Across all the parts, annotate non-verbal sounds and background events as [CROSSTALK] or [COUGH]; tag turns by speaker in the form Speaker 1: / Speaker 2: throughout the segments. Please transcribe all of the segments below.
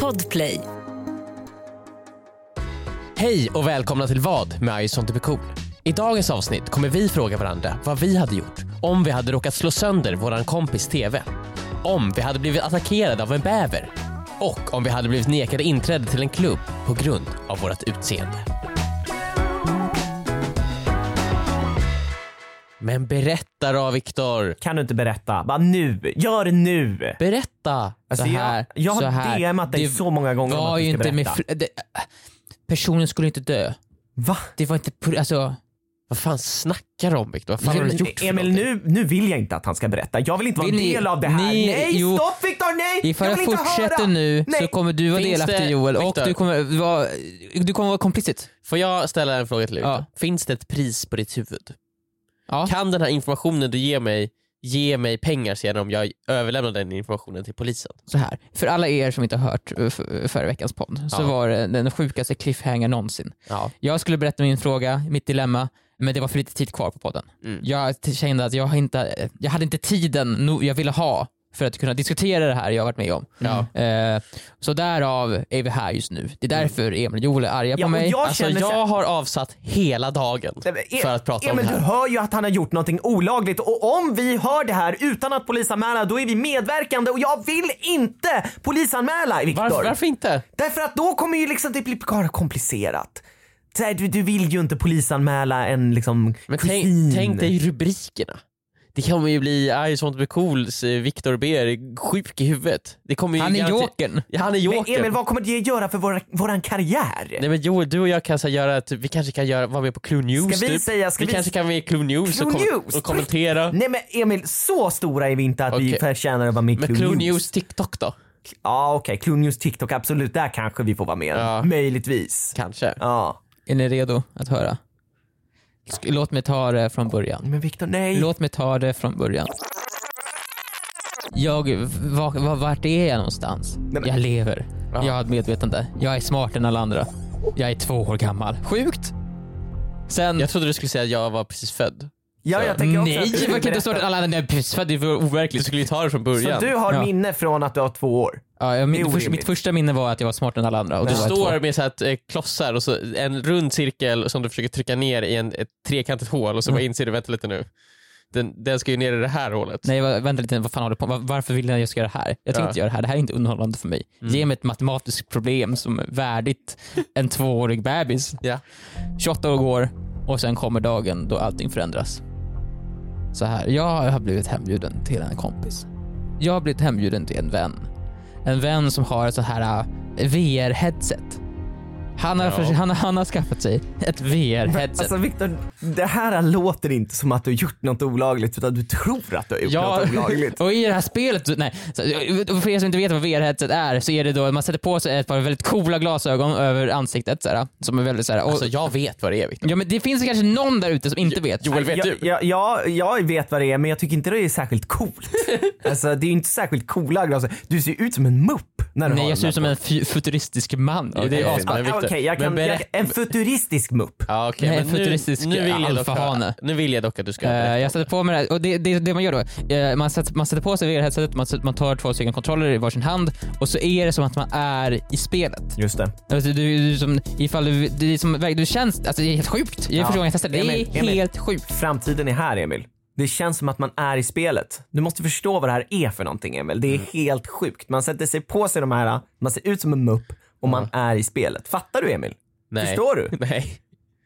Speaker 1: Podplay.
Speaker 2: Hej och välkomna till Vad med I sånt är cool. I dagens avsnitt kommer vi fråga varandra vad vi hade gjort om vi hade råkat slå sönder våran kompis TV. Om vi hade blivit attackerade av en bäver. Och om vi hade blivit nekade inträde till en klubb på grund av vårt utseende. Men berätta då Viktor.
Speaker 3: Kan du inte berätta? Bara nu, gör det nu!
Speaker 2: Berätta
Speaker 3: Alltså,
Speaker 2: så här.
Speaker 3: jag, jag
Speaker 2: så här.
Speaker 3: har DMat dig
Speaker 2: Det
Speaker 3: så många gånger om
Speaker 2: var
Speaker 3: att
Speaker 2: ju
Speaker 3: du ska
Speaker 2: inte
Speaker 3: berätta.
Speaker 2: med fl- det, Personen skulle inte dö.
Speaker 3: Va?
Speaker 2: Det var inte... pr- Alltså, vad fan snackar du om Viktor? Vad fan har
Speaker 3: Men
Speaker 2: du gjort för
Speaker 3: Emil,
Speaker 2: någonting?
Speaker 3: nu, nu vill jag inte att han ska berätta. Jag vill inte vara en
Speaker 2: Vill ni-
Speaker 3: del av det här.
Speaker 2: ni-
Speaker 3: nej,
Speaker 2: jo.
Speaker 3: stopp Viktor, nej!
Speaker 4: Ifall
Speaker 3: jag
Speaker 4: jag
Speaker 3: vill inte
Speaker 4: fortsätter
Speaker 3: höra.
Speaker 4: nu så
Speaker 3: Nej.
Speaker 4: kommer du vara
Speaker 2: Finns
Speaker 4: delaktig
Speaker 2: det-
Speaker 4: Joel och
Speaker 2: Viktor?
Speaker 4: du kommer vara, du kommer vara complicit.
Speaker 2: Får jag ställa en fråga till dig?
Speaker 4: Ja.
Speaker 2: Viktor? Finns det ett pris på ditt huvud?
Speaker 4: Ja.
Speaker 2: Kan den här informationen du ger mig ge mig pengar sedan om jag överlämnar den informationen till polisen?
Speaker 4: Så här. För alla er som inte har hört eh, f- förra veckans podd så
Speaker 2: Ja.
Speaker 4: var det den sjukaste cliffhanger någonsin.
Speaker 2: Ja.
Speaker 4: Jag skulle berätta min fråga, mitt dilemma, men det var för lite tid kvar på podden.
Speaker 2: Mm.
Speaker 4: Jag t- kände att jag, inte, jag hade inte tiden no- jag ville ha för att kunna diskutera det här jag varit med om.
Speaker 3: Mm.
Speaker 2: Ja.
Speaker 4: Eh, så därav är vi här just nu. Det är därför Emil och Joel är arga
Speaker 3: Ja,
Speaker 4: på
Speaker 3: och
Speaker 4: mig.
Speaker 3: jag
Speaker 2: Alltså
Speaker 3: känner så här-
Speaker 2: jag har avsatt hela dagen
Speaker 3: Nej, men E-
Speaker 2: för att prata om det
Speaker 3: Emil, du
Speaker 2: här.
Speaker 3: hör ju att han har gjort någonting olagligt och om vi hör det här utan att polisanmäla då är vi medverkande och jag vill inte polisanmäla Viktor.
Speaker 2: Varför, varför inte?
Speaker 3: Därför att då kommer ju liksom det bli bara komplicerat. Så här, du, du vill ju inte polisanmäla en liksom
Speaker 2: Men tänk,
Speaker 3: kusin.
Speaker 2: tänk dig rubrikerna. Det kommer ju bli "Ah, I sånt blir cools, eh, Viktor Ber sjuk i huvudet. Det kommer ju
Speaker 4: Han är
Speaker 2: garanti-
Speaker 4: jokern.
Speaker 2: Ja, han är
Speaker 3: men
Speaker 2: jokern.
Speaker 3: Emil, vad kommer det göra för våra, våran karriär?
Speaker 2: Nej men Joel, du och jag kan så här göra, typ, vi kanske kan göra, vara med på Clue News
Speaker 3: Ska vi
Speaker 2: typ.
Speaker 3: säga- ska
Speaker 2: vi,
Speaker 3: vi-
Speaker 2: kanske kan vara med i Clue News,
Speaker 3: Clue
Speaker 2: och, kom-
Speaker 3: News?
Speaker 2: och kommentera.
Speaker 3: Nej men Emil, så stora är vi inte att vi
Speaker 2: Okej.
Speaker 3: förtjänar att vara med i
Speaker 2: Men Clue News TikTok då?
Speaker 3: Ja okej, Clue News TikTok, absolut, där kanske vi får vara med.
Speaker 2: Ja.
Speaker 3: Möjligtvis.
Speaker 2: Kanske.
Speaker 3: Ja.
Speaker 4: Är ni redo att höra? Sk- Låt mig ta det från början.
Speaker 3: Men Viktor, nej.
Speaker 4: Låt mig ta det från början. Jag, va- va- vart är jag någonstans?
Speaker 3: men-
Speaker 4: Jag lever. Jag har ett medvetande. Jag är smartare än alla andra. Jag är två år gammal. Sjukt! Sen...
Speaker 2: Mm. Jag trodde du skulle säga att jag var precis född.
Speaker 3: ja, jag tänker också
Speaker 4: Nej,
Speaker 3: att du
Speaker 4: man kan inte
Speaker 3: berättar.
Speaker 4: stå där alla andra... Nej, precis, för att det var
Speaker 2: Du
Speaker 4: overkligt.
Speaker 2: skulle ju ta det från början.
Speaker 3: Så du har
Speaker 4: Ja.
Speaker 3: minne från att du har två år?
Speaker 4: Ja, jag,
Speaker 3: Det
Speaker 4: min,
Speaker 3: är
Speaker 4: först, mitt
Speaker 3: orimligt.
Speaker 4: första minne var att jag var smartare än alla andra. Och då
Speaker 2: Du
Speaker 4: var jag
Speaker 2: står
Speaker 4: två.
Speaker 2: med så här, eh, klossar och så en rund cirkel som du försöker trycka ner i en, ett trekantigt hål
Speaker 4: Mm.
Speaker 2: och så bara inser du, vänta lite nu. Den, den ska ju ner i det här hålet.
Speaker 4: Nej va- vänta lite, vad fan håller du på med? Va- Varför vill ni att jag ska göra det här? Jag
Speaker 2: Ja.
Speaker 4: tänker
Speaker 2: Mm.
Speaker 4: inte göra det här, det här är inte underhållande för mig. Ge mig ett matematiskt problem som är värdigt en tvåårig bebis.
Speaker 2: Ja.
Speaker 4: 28 år går och sen kommer dagen då allting förändras. Så här, jag har blivit hembjuden till en kompis. Jag har blivit hembjuden till en vän. En vän som har ett sånt här VR-headset. Han har,
Speaker 2: Ja.
Speaker 4: för, han, han har skaffat sig ett VR-headset.
Speaker 3: Alltså Viktor, det här låter inte som att du har gjort något olagligt utan du tror att du har gjort något olagligt.
Speaker 4: och i det här spelet, så- nej. Så, och för er som inte vet vad VR-headset är så är det då att man sätter på sig ett par väldigt coola glasögon över ansiktet. Så här, som är väldigt så här, och,
Speaker 2: Alltså jag vet vad det är Viktor.
Speaker 4: ja, men det finns kanske någon där ute som inte vet.
Speaker 2: Joel vet
Speaker 3: jag,
Speaker 2: du?
Speaker 3: jag, jag, jag vet vad det är men jag tycker inte det är särskilt coolt.
Speaker 4: [LAUGHS]
Speaker 3: alltså det är ju inte särskilt coola glasögon. Du ser ju ut som en mupp när du
Speaker 4: Nej,
Speaker 3: har dem
Speaker 4: jag ser
Speaker 3: där
Speaker 4: ut som
Speaker 3: på.
Speaker 4: en fu- futuristisk man.
Speaker 2: Ja, det är asbra. Men
Speaker 3: Ja,
Speaker 2: Viktor,
Speaker 3: Okej, jag
Speaker 2: men
Speaker 3: kan, jag,
Speaker 2: berätta-
Speaker 3: en futuristisk mupp.
Speaker 2: Ja, okej,
Speaker 4: Nej,
Speaker 2: men nu,
Speaker 4: futuristisk
Speaker 2: nu, vill jag dock, höra-
Speaker 4: alfahane.
Speaker 2: nu vill jag dock att du ska
Speaker 4: Eh,
Speaker 2: berätta.
Speaker 4: jag sätter på mig det här, och det, det, det man gör då, eh, man, sätter, man sätter på sig VR-headsetet, man, sätter- man tar två stycken kontroller i varsin hand och så är det som att man är i spelet.
Speaker 3: Just det.
Speaker 4: Alltså, du, du, som, ifall du, det är som, du känns, alltså det är helt sjukt. Jag
Speaker 3: Ja.
Speaker 4: är första gången jag testade det. Det
Speaker 3: Emil,
Speaker 4: är
Speaker 3: Emil.
Speaker 4: helt sjukt.
Speaker 3: Framtiden är här Emil. Det känns som att man är i spelet. Du måste förstå vad det här är för någonting Emil. Det är
Speaker 4: Mm.
Speaker 3: helt sjukt. Man sätter sig på sig de här, man ser ut som en mupp och man är i spelet. Fattar du Emil?
Speaker 2: Nej.
Speaker 3: Förstår
Speaker 4: [LAUGHS]
Speaker 3: du?
Speaker 2: Nej.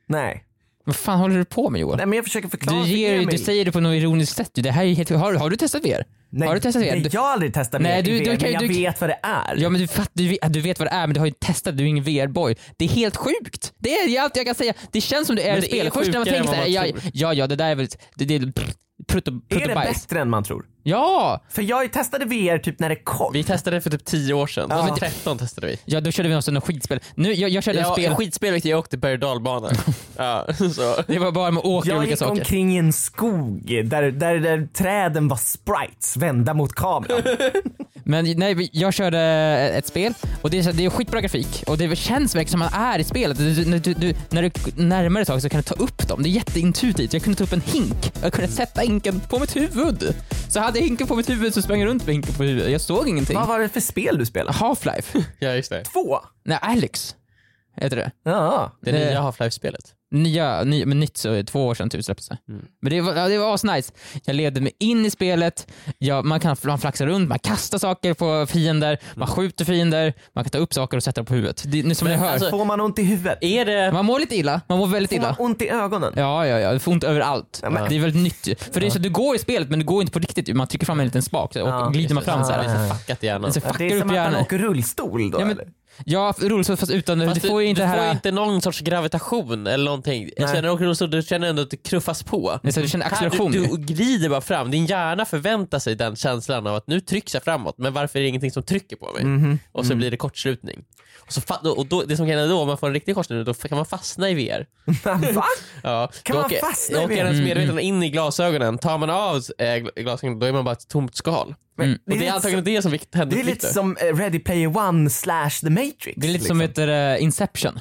Speaker 3: Nej.
Speaker 4: Vad fan håller du på med Joel?
Speaker 3: Nej men jag försöker förklara
Speaker 4: Du,
Speaker 3: för
Speaker 4: ger,
Speaker 3: Emil.
Speaker 4: du säger det på något ironiskt sätt. ju. Det här är ju helt, har, har du testat VR?
Speaker 3: Nej,
Speaker 4: har du testat VR?
Speaker 3: Nej,
Speaker 4: Du,
Speaker 3: jag har aldrig testat
Speaker 4: Nej,
Speaker 3: VR,
Speaker 4: du- du
Speaker 3: men
Speaker 4: kan ju-
Speaker 3: jag
Speaker 4: du-
Speaker 3: vet vad det är.
Speaker 4: Ja men du, fatt, du, vet- du vet vad det är men du har ju inte testat, du är ingen VR-boy. Det är helt sjukt! Det är allt jag kan säga. Det känns som det är
Speaker 2: Men
Speaker 4: ett
Speaker 2: det är
Speaker 4: spel. Först när man
Speaker 2: sjukare
Speaker 4: tänker
Speaker 2: än
Speaker 4: såhär,
Speaker 2: vad man
Speaker 4: ja, ja ja det där är väl, det, det är pr- prutto-
Speaker 3: är det
Speaker 4: pruttobajs.
Speaker 3: bättre än man tror?
Speaker 4: Ja!
Speaker 3: För jag testade VR typ när det kom.
Speaker 2: Vi testade det för typ 10 år sedan.
Speaker 3: Ja.
Speaker 2: Ja. 13 testade vi.
Speaker 4: Ja då körde vi något sånt skitspel. Nu, jag, jag körde
Speaker 2: Ja,
Speaker 4: ett spel,
Speaker 2: skitspel Viktor, jag åkte berg och
Speaker 4: [LAUGHS]
Speaker 2: dalbana. ja, så.
Speaker 4: det var bara med att åka i
Speaker 3: jag
Speaker 4: olika
Speaker 3: gick
Speaker 4: saker.
Speaker 3: omkring i en skog där, där, där träden var sprites vända mot kameran.
Speaker 4: Men nej, vi- jag körde ett spel och det är, så- det är skitbra grafik och det känns verkligen som man är i spelet. Du, du, du, du, när du närmar dig saker så kan du ta upp dem. Det är jätteintuitivt. Jag kunde ta upp en hink och jag kunde sätta hinken på mitt huvud. Så jag hade hinken på mitt huvud så sprang jag runt med hinken på huvudet. Jag såg ingenting.
Speaker 3: Vad var det för spel du spelade?
Speaker 4: Half-Life?
Speaker 2: Ja, just det.
Speaker 3: Två?
Speaker 4: nej, Alex heter det.
Speaker 3: Ja.
Speaker 2: Det
Speaker 4: Nej.
Speaker 2: nya Half-Life-spelet.
Speaker 4: Nya, ny, men nytt så är det två år sedan typ släpptes det.
Speaker 3: Mm.
Speaker 4: Men det var, ja, det var asnice. Jag levde mig in i spelet, jag, man kan man flaxar runt, man kastar saker på fiender,
Speaker 3: Mm.
Speaker 4: man skjuter fiender, man kan ta upp saker och sätta dem på huvudet. Det, nu som ni hör,
Speaker 2: alltså-
Speaker 3: Får man ont i huvudet?
Speaker 2: Är det...
Speaker 4: man mår lite illa, man mår väldigt
Speaker 3: Får man
Speaker 4: illa.
Speaker 3: ont i ögonen?
Speaker 4: Ja, ja, ja. Du får ont överallt.
Speaker 3: Ja, men-
Speaker 4: Det är väldigt nytt. För det är så, du går i spelet men du går inte på riktigt. Man trycker fram en liten spak och
Speaker 3: Ja,
Speaker 4: glider man fram så
Speaker 2: Det är
Speaker 4: här.
Speaker 2: så fuckat i hjärnan.
Speaker 4: Så
Speaker 3: Ah, Ja,
Speaker 4: fuckar
Speaker 3: Det är
Speaker 4: upp
Speaker 3: som att han
Speaker 4: hjärnan.
Speaker 3: åker rullstol då
Speaker 4: Ja, men-
Speaker 3: eller? [LAUGHS]
Speaker 4: Ja, rullstol fast utan,
Speaker 2: Fast
Speaker 4: du får ju inte det
Speaker 2: du får
Speaker 4: här...
Speaker 2: ju inte någon sorts gravitation eller någonting. Jag
Speaker 3: Nej.
Speaker 2: känner också så du känner ändå att du knuffas på.
Speaker 4: Nej, så Alltså, du känner
Speaker 2: Här,
Speaker 4: acceleration
Speaker 2: Du,
Speaker 4: ju.
Speaker 2: du glider bara fram. Din hjärna förväntar sig den känslan av att nu trycks jag framåt, men varför är det ingenting som trycker på mig?
Speaker 3: Mhm.
Speaker 2: Och
Speaker 3: Mm.
Speaker 2: så blir det kortslutning. Och så fa- och då, det som kan hända då, om man får en riktig kortslutning, då kan man fastna i VR.
Speaker 3: Va?
Speaker 2: Ja,
Speaker 3: Kan
Speaker 2: då
Speaker 3: man
Speaker 2: åker-
Speaker 3: fastna i Mm.
Speaker 2: Då åker
Speaker 3: VR?
Speaker 2: ens medvetande in i glasögonen. Tar man av eh, gl- glasögonen, då är man bara ett tomt skal.
Speaker 4: Mm.
Speaker 3: Men
Speaker 2: Och det
Speaker 3: lite
Speaker 2: är antagligen det som vi-
Speaker 3: som,
Speaker 2: händer
Speaker 3: det är lite
Speaker 2: Victor.
Speaker 3: som eh, Ready Player One slash The Matrix. liksom.
Speaker 4: Det är lite som heter eh, Inception.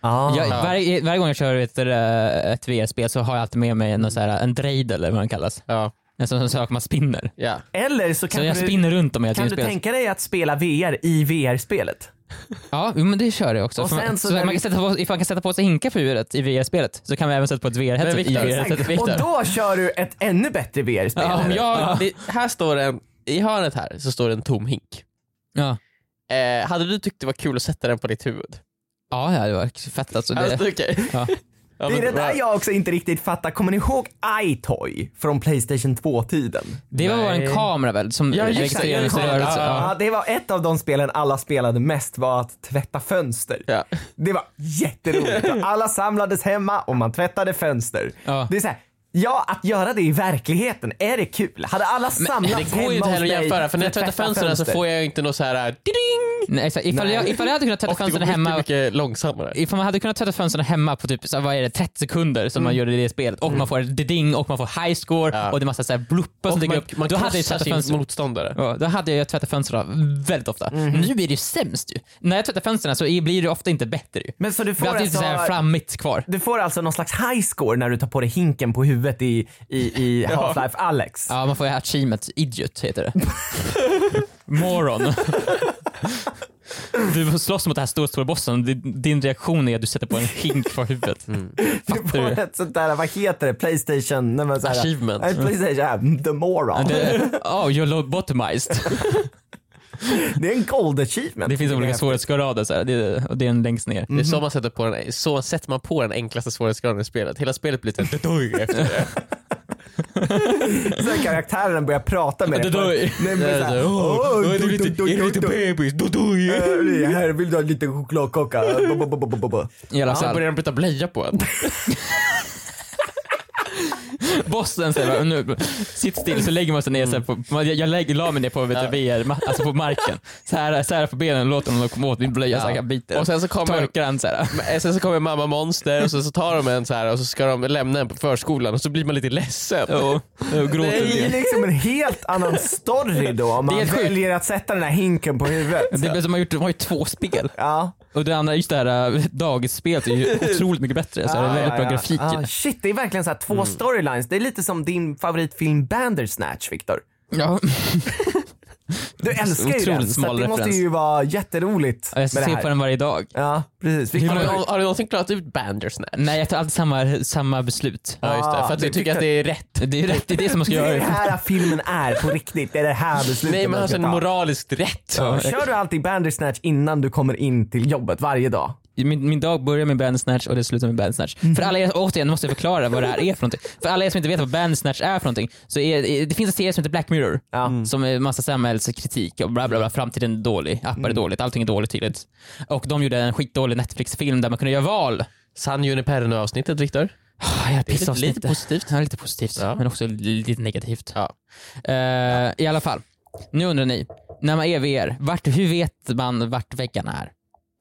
Speaker 3: ah.
Speaker 4: Jag, varje, varje gång jag kör ett, eh, ett VR-spel så har jag alltid med mig en, så här, en drejd eller vad den kallas.
Speaker 2: Ja,
Speaker 4: En sån, sån sak man spinner.
Speaker 2: ja.
Speaker 3: Eller så kan
Speaker 4: Så jag
Speaker 3: du,
Speaker 4: spinner runt om hela
Speaker 3: kan
Speaker 4: tiden.
Speaker 3: du
Speaker 4: spelet.
Speaker 3: tänka dig att spela VR i VR-spelet?
Speaker 4: Ja, jo, men det kör jag också.
Speaker 3: Och
Speaker 4: För man,
Speaker 3: sen
Speaker 4: så
Speaker 3: så
Speaker 4: man
Speaker 3: när
Speaker 4: kan
Speaker 3: vi-
Speaker 4: sätta på, ifall man kan sätta på sig hinkar på huvudet i VR-spelet så kan man även sätta på ett VR-headset
Speaker 2: Men
Speaker 4: i
Speaker 2: Viktor,
Speaker 4: VR-headset.
Speaker 2: exakt. Victor.
Speaker 3: Och då kör du ett ännu bättre VR-spel.
Speaker 4: Ja,
Speaker 2: Om
Speaker 3: eller?
Speaker 2: jag, det, här står det en, I hörnet här så står det en tom hink.
Speaker 4: Ja.
Speaker 2: Eh, hade du tyckt det var kul att sätta den på ditt huvud?
Speaker 4: ja, ja, det var fett alltså. Det,
Speaker 2: Alltså, okej.
Speaker 4: ja.
Speaker 2: Ja,
Speaker 3: Det är
Speaker 2: men-
Speaker 3: det där jag också inte riktigt fattar. Kommer ni ihåg iToy från Playstation 2-tiden?
Speaker 4: det var bara en
Speaker 2: Nej.
Speaker 4: kamera väl som
Speaker 2: Ja, just det,
Speaker 4: registrerar
Speaker 2: ja,
Speaker 4: ens
Speaker 2: just det.
Speaker 4: rörelse.
Speaker 2: Ja.
Speaker 4: Ja.
Speaker 3: Ja, det var ett av de spelen alla spelade mest var att tvätta fönster.
Speaker 2: Ja.
Speaker 3: Det var
Speaker 2: [LAUGHS]
Speaker 3: jätteroligt. Och Alla samlades hemma och man tvättade fönster.
Speaker 4: Ja.
Speaker 3: Det är så här, ja, att göra det i verkligheten, är det kul? Hade alla samlats
Speaker 2: Det går
Speaker 3: hemma
Speaker 2: ju inte heller
Speaker 3: hos
Speaker 2: att
Speaker 3: dig
Speaker 2: jämföra för när jag
Speaker 3: för att
Speaker 2: tvättar fönstren så får jag ju inte något så här ding!
Speaker 4: Nej, exakt. ifall, Jag, ifall jag hade kunnat tvätta
Speaker 2: Och det går
Speaker 4: fönstren
Speaker 2: mycket,
Speaker 4: hemma
Speaker 2: mycket långsammare.
Speaker 4: Ifall man hade kunnat tvätta fönstren hemma på typ så, här, vad är det, 30 sekunder som man gjorde i det spelet och man får ett ding och man får high score
Speaker 2: Ja.
Speaker 4: och det är massa så här bluppar som
Speaker 2: Och
Speaker 4: dyker
Speaker 2: man,
Speaker 4: upp.
Speaker 2: man
Speaker 4: då, hade jag
Speaker 2: krossar
Speaker 4: tvättat
Speaker 2: sin
Speaker 4: fönstren,
Speaker 2: motståndare.
Speaker 4: ja, då hade jag tvättat fönstren väldigt ofta. Nu är det ju sämst ju. När jag tvättar fönstren så är- blir det ofta inte bättre ju.
Speaker 3: Men så du
Speaker 4: Det
Speaker 3: får,
Speaker 4: blir alltid så här
Speaker 3: alltså,
Speaker 4: flammigt kvar.
Speaker 3: du får alltså någon slags high score när du tar på dig hinken på huvudet i, i, i Half-Life Alex.
Speaker 4: Ja, man får ju achievement idiot heter det. Moron. Du slåss mot den här stora, stora bossen. Din- Din reaktion är att du sätter på en hink på huvudet.
Speaker 3: Du
Speaker 4: Fattar
Speaker 3: får
Speaker 4: du?
Speaker 3: ett sånt där, vad heter det, Playstation? Nej, men så här,
Speaker 2: Achievement.
Speaker 3: Nej, Playstation, ja, the moron. Det,
Speaker 4: Oh, you're lobotomized.
Speaker 3: är en gold achievement.
Speaker 4: Det finns olika svårighetsgrader så här. Det, och det är en längst ner.
Speaker 2: Det är så man sätter på den, så sätter man på den enklaste svårighetsgraden i spelet. Hela spelet blir såhär dudoj efter det.
Speaker 3: Sen karaktären börjar prata med dig.
Speaker 4: Det-
Speaker 3: Nej, men så här, "Åh,
Speaker 2: Åh, är du
Speaker 3: du-
Speaker 2: lite-
Speaker 3: du- du-
Speaker 2: är du lite
Speaker 3: du-
Speaker 2: bebis? Dudoj!
Speaker 3: du- Eh, Här vill du ha lite chokladkaka. Bo- bo- bo- bo- bo- bo.
Speaker 4: I alla
Speaker 2: Sen
Speaker 4: fall.
Speaker 2: Alltså, börjar de byta blöja på en.
Speaker 4: Bossen säger bara, nu, sitt still så lägger man sig ner så här på, man, jag- jag lägger, la mig ner på vet du, VR, ma- alltså på marken. Så här, så här på benen, låter honom komma åt min blöja så här,
Speaker 2: Ja.
Speaker 4: jag biter.
Speaker 2: Och sen så kommer,
Speaker 4: torkar han så här.
Speaker 2: Men eh, Sen så kommer mamma monster och så, så tar de en så här och så ska de lämna en på förskolan och så blir man lite ledsen.
Speaker 4: Och, och gråter
Speaker 3: Det är
Speaker 4: lite.
Speaker 3: liksom en helt annan story då om
Speaker 4: Det är
Speaker 3: man
Speaker 4: sjukt.
Speaker 3: väljer att sätta den här hinken på huvudet.
Speaker 4: Det är som man gjort, de har ju två spel.
Speaker 3: Ja.
Speaker 4: Och det andra, just det här äh, dagisspelet är ju otroligt mycket bättre. Så det är väldigt bra grafik Mm.
Speaker 3: Ah,
Speaker 4: ju.
Speaker 3: shit, det är verkligen så här två storylines. Det är lite som din favoritfilm Bandersnatch, Viktor.
Speaker 4: Ja.
Speaker 3: Du älskar ju den,
Speaker 4: Mm. Otroligt
Speaker 3: så
Speaker 4: smal
Speaker 3: att det måste
Speaker 4: referens.
Speaker 3: ju vara jätteroligt
Speaker 4: Jag
Speaker 3: med det
Speaker 4: ser
Speaker 3: här.
Speaker 4: på den varje dag.
Speaker 3: Ja, precis.
Speaker 4: Hur
Speaker 3: Vilken-
Speaker 2: Har du,
Speaker 4: många-
Speaker 2: har du någonsin klarat ut Bandersnatch?
Speaker 4: Nej, jag tar alltid samma, samma beslut.
Speaker 2: Ja just det, för att du
Speaker 3: det
Speaker 2: tycker att det är rätt.
Speaker 4: Det är ju rätt, det är det som man ska
Speaker 3: Det är
Speaker 4: göra.
Speaker 3: det här filmen är på riktigt. Det är det här beslutet
Speaker 2: Nej men
Speaker 3: man
Speaker 2: alltså
Speaker 3: ska
Speaker 2: en
Speaker 3: ta.
Speaker 2: moraliskt rätt.
Speaker 3: Och Kör du alltid Bandersnatch innan du kommer in till jobbet varje dag?
Speaker 4: min, min dag börjar med bandsnatch och det slutar med bandsnatch. För alla er, återigen, nu måste jag förklara vad det här är för någonting. För alla er som inte vet vad bandsnatch är för någonting, så är, är- det finns en serie som heter Black Mirror, som är massa samhällskritik och bla bla bla, framtiden är dålig, appar är dåligt, allting är dåligt tydligt. Och de gjorde en skitdålig Netflix-film där man kunde göra val.
Speaker 2: San Juniperno avsnittet Viktor.
Speaker 4: Ah, jag
Speaker 2: lite-
Speaker 4: pissar
Speaker 2: lite
Speaker 4: positivt. Ja, lite positivt,
Speaker 2: Ja.
Speaker 4: men också lite negativt.
Speaker 2: Ja.
Speaker 4: Eh, I alla fall, nu undrar ni, när man är VR, vart, hur vet man vart väggarna är?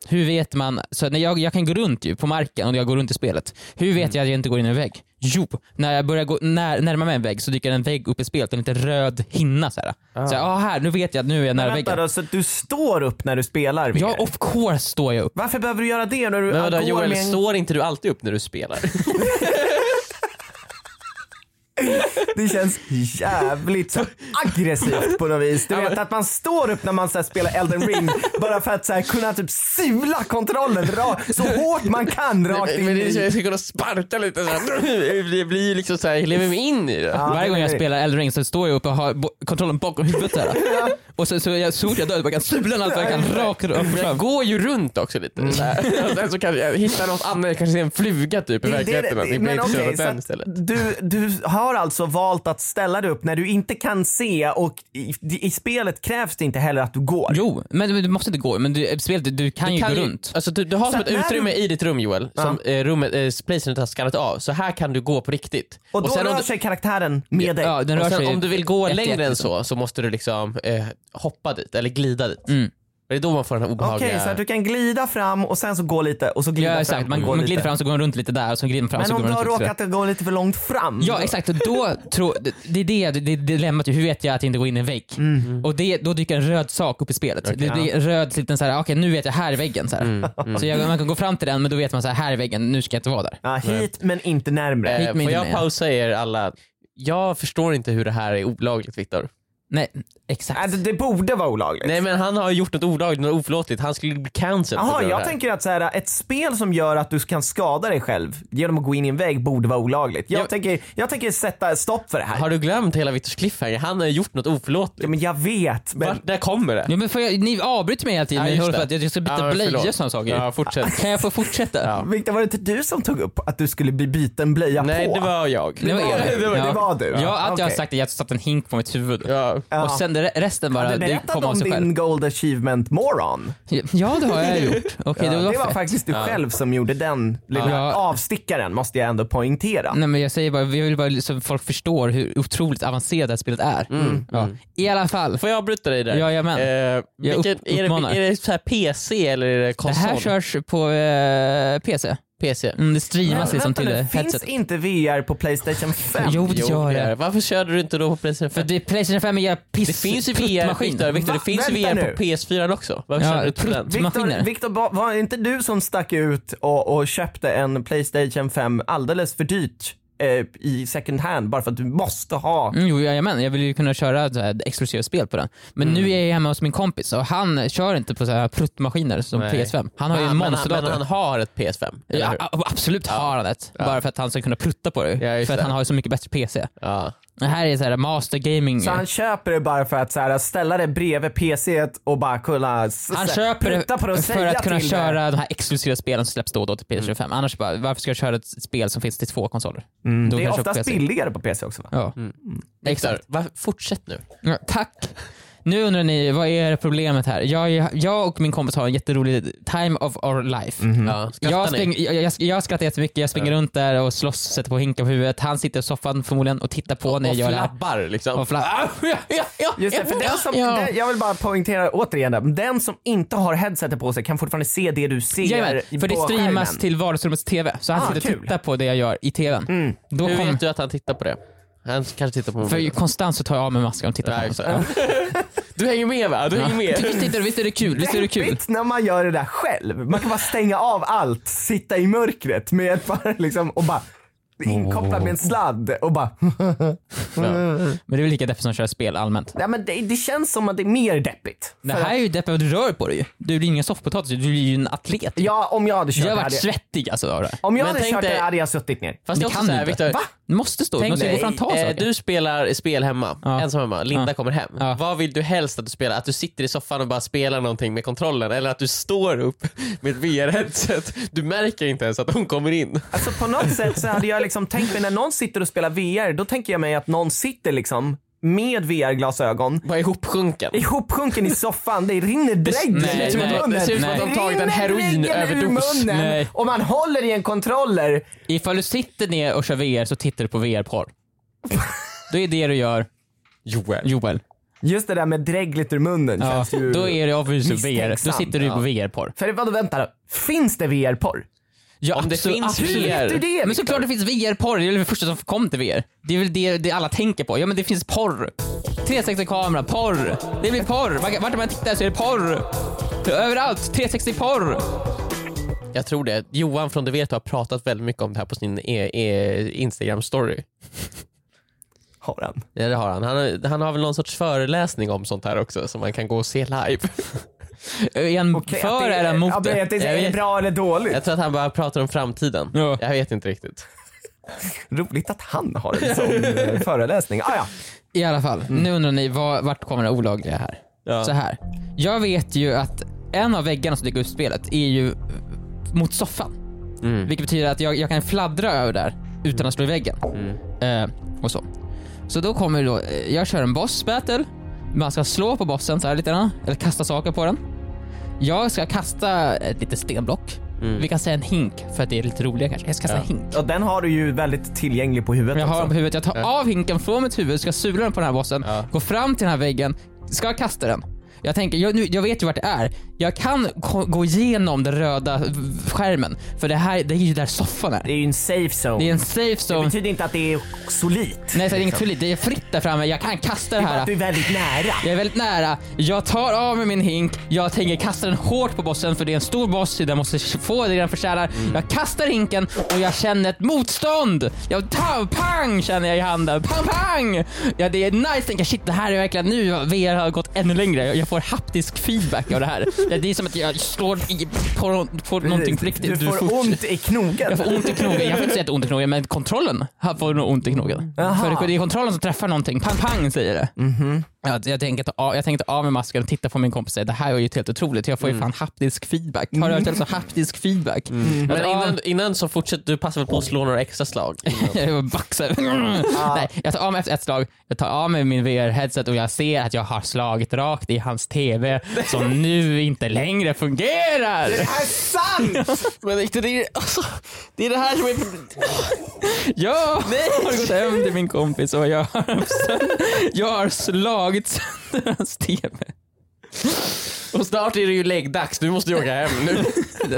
Speaker 4: Mm. Hur vet man? Så när jag, jag kan gå runt ju på marken och jag går runt i spelet. Hur vet jag att jag inte går in i en vägg? Jo, när jag börjar gå när, närma mig en vägg så dyker en vägg upp i spelet, en liten röd hinna såhär. Ah. Så, ah, här, nu vet jag att nu är jag nära
Speaker 3: Vänta
Speaker 4: väggen.
Speaker 3: då, så att du står upp när du spelar VR?
Speaker 4: Ja, of course står jag upp.
Speaker 3: Varför behöver du göra det när du
Speaker 2: Men vadå
Speaker 3: går
Speaker 2: Joel,
Speaker 3: med en...
Speaker 2: står inte du alltid upp när du
Speaker 3: [LAUGHS]
Speaker 2: spelar?
Speaker 3: Det känns jävligt
Speaker 4: [LAUGHS]
Speaker 3: så aggressivt på något vis. Du vet att man står upp när man så här spelar Elden
Speaker 4: [LAUGHS]
Speaker 3: ring bara för att så här kunna typ sula kontrollen ra- så hårt man kan rakt in
Speaker 2: Men det är så
Speaker 3: i...
Speaker 2: jag ska kunna sparka lite så här. Det blir ju liksom så här, jag lever mig in i det.
Speaker 3: Ja,
Speaker 4: Varje gång jag
Speaker 3: nej.
Speaker 4: spelar Elden Ring så står jag upp och har bo- kontrollen bakom huvudet
Speaker 3: [LAUGHS]
Speaker 4: såhär. Och så, så, jag, så fort jag dör, jag kan sula allt vad jag kan rakt upp och
Speaker 2: Jag
Speaker 4: fram.
Speaker 2: går ju runt också lite. Så här. [LAUGHS] Och sen så kan jag hitta något annat, jag kanske ser en fluga typ i
Speaker 3: Det är det-
Speaker 2: verkligheten. att
Speaker 3: det-
Speaker 2: Jag blir
Speaker 3: men
Speaker 2: inte
Speaker 3: okej,
Speaker 2: körd åt
Speaker 3: så
Speaker 2: den
Speaker 3: att
Speaker 2: istället.
Speaker 3: du, du har alltså valt att ställa dig upp när du inte kan se och i, i spelet krävs det inte heller att du går.
Speaker 4: Jo, men, men du måste inte gå. Men du, spelet, du, du kan ju
Speaker 2: kan
Speaker 4: gå
Speaker 2: ju-
Speaker 4: runt.
Speaker 2: Alltså, du, du har som
Speaker 3: att
Speaker 2: ett
Speaker 3: när
Speaker 2: utrymme
Speaker 3: du-
Speaker 2: i ditt rum Joel, som eh, rummet, eh, placern har skannat av. Så här kan du gå på riktigt.
Speaker 3: Och då
Speaker 2: sen, om
Speaker 3: rör
Speaker 2: du,
Speaker 3: sig karaktären med dig.
Speaker 4: Ja, den rör
Speaker 2: och sen
Speaker 4: sig
Speaker 2: om du vill gå
Speaker 4: ett- ett-
Speaker 2: längre än så, så måste du liksom eh, hoppa dit eller glida dit.
Speaker 4: Mm.
Speaker 2: Det är då man får den här
Speaker 3: Okej,
Speaker 2: obehagliga...
Speaker 3: så att du kan glida fram och sen så gå lite och så glida
Speaker 4: Ja
Speaker 3: fram
Speaker 4: exakt,
Speaker 3: och
Speaker 4: man,
Speaker 3: gå
Speaker 4: man
Speaker 3: lite.
Speaker 4: glider fram så går man runt lite där och så glider man fram
Speaker 3: Men
Speaker 4: så
Speaker 3: om
Speaker 4: går man
Speaker 3: du har
Speaker 4: runt lite sådär.
Speaker 3: råkat gå lite för långt fram.
Speaker 4: Ja exakt, då tror, det- det är det, det är dilemmat, ju. hur vet jag att inte gå in i en vägg?
Speaker 3: Mm.
Speaker 4: Och det, då dyker en röd sak upp i spelet. det blir en röd liten såhär, okej nu vet jag här är väggen. Så, här.
Speaker 3: Mm,
Speaker 4: så jag, man kan gå fram till den men då vet man så här, här är väggen, nu ska jag inte vara där.
Speaker 3: Ja, hit men inte närmre.
Speaker 4: Hit
Speaker 2: Eh,
Speaker 4: mig
Speaker 2: får
Speaker 4: inte
Speaker 2: jag
Speaker 4: med.
Speaker 2: pausa er alla? Jag förstår inte hur det här är olagligt Viktor.
Speaker 4: Nej, exakt.
Speaker 3: Äh, det- det borde vara olagligt.
Speaker 2: Nej men han har gjort något olagligt, något oförlåtligt. Han skulle bli cancelled. på grund av
Speaker 3: Jaha,
Speaker 2: det
Speaker 3: jag
Speaker 2: här.
Speaker 3: tänker att så här, ett spel som gör att du kan skada dig själv genom att gå in i en vägg borde vara olagligt. Jag,
Speaker 2: Jag-
Speaker 3: tänker, jag tänker sätta stopp för det här.
Speaker 2: Har du glömt hela Viktors cliffhanger? Han har gjort något
Speaker 3: Ja,
Speaker 2: oförlåtligt.
Speaker 3: men jag vet. Men...
Speaker 2: Vart, där kommer det.
Speaker 4: Ja, men får jag, ni avbryter mig hela tiden,
Speaker 2: Ja,
Speaker 4: ni
Speaker 2: just
Speaker 4: håller på
Speaker 2: det.
Speaker 4: att jag jag ska byta
Speaker 2: Ja, men förlåt.
Speaker 4: blöjor och sådana saker.
Speaker 2: Ja, fortsätt.
Speaker 4: Kan jag få fortsätta?
Speaker 2: Ja.
Speaker 3: Victor, var det inte du som tog upp att du skulle bli byten blöja
Speaker 2: Nej
Speaker 3: på?
Speaker 2: det var jag.
Speaker 4: Det var er.
Speaker 3: det var- det var du.
Speaker 4: Ja,
Speaker 3: Ja,
Speaker 4: att jag har
Speaker 3: okej.
Speaker 4: sagt det, jag satte en hink på mitt huvud.
Speaker 2: Ja.
Speaker 4: Och sen det- resten bara,
Speaker 3: Du
Speaker 4: det kom
Speaker 3: berättade
Speaker 4: av
Speaker 3: om
Speaker 4: sig
Speaker 3: din
Speaker 4: själv.
Speaker 3: gold achievement moron.
Speaker 4: Ja det
Speaker 2: [LAUGHS]
Speaker 4: har jag gjort. Okej,
Speaker 3: det,
Speaker 4: det var,
Speaker 3: var
Speaker 4: fett.
Speaker 3: faktiskt du själv som gjorde den lilla
Speaker 4: Ja.
Speaker 3: avstickaren måste jag ändå poängtera.
Speaker 4: Nej men jag säger bara, jag vill bara så att folk förstår hur otroligt avancerat det här spelet är. Ja. I alla fall.
Speaker 2: Mm. Får jag avbryta dig där?
Speaker 4: Jajamän.
Speaker 2: Eh,
Speaker 4: Jag
Speaker 2: vilket,
Speaker 4: upp-
Speaker 2: är,
Speaker 4: uppmanar.
Speaker 2: det, är det så här PC eller är det
Speaker 4: Det
Speaker 2: konsol?
Speaker 4: här körs på eh, PC.
Speaker 2: PC.
Speaker 4: Mm, det streamas
Speaker 3: Men
Speaker 4: liksom
Speaker 3: vänta
Speaker 4: till
Speaker 3: nu,
Speaker 4: eh,
Speaker 3: finns
Speaker 4: headset.
Speaker 3: inte VR på Playstation 5?
Speaker 4: Jo det
Speaker 2: Jo,
Speaker 4: gör
Speaker 2: det är det.
Speaker 4: det.
Speaker 2: Varför körde du inte då på Playstation 5?
Speaker 4: För det, Playstation 5 är jävla piss
Speaker 2: Det finns ju VR,
Speaker 4: pruttmaskin.
Speaker 2: Victor, Victor, det
Speaker 3: Va?
Speaker 2: finns ju VR
Speaker 3: Vänta nu.
Speaker 2: på PS4 också. Varför
Speaker 4: Ja,
Speaker 2: körde du inte på den?
Speaker 4: prutt- maskiner.
Speaker 3: Viktor, Viktor, ba- var det inte du som stack ut och, och köpte en Playstation 5 alldeles för dyrt eh, i second hand bara för att du måste ha?
Speaker 4: Mm, jo, jajamän, jag vill ju kunna köra så här exklusiva spel på den. Men nu är jag hemma hos min kompis och han kör inte på så här pruttmaskiner som
Speaker 2: Nej. Ah,
Speaker 4: PS5. Han har ju en
Speaker 2: men, han, men han
Speaker 4: monsterdator.
Speaker 2: har ett PS5, eller
Speaker 4: Ja,
Speaker 2: hur?
Speaker 4: a- absolut har han ett. Bara för att han ska kunna prutta på det.
Speaker 2: Ja, just
Speaker 4: för att
Speaker 2: det.
Speaker 4: han har ju så mycket bättre PC.
Speaker 2: Ja.
Speaker 4: Det här är så här master gaming.
Speaker 3: Så han köper det bara för att så här, ställa det bredvid PCet och bara kunna s-
Speaker 4: Han
Speaker 3: så här,
Speaker 4: köper
Speaker 3: prutta
Speaker 4: det
Speaker 3: på det och
Speaker 4: för
Speaker 3: säga
Speaker 4: att kunna
Speaker 3: till
Speaker 4: köra de här exklusiva spelen som släpps då och då till PS25. Annars bara, varför ska jag köra ett spel som finns till två konsoler?
Speaker 3: Det,
Speaker 4: Då
Speaker 3: det är
Speaker 4: kanske jag
Speaker 3: oftast
Speaker 4: får
Speaker 3: billigare på PC också va?
Speaker 4: Ja.
Speaker 2: Victor,
Speaker 4: Exakt. Mm.
Speaker 2: va- fortsätt nu.
Speaker 4: Ja, tack. Nu undrar ni, vad är problemet här? Jag, jag och min kompis har en jätterolig time of our life.
Speaker 2: Ja, Mhm. skrattar
Speaker 4: Jag,
Speaker 2: ni?
Speaker 4: spring, jag, jag, jag skrattar jättemycket, jag springer runt där och slåss, sätter på hinkar på huvudet. Han sitter i soffan förmodligen och tittar på när jag
Speaker 2: och
Speaker 4: gör det här.
Speaker 2: flabbar liksom.
Speaker 4: Och flabb.
Speaker 3: Just det, för den som,
Speaker 4: Ja.
Speaker 3: den, jag vill bara poängtera återigen, där, den som inte har headsetet på sig kan fortfarande se det du ser
Speaker 4: Jajamän, för det
Speaker 3: på
Speaker 4: streamas
Speaker 3: skärmen.
Speaker 4: till vardagsrummets TV, så han
Speaker 3: Ah,
Speaker 4: sitter och
Speaker 3: kul.
Speaker 4: tittar på det jag gör i TVn. Då
Speaker 2: Hur
Speaker 4: kommer,
Speaker 2: vet du att han tittar på det? Han kanske tittar på
Speaker 4: för
Speaker 2: mobilen.
Speaker 4: konstant så tar jag av mig masken och tittar på
Speaker 2: Ja,
Speaker 4: honom.
Speaker 2: exakt. Du hänger med va? Du hänger [LAUGHS]
Speaker 4: Ja. [LAUGHS]
Speaker 2: med.
Speaker 4: Visst, är det, visst är det kul? Visst är det kul?
Speaker 3: Deppigt när man gör det där själv. Man kan bara stänga av allt, sitta i mörkret med ett par [LAUGHS] liksom och bara inkopplad med en sladd och bara. [LAUGHS]
Speaker 4: Men det är väl lika deppigt som att köra spel allmänt.
Speaker 3: Nej men det, det känns som att det är mer deppigt.
Speaker 4: Det
Speaker 3: För
Speaker 4: här är ju deppigt, du rör på dig ju. Du blir ingen soffpotatis, du blir ju en atlet.
Speaker 3: att- Ja om jag hade
Speaker 4: Jag har
Speaker 3: kört
Speaker 4: varit
Speaker 3: hade,
Speaker 4: svettig alltså av det här.
Speaker 3: om jag
Speaker 2: Men
Speaker 3: hade
Speaker 2: tänk
Speaker 3: kört
Speaker 2: dig-
Speaker 3: det hade jag suttit ner.
Speaker 2: Fast det är
Speaker 4: Det
Speaker 2: också
Speaker 4: kan du
Speaker 2: såhär
Speaker 4: inte.
Speaker 2: Viktor,
Speaker 4: Va? Du måste stå upp, man ska gå
Speaker 2: dig,
Speaker 4: fram och ta
Speaker 2: eh,
Speaker 4: saker.
Speaker 2: du spelar spel hemma,
Speaker 4: Ja.
Speaker 2: ensam hemma. Linda
Speaker 4: Ja.
Speaker 2: kommer hem.
Speaker 4: Ja.
Speaker 2: Vad vill du helst att du spelar? Att du sitter i soffan och bara spelar någonting med kontrollen eller att du står upp med ett VR-headset. Du märker inte ens att hon kommer in.
Speaker 3: Alltså på något sätt så hade jag liksom tänkt mig när någon sitter och spelar VR då tänker jag mig att någon sitter liksom med VR-glasögon
Speaker 2: Bara ihopsjunken.
Speaker 3: ihopsjunken i soffan, det rinner drägg
Speaker 4: nej,
Speaker 3: ut ur
Speaker 4: nej,
Speaker 3: munnen.
Speaker 4: det ser ut som
Speaker 2: att de
Speaker 3: Det
Speaker 2: tagit en
Speaker 3: rinner dräggen ur
Speaker 2: heroinöverdos.
Speaker 3: munnen
Speaker 4: Nej.
Speaker 3: Och man håller i en controller
Speaker 4: Ifall du sitter ner och kör VR så tittar du på VR-porr. Då är det du gör,
Speaker 2: Joel.
Speaker 4: Joel.
Speaker 3: Just det där med drägligt ur munnen
Speaker 4: Ja,
Speaker 3: känns ju...
Speaker 4: då är det obviously VR. Då
Speaker 3: misstänksam.
Speaker 4: sitter du på VR-porr.
Speaker 3: För vadå, vänta då. Finns det VR-porr?
Speaker 4: Ja,
Speaker 2: Om det finns VR.
Speaker 3: Vet du det,
Speaker 4: Men
Speaker 3: Viktor?
Speaker 4: såklart det finns VR-porr, det är väl det första som kom till VR. Det är väl det, det alla tänker på. Ja men det finns porr. 360-kamera, porr. Det blir porr. Vart- Vart man tittar så är det porr. Överallt, 360-porr.
Speaker 2: Jag tror det. Johan från Du vet har pratat väldigt mycket om det här på sin e- e- Instagram-story.
Speaker 3: Har han?
Speaker 2: Ja det har han. han. har- Han har väl någon sorts föreläsning om sånt här också som man kan gå och se live.
Speaker 4: Är han
Speaker 3: Okej, att
Speaker 4: Eh, för
Speaker 3: det-
Speaker 4: eller
Speaker 3: ja,
Speaker 4: emot
Speaker 3: men
Speaker 4: det?
Speaker 3: att det? Är
Speaker 2: Jag
Speaker 3: det
Speaker 2: vet.
Speaker 3: bra eller dåligt?
Speaker 2: Jag tror att han bara pratar om framtiden.
Speaker 4: Ja.
Speaker 2: Jag vet inte riktigt.
Speaker 3: Roligt att han har en sån eh, föreläsning. Ah, ja.
Speaker 4: I alla fall, nu undrar ni var, vart kommer det olagliga här?
Speaker 2: Ja.
Speaker 4: Så här. Jag vet ju att en av väggarna som dyker upp i spelet är ju eh, mot soffan. Vilket betyder att jag, jag kan fladdra över där utan att slå i väggen. Eh, och så. Så då kommer då, eh, jag kör en boss battle. Man ska slå på bossen så här lite grann, eller kasta saker på den. Jag ska kasta ett litet stenblock. Vi kan säga en hink för att det är lite roligare kanske. Jag ska kasta en hink.
Speaker 3: Och den har du ju väldigt tillgänglig på huvudet.
Speaker 4: Jag har den
Speaker 3: också.
Speaker 4: på huvudet, jag tar
Speaker 2: Ja.
Speaker 4: av hinken från mitt huvud, ska sula den på den här bossen,
Speaker 2: Ja.
Speaker 4: gå fram till den här väggen, ska jag kasta den. Jag tänker, jag, nu, jag vet ju vart det är. Jag kan ko- gå igenom den röda v- skärmen, för det här det är ju där soffan är.
Speaker 3: Det är ju en safe zone.
Speaker 4: Det är en safe
Speaker 3: Det
Speaker 4: zone.
Speaker 3: betyder inte att det är solitt.
Speaker 4: Nej, så det är inget tulligt. Det är fritt där framme, jag kan kasta det
Speaker 3: Det är bara att
Speaker 4: här.
Speaker 3: du är väldigt nära.
Speaker 4: Jag är väldigt nära, jag tar av mig min hink, jag tänker kasta den hårt på bossen för det är en stor boss, den måste få det den förtjänar.
Speaker 3: Mm.
Speaker 4: Jag kastar hinken och jag känner ett motstånd! Jag tar, pang känner jag i handen, pang pang! Ja det är nice, tänker jag, shit det här är verkligen nu, VR har gått ännu längre, jag får haptisk feedback av det här. Ja, Det är som att jag slår i, på, på någonting på riktigt.
Speaker 3: Du får ont i knogen.
Speaker 4: Jag får ont i knogen. Jag får inte säga att ont i knogen, men kontrollen här får nog ont i knogen.
Speaker 3: Aha.
Speaker 4: För det är kontrollen som träffar någonting. Pang, pang säger det. Jag, jag, tänker ta av, jag tänkte av med masken och titta på min kompis och säga det här är ju helt otroligt. Jag får ju fan haptisk feedback. Har du hört talas om haptisk feedback?
Speaker 2: Men
Speaker 4: Jag tar av-
Speaker 2: innan, innan så fortsätter du passa väl på att slå några extra slag.
Speaker 4: [LAUGHS] jag baxar. Nej, jag tar av mig efter ett slag, jag tar av mig min VR-headset och jag ser att jag har slagit rakt i hans TV som nu inte längre fungerar.
Speaker 3: Det är sant!
Speaker 2: [LAUGHS] Men Victor, det är, alltså, det är det här som är...
Speaker 4: Jag har gått hem till min kompis och jag har, sönder- jag har slagit sönder hans TV.
Speaker 2: Och snart är det ju läggdags, du måste ju åka hem [LAUGHS] nu.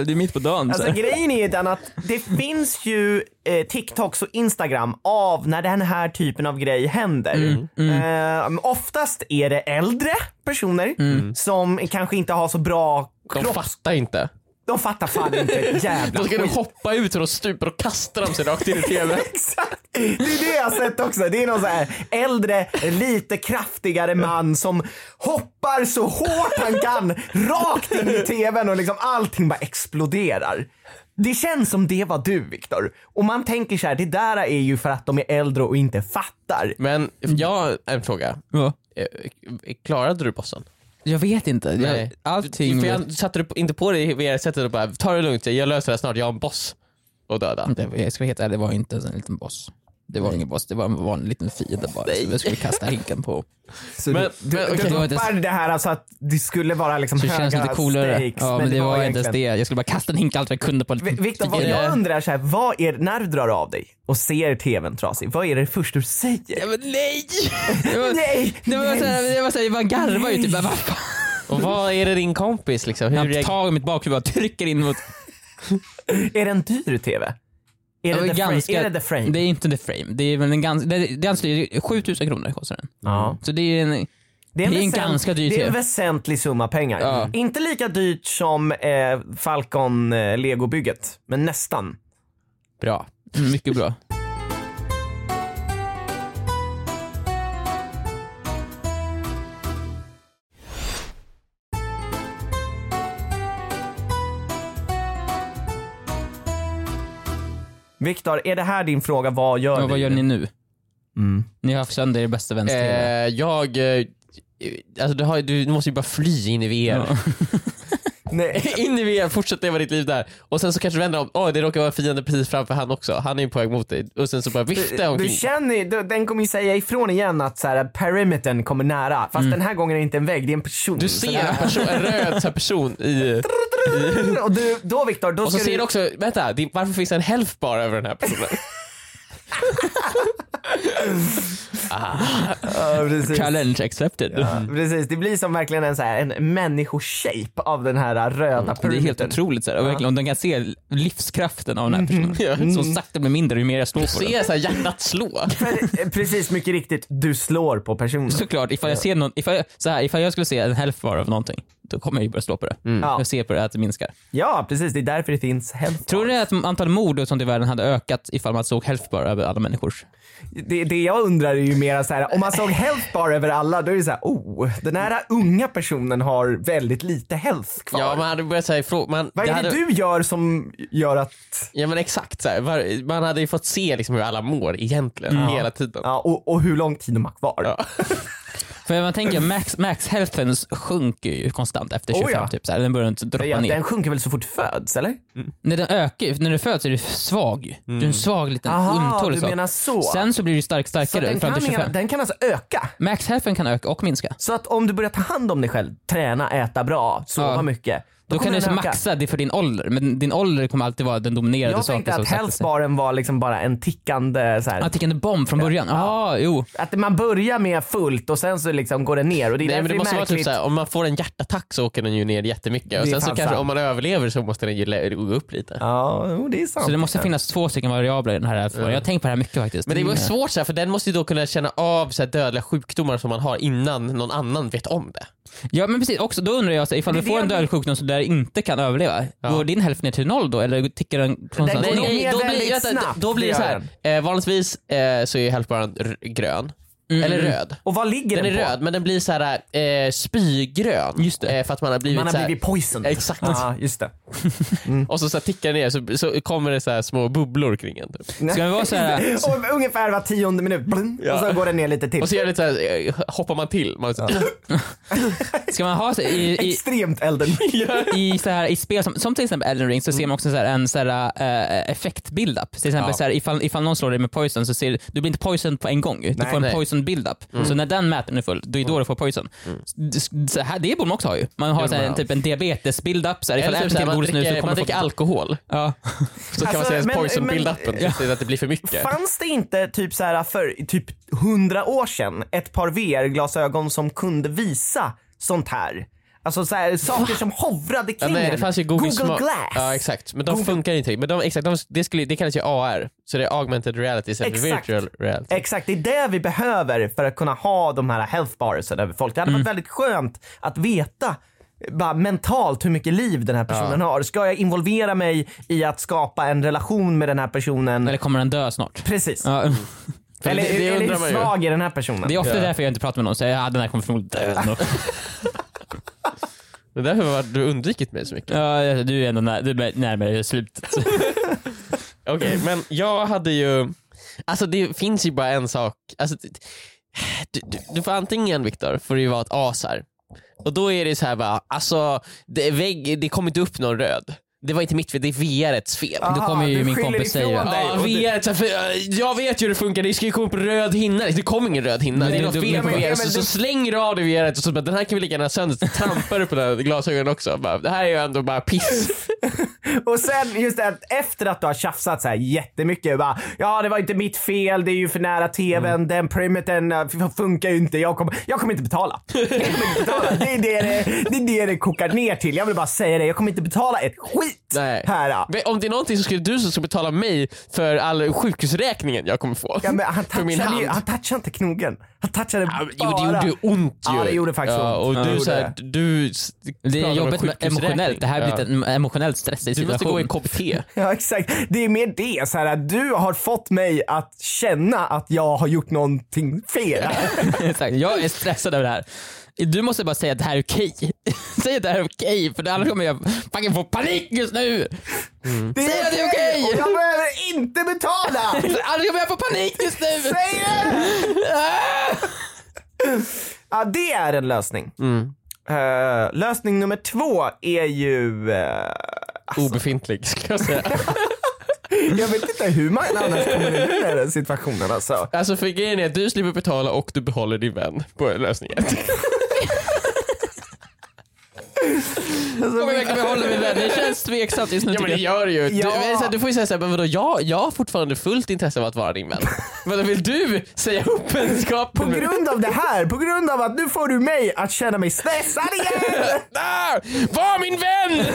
Speaker 4: Det är mitt på dagen. så
Speaker 3: Alltså
Speaker 4: här.
Speaker 3: grejen är ju den att det finns ju eh, TikToks och Instagram av när den här typen av grej händer. Eh, oftast är det äldre personer som kanske inte har så bra
Speaker 2: De
Speaker 3: kropp.
Speaker 2: fattar inte.
Speaker 3: De fattar fan inte ett jävla
Speaker 2: Då ska du
Speaker 3: skit.
Speaker 2: hoppa ut från stupor och kasta dem sig rakt in i [LAUGHS] TVn.
Speaker 3: Exakt! Det är det jag har sett också. Det är någon så här äldre, lite kraftigare man som hoppar så hårt han kan rakt in i tvn och liksom allting bara exploderar. Det känns som det var du Viktor. Och man tänker så här, det där är ju för att de är äldre och inte fattar.
Speaker 2: Men jag har en fråga.
Speaker 4: Ja.
Speaker 2: Eh, Klarade du bossen?
Speaker 4: Jag vet inte. Jag, allting...
Speaker 2: För jag satte du på- inte på dig VR-sättet och bara, ta det lugnt, jag löser det här snart, jag har en boss. Och döda.
Speaker 4: Det- Jag ska vara helt ärlig, det var inte ens en liten boss. Det var ingen boss, det var en vanlig liten fiende bara som jag skulle kasta hinken på.
Speaker 3: Så
Speaker 2: Men-
Speaker 3: du, du,
Speaker 2: men
Speaker 3: du
Speaker 2: okej.
Speaker 3: droppar det här alltså att det skulle vara liksom
Speaker 4: Så det
Speaker 3: höga
Speaker 4: känns lite coolare.
Speaker 3: stakes.
Speaker 4: Ja, men det var inte ens
Speaker 3: egentligen-
Speaker 4: det. Jag skulle bara kasta en hink allt jag kunde på en liten
Speaker 3: Viktor, vad
Speaker 4: fiende.
Speaker 3: jag undrar så här, vad är när du drar av dig och ser tvn trasig, vad är det första du säger?
Speaker 4: Ja, men Nej! Det var,
Speaker 3: Nej!
Speaker 4: det var såhär, det var såhär, jag bara garvade ju typ. Bara, vad fan?
Speaker 2: Och vad är det din kompis liksom? Hur
Speaker 4: Jag
Speaker 2: reagerar
Speaker 4: tar mitt bakhuvud och trycker in mot
Speaker 3: Är det en dyr tv? Är
Speaker 4: Ja,
Speaker 3: det,
Speaker 4: men
Speaker 3: the frame? Är det the frame?
Speaker 4: Det är inte the frame. Det är väl en ganska, det är ganska dyr, 7000 kronor kostar den.
Speaker 3: ja.
Speaker 4: Så det är en, det är en ganska dyr
Speaker 3: Det är en
Speaker 4: TV.
Speaker 3: väsentlig summa pengar.
Speaker 4: Ja.
Speaker 3: Inte lika dyrt som eh, Falcon eh, Lego-bygget, men nästan.
Speaker 4: Bra. Mm, Mycket
Speaker 3: [LAUGHS]
Speaker 4: bra.
Speaker 3: Viktor, är det här din fråga? Vad gör
Speaker 4: Ja,
Speaker 3: du?
Speaker 4: vad gör ni nu?
Speaker 3: Mm.
Speaker 4: Ni har haft sönder er bästa väns TV.
Speaker 2: Eh, jag... eh, Alltså du, har, du måste ju bara fly in i VR.
Speaker 4: [LAUGHS]
Speaker 3: Nej.
Speaker 2: [LAUGHS] in i VR, fortsätt leva ditt liv där. Och sen så kanske du vänder om, åh det råkar vara fienden precis framför han också. Han är ju på väg mot dig. Och sen så bara vifta
Speaker 3: Du
Speaker 2: omkring.
Speaker 3: känner, du, den kommer ju säga ifrån igen att så här, perimetern kommer nära. Fast
Speaker 4: Mm.
Speaker 3: den här gången är det inte en vägg, det är en person.
Speaker 2: Du
Speaker 3: Så
Speaker 2: ser
Speaker 3: det här-
Speaker 2: en, person, en röd så här, person i...
Speaker 3: Och du, då Viktor, då
Speaker 2: Och
Speaker 3: ska
Speaker 2: så ser
Speaker 3: du... [LAUGHS]
Speaker 2: du också, vänta, det, varför finns det en health bar över den här personen?
Speaker 3: Ja, precis.
Speaker 4: Challenge accepted.
Speaker 3: Precis, det blir som verkligen en, så här, en människoshape av den här äh, röda
Speaker 4: Mm. Det är helt
Speaker 3: perimetern.
Speaker 4: otroligt. Så här. Och verkligen, om den kan se livskraften av den här
Speaker 3: Mm.
Speaker 4: personen, som sakta blir mindre ju mer jag slår på den.
Speaker 2: Se så här hjärtat slå.
Speaker 3: Pre- [LAUGHS] Precis, mycket riktigt. Du slår på personen.
Speaker 4: Såklart, ifall jag ser någon, ifall jag, så här, ifall jag skulle se en hälft var av någonting, då kommer jag ju börja slå på det.
Speaker 3: Mm. Ja.
Speaker 4: Jag ser på det att det minskar.
Speaker 3: Ja, precis. Det är därför det finns health
Speaker 4: Mm. Tror
Speaker 3: bars.
Speaker 4: du att antal mord och sånt i världen hade ökat ifall man såg hälft bara över alla människors?
Speaker 3: Det, det jag undrar är ju mera så här, om man såg health bar över alla, då är det så här, oh, den här unga personen har väldigt lite health kvar.
Speaker 2: Ja, man hade börjat säga ifrån. Man,
Speaker 3: Vad är det
Speaker 2: hade,
Speaker 3: du gör som gör att,
Speaker 2: Ja men exakt, så här. Var- man hade ju fått se liksom hur alla mår egentligen hela tiden.
Speaker 3: Mm. ja, och, och hur lång tid de har kvar?
Speaker 2: Ja.
Speaker 4: För
Speaker 3: [CLEARS THROAT]
Speaker 4: man tänker max, max hälften sjunker ju konstant efter
Speaker 3: Oh ja.
Speaker 4: 25 typ så här. Den börjar inte droppa
Speaker 3: Ja,
Speaker 4: ner.
Speaker 3: den sjunker väl så fort föds, eller?
Speaker 4: När den ökar, ju- när du föds är du svag ju. Du är en svag liten
Speaker 3: Mm. Aha,
Speaker 4: ömtålig
Speaker 3: du
Speaker 4: sak.
Speaker 3: menar så.
Speaker 4: Sen så blir du stark,
Speaker 3: så
Speaker 4: starkare
Speaker 3: den,
Speaker 4: fram
Speaker 3: kan,
Speaker 4: till 25.
Speaker 3: inga- den kan alltså öka?
Speaker 4: Max hälften kan öka och minska.
Speaker 3: Så att om du börjar ta hand om dig själv, träna, äta bra, sova
Speaker 4: Ja.
Speaker 3: mycket. Då,
Speaker 4: Då kan
Speaker 3: kommer
Speaker 4: du
Speaker 3: den
Speaker 4: så
Speaker 3: öka.
Speaker 4: maxa det för din ålder, men din ålder kommer alltid vara den dominerande
Speaker 3: Jag tänkte
Speaker 4: saken.
Speaker 3: att
Speaker 4: sakta sig-
Speaker 3: healthbaren var liksom bara en tickande så här.
Speaker 4: Att det kan en bomb från början? Ja, jo.
Speaker 3: Att man börjar med fullt och sen så liksom går det ner och det är
Speaker 2: Nej,
Speaker 3: därför
Speaker 2: men det
Speaker 3: det
Speaker 2: måste
Speaker 3: är
Speaker 2: vara typ
Speaker 3: märkligt.
Speaker 2: såhär, om man får en hjärtattack så åker den ju ner jättemycket och
Speaker 3: Det är
Speaker 2: sen så
Speaker 3: fan
Speaker 2: kanske
Speaker 3: sant.
Speaker 2: om man överlever så måste den ju le- gå upp lite.
Speaker 3: ja, jo, det är sant.
Speaker 4: Så det måste finnas två stycken variabler i den här alfabetet. Jag har tänkt på det här mycket faktiskt.
Speaker 2: Men det är ju
Speaker 4: Mm.
Speaker 2: svårt så här, för den måste ju då kunna känna av så här, dödliga sjukdomar som man har innan någon annan vet om det.
Speaker 4: Ja men precis, också, då undrar jag så, här, ifall
Speaker 3: Det
Speaker 4: du
Speaker 3: är
Speaker 4: får
Speaker 3: det
Speaker 4: en
Speaker 3: jag-
Speaker 4: dödlig sjukdom som där inte kan överleva, går din hälft ner till noll då eller tickar den
Speaker 3: Den
Speaker 4: konstant
Speaker 3: går
Speaker 4: ner?
Speaker 3: ner. ner väldigt
Speaker 2: vänta,
Speaker 3: snabbt,
Speaker 2: då blir det
Speaker 3: det
Speaker 2: så
Speaker 3: gör
Speaker 2: här. Eh, vanligtvis eh, så är helpbaren r- grön, eller röd.
Speaker 3: Och vad ligger
Speaker 2: Den
Speaker 3: den,
Speaker 2: är
Speaker 3: Mm. på?
Speaker 2: röd men den blir så här, eh, spygrön
Speaker 4: Just det.
Speaker 2: Eh, för att man har blivit,
Speaker 3: Man
Speaker 2: så
Speaker 3: har
Speaker 2: här,
Speaker 3: blivit poisoned.
Speaker 2: Exakt.
Speaker 3: Ja, just det.
Speaker 2: och så, så här, tickar det ner så, så kommer det så här, små bubblor kring en. Typ.
Speaker 4: Ska vi vara så här,
Speaker 3: [LAUGHS] Och ungefär var tionde minut, blum, och så går den ner lite till.
Speaker 2: Och så, gör det så här, eh, hoppar man till. Man, [LAUGHS] så,
Speaker 4: ska man ha så, här- i, i,
Speaker 3: Extremt elden.
Speaker 4: i, så här, i spel som, som till exempel Elden Ring så ser man också så här, en så här, eh, effekt-build-up. Till exempel
Speaker 2: Ja.
Speaker 4: så här, ifall, ifall någon slår dig med poison så ser du, du blir inte poison på en gång. ju. Du
Speaker 3: Nej,
Speaker 4: får en
Speaker 2: nej. Mm.
Speaker 4: poison build-up. Så när den mätaren är full, då är då du får poison. Det, så här, det borde man också ha ju. Man har så här, en, typ en diabetes-build-up. Så här, ifall
Speaker 2: Eller typ
Speaker 4: äter
Speaker 2: så här,
Speaker 4: till
Speaker 2: man
Speaker 4: godis nu så
Speaker 2: dricker,
Speaker 4: kommer
Speaker 2: man
Speaker 4: du
Speaker 2: dricker
Speaker 4: få...
Speaker 2: alkohol
Speaker 4: Ja.
Speaker 2: så kan man
Speaker 3: Alltså,
Speaker 2: säga
Speaker 3: men-
Speaker 2: poison
Speaker 3: men-
Speaker 2: build-upen
Speaker 3: ja.
Speaker 2: så att det blir för mycket.
Speaker 3: Fanns det inte typ så här för typ hundra år sedan ett par VR-glasögon som kunde visa sånt här? Alltså så här, saker som hovrade
Speaker 2: Ja,
Speaker 3: kring
Speaker 2: nej, det
Speaker 3: en.
Speaker 2: fanns ju Google, Smart-
Speaker 3: Glass.
Speaker 2: Ja exakt, men de
Speaker 3: Google-
Speaker 2: funkar inte riktigt. Men de, exakt, de, det, skulle, det kallas ju AR, så det är augmented reality istället för
Speaker 3: Exakt.
Speaker 2: virtual reality.
Speaker 3: Exakt, det är det vi behöver för att kunna ha de här health barsen över folk. Det
Speaker 2: Mm.
Speaker 3: hade varit väldigt skönt att veta eh, bara mentalt hur mycket liv den här personen har. Ska jag involvera mig i att skapa en relation med den här personen?
Speaker 4: Eller kommer den dö snart?
Speaker 2: [LAUGHS]
Speaker 3: Precis.
Speaker 4: Ja.
Speaker 2: För
Speaker 3: Eller,
Speaker 2: det- det
Speaker 3: eller
Speaker 2: undrar man
Speaker 3: hur
Speaker 2: ju.
Speaker 3: svag är den här personen?
Speaker 4: Det är ofta därför jag inte pratar med någon. Så jag, ja, den här kommer förmodligen dö. ändå."
Speaker 2: [LAUGHS] Det är därför har du undvikit mig så mycket.
Speaker 4: ja, du är ändå när, du är
Speaker 2: [LAUGHS]
Speaker 4: närmare slutet.
Speaker 2: Okej, men jag hade ju... Alltså det finns ju bara en sak. Alltså, det- du, du, du får antingen Viktor, får du ju vara ett as här. Och då är det så här bara, alltså det, är vägg, det kom inte upp någon röd. Det var inte mitt fel, det är VRets fel.
Speaker 3: Aha,
Speaker 4: kommer ju
Speaker 3: du
Speaker 4: min
Speaker 3: skyller
Speaker 4: kompis
Speaker 3: ifrån
Speaker 4: säga.
Speaker 3: dig.
Speaker 2: Ja,
Speaker 3: Och du-
Speaker 2: VR, så här, för, eh, jag vet ju hur det funkar, det ska ju komma upp en röd hinna. Det kom ingen röd hinna,
Speaker 4: Men
Speaker 2: det är
Speaker 4: det-
Speaker 2: något
Speaker 4: du-
Speaker 2: fel på
Speaker 4: men-
Speaker 2: VR.
Speaker 3: men
Speaker 2: Så, så
Speaker 3: du-
Speaker 2: slänger du av dig VR och så bara, den här kan vi lika gärna sönder. Så trampar du på den här glasögonen också. Bara, det här är ju ändå bara
Speaker 3: [LAUGHS]
Speaker 2: piss.
Speaker 3: Och sen just det, att efter att du har tjafsat så här jättemycket. Bara, ja, det var inte mitt fel. Det är ju för nära tvn.
Speaker 2: Mm.
Speaker 3: Den perimetern eh, f- funkar ju inte. Jag kommer, jag kommer inte betala. Jag kommer inte betala. Det, är det, det, det är det det kokar ner till. Jag vill bara säga det. Jag kommer inte betala ett skit
Speaker 2: Nej.
Speaker 3: här. ja.
Speaker 2: Men Om det är någonting så skulle du som ska betala mig för all sjukhusräkningen jag kommer få.
Speaker 3: Ja, men han,
Speaker 2: för min
Speaker 3: touchade
Speaker 2: hand.
Speaker 3: ju, han touchade inte knogen. Han touchade
Speaker 2: Ja,
Speaker 3: bara...
Speaker 2: men Jo, det gjorde ju ont ju.
Speaker 3: Ja, det gjorde faktiskt
Speaker 2: Ja,
Speaker 3: ont.
Speaker 2: och
Speaker 3: Ja, det
Speaker 2: du,
Speaker 3: gjorde
Speaker 2: så här,
Speaker 3: det.
Speaker 2: du s-
Speaker 4: Det
Speaker 2: pratar
Speaker 4: är
Speaker 2: om
Speaker 4: jobbigt med
Speaker 2: sjukhusräkning.
Speaker 4: emotionellt. Det här blir
Speaker 2: Ja.
Speaker 4: en emotionellt stressig
Speaker 2: Du måste gå i
Speaker 4: situation.
Speaker 2: KBT.
Speaker 3: Ja exakt. Det är mer det. Så här, att du har fått mig att känna att jag har gjort någonting fel.
Speaker 4: [LAUGHS] Exakt. jag är stressad över det här. Du måste bara säga att det här är okej. [LAUGHS] Säg att det här är okej, för annars kommer jag fucking få panik just nu.
Speaker 3: Det
Speaker 4: Säg att det är okej!
Speaker 3: Och jag behöver inte betala!
Speaker 4: Annars kommer jag få panik just
Speaker 2: [LAUGHS]
Speaker 4: nu.
Speaker 3: Säg det! ja, det är en lösning.
Speaker 2: Mm.
Speaker 3: Eh, lösning nummer två är ju... eh,
Speaker 2: Obefintlig, [LAUGHS] ska jag säga.
Speaker 3: jag vet inte hur man annars kommer ur den här situationen alltså.
Speaker 2: Alltså för grejen är att du slipper betala och du behåller din vän på lösning ett.
Speaker 4: Kommer jag verkligen behålla min vän?
Speaker 2: [LAUGHS]
Speaker 4: Det känns tveksamt just nu.
Speaker 2: alltså, Ja men
Speaker 4: tycker
Speaker 2: det
Speaker 4: jag.
Speaker 2: gör det ju. Du,
Speaker 3: Ja.
Speaker 2: men så här, du får ju säga såhär, men vadå jag, jag har fortfarande fullt intresse av att vara din vän. Vadå vill du säga upp vänskapen?
Speaker 3: På grund av det här, på grund av att nu får du mig att känna mig stressad igen!
Speaker 2: Ah, var min vän!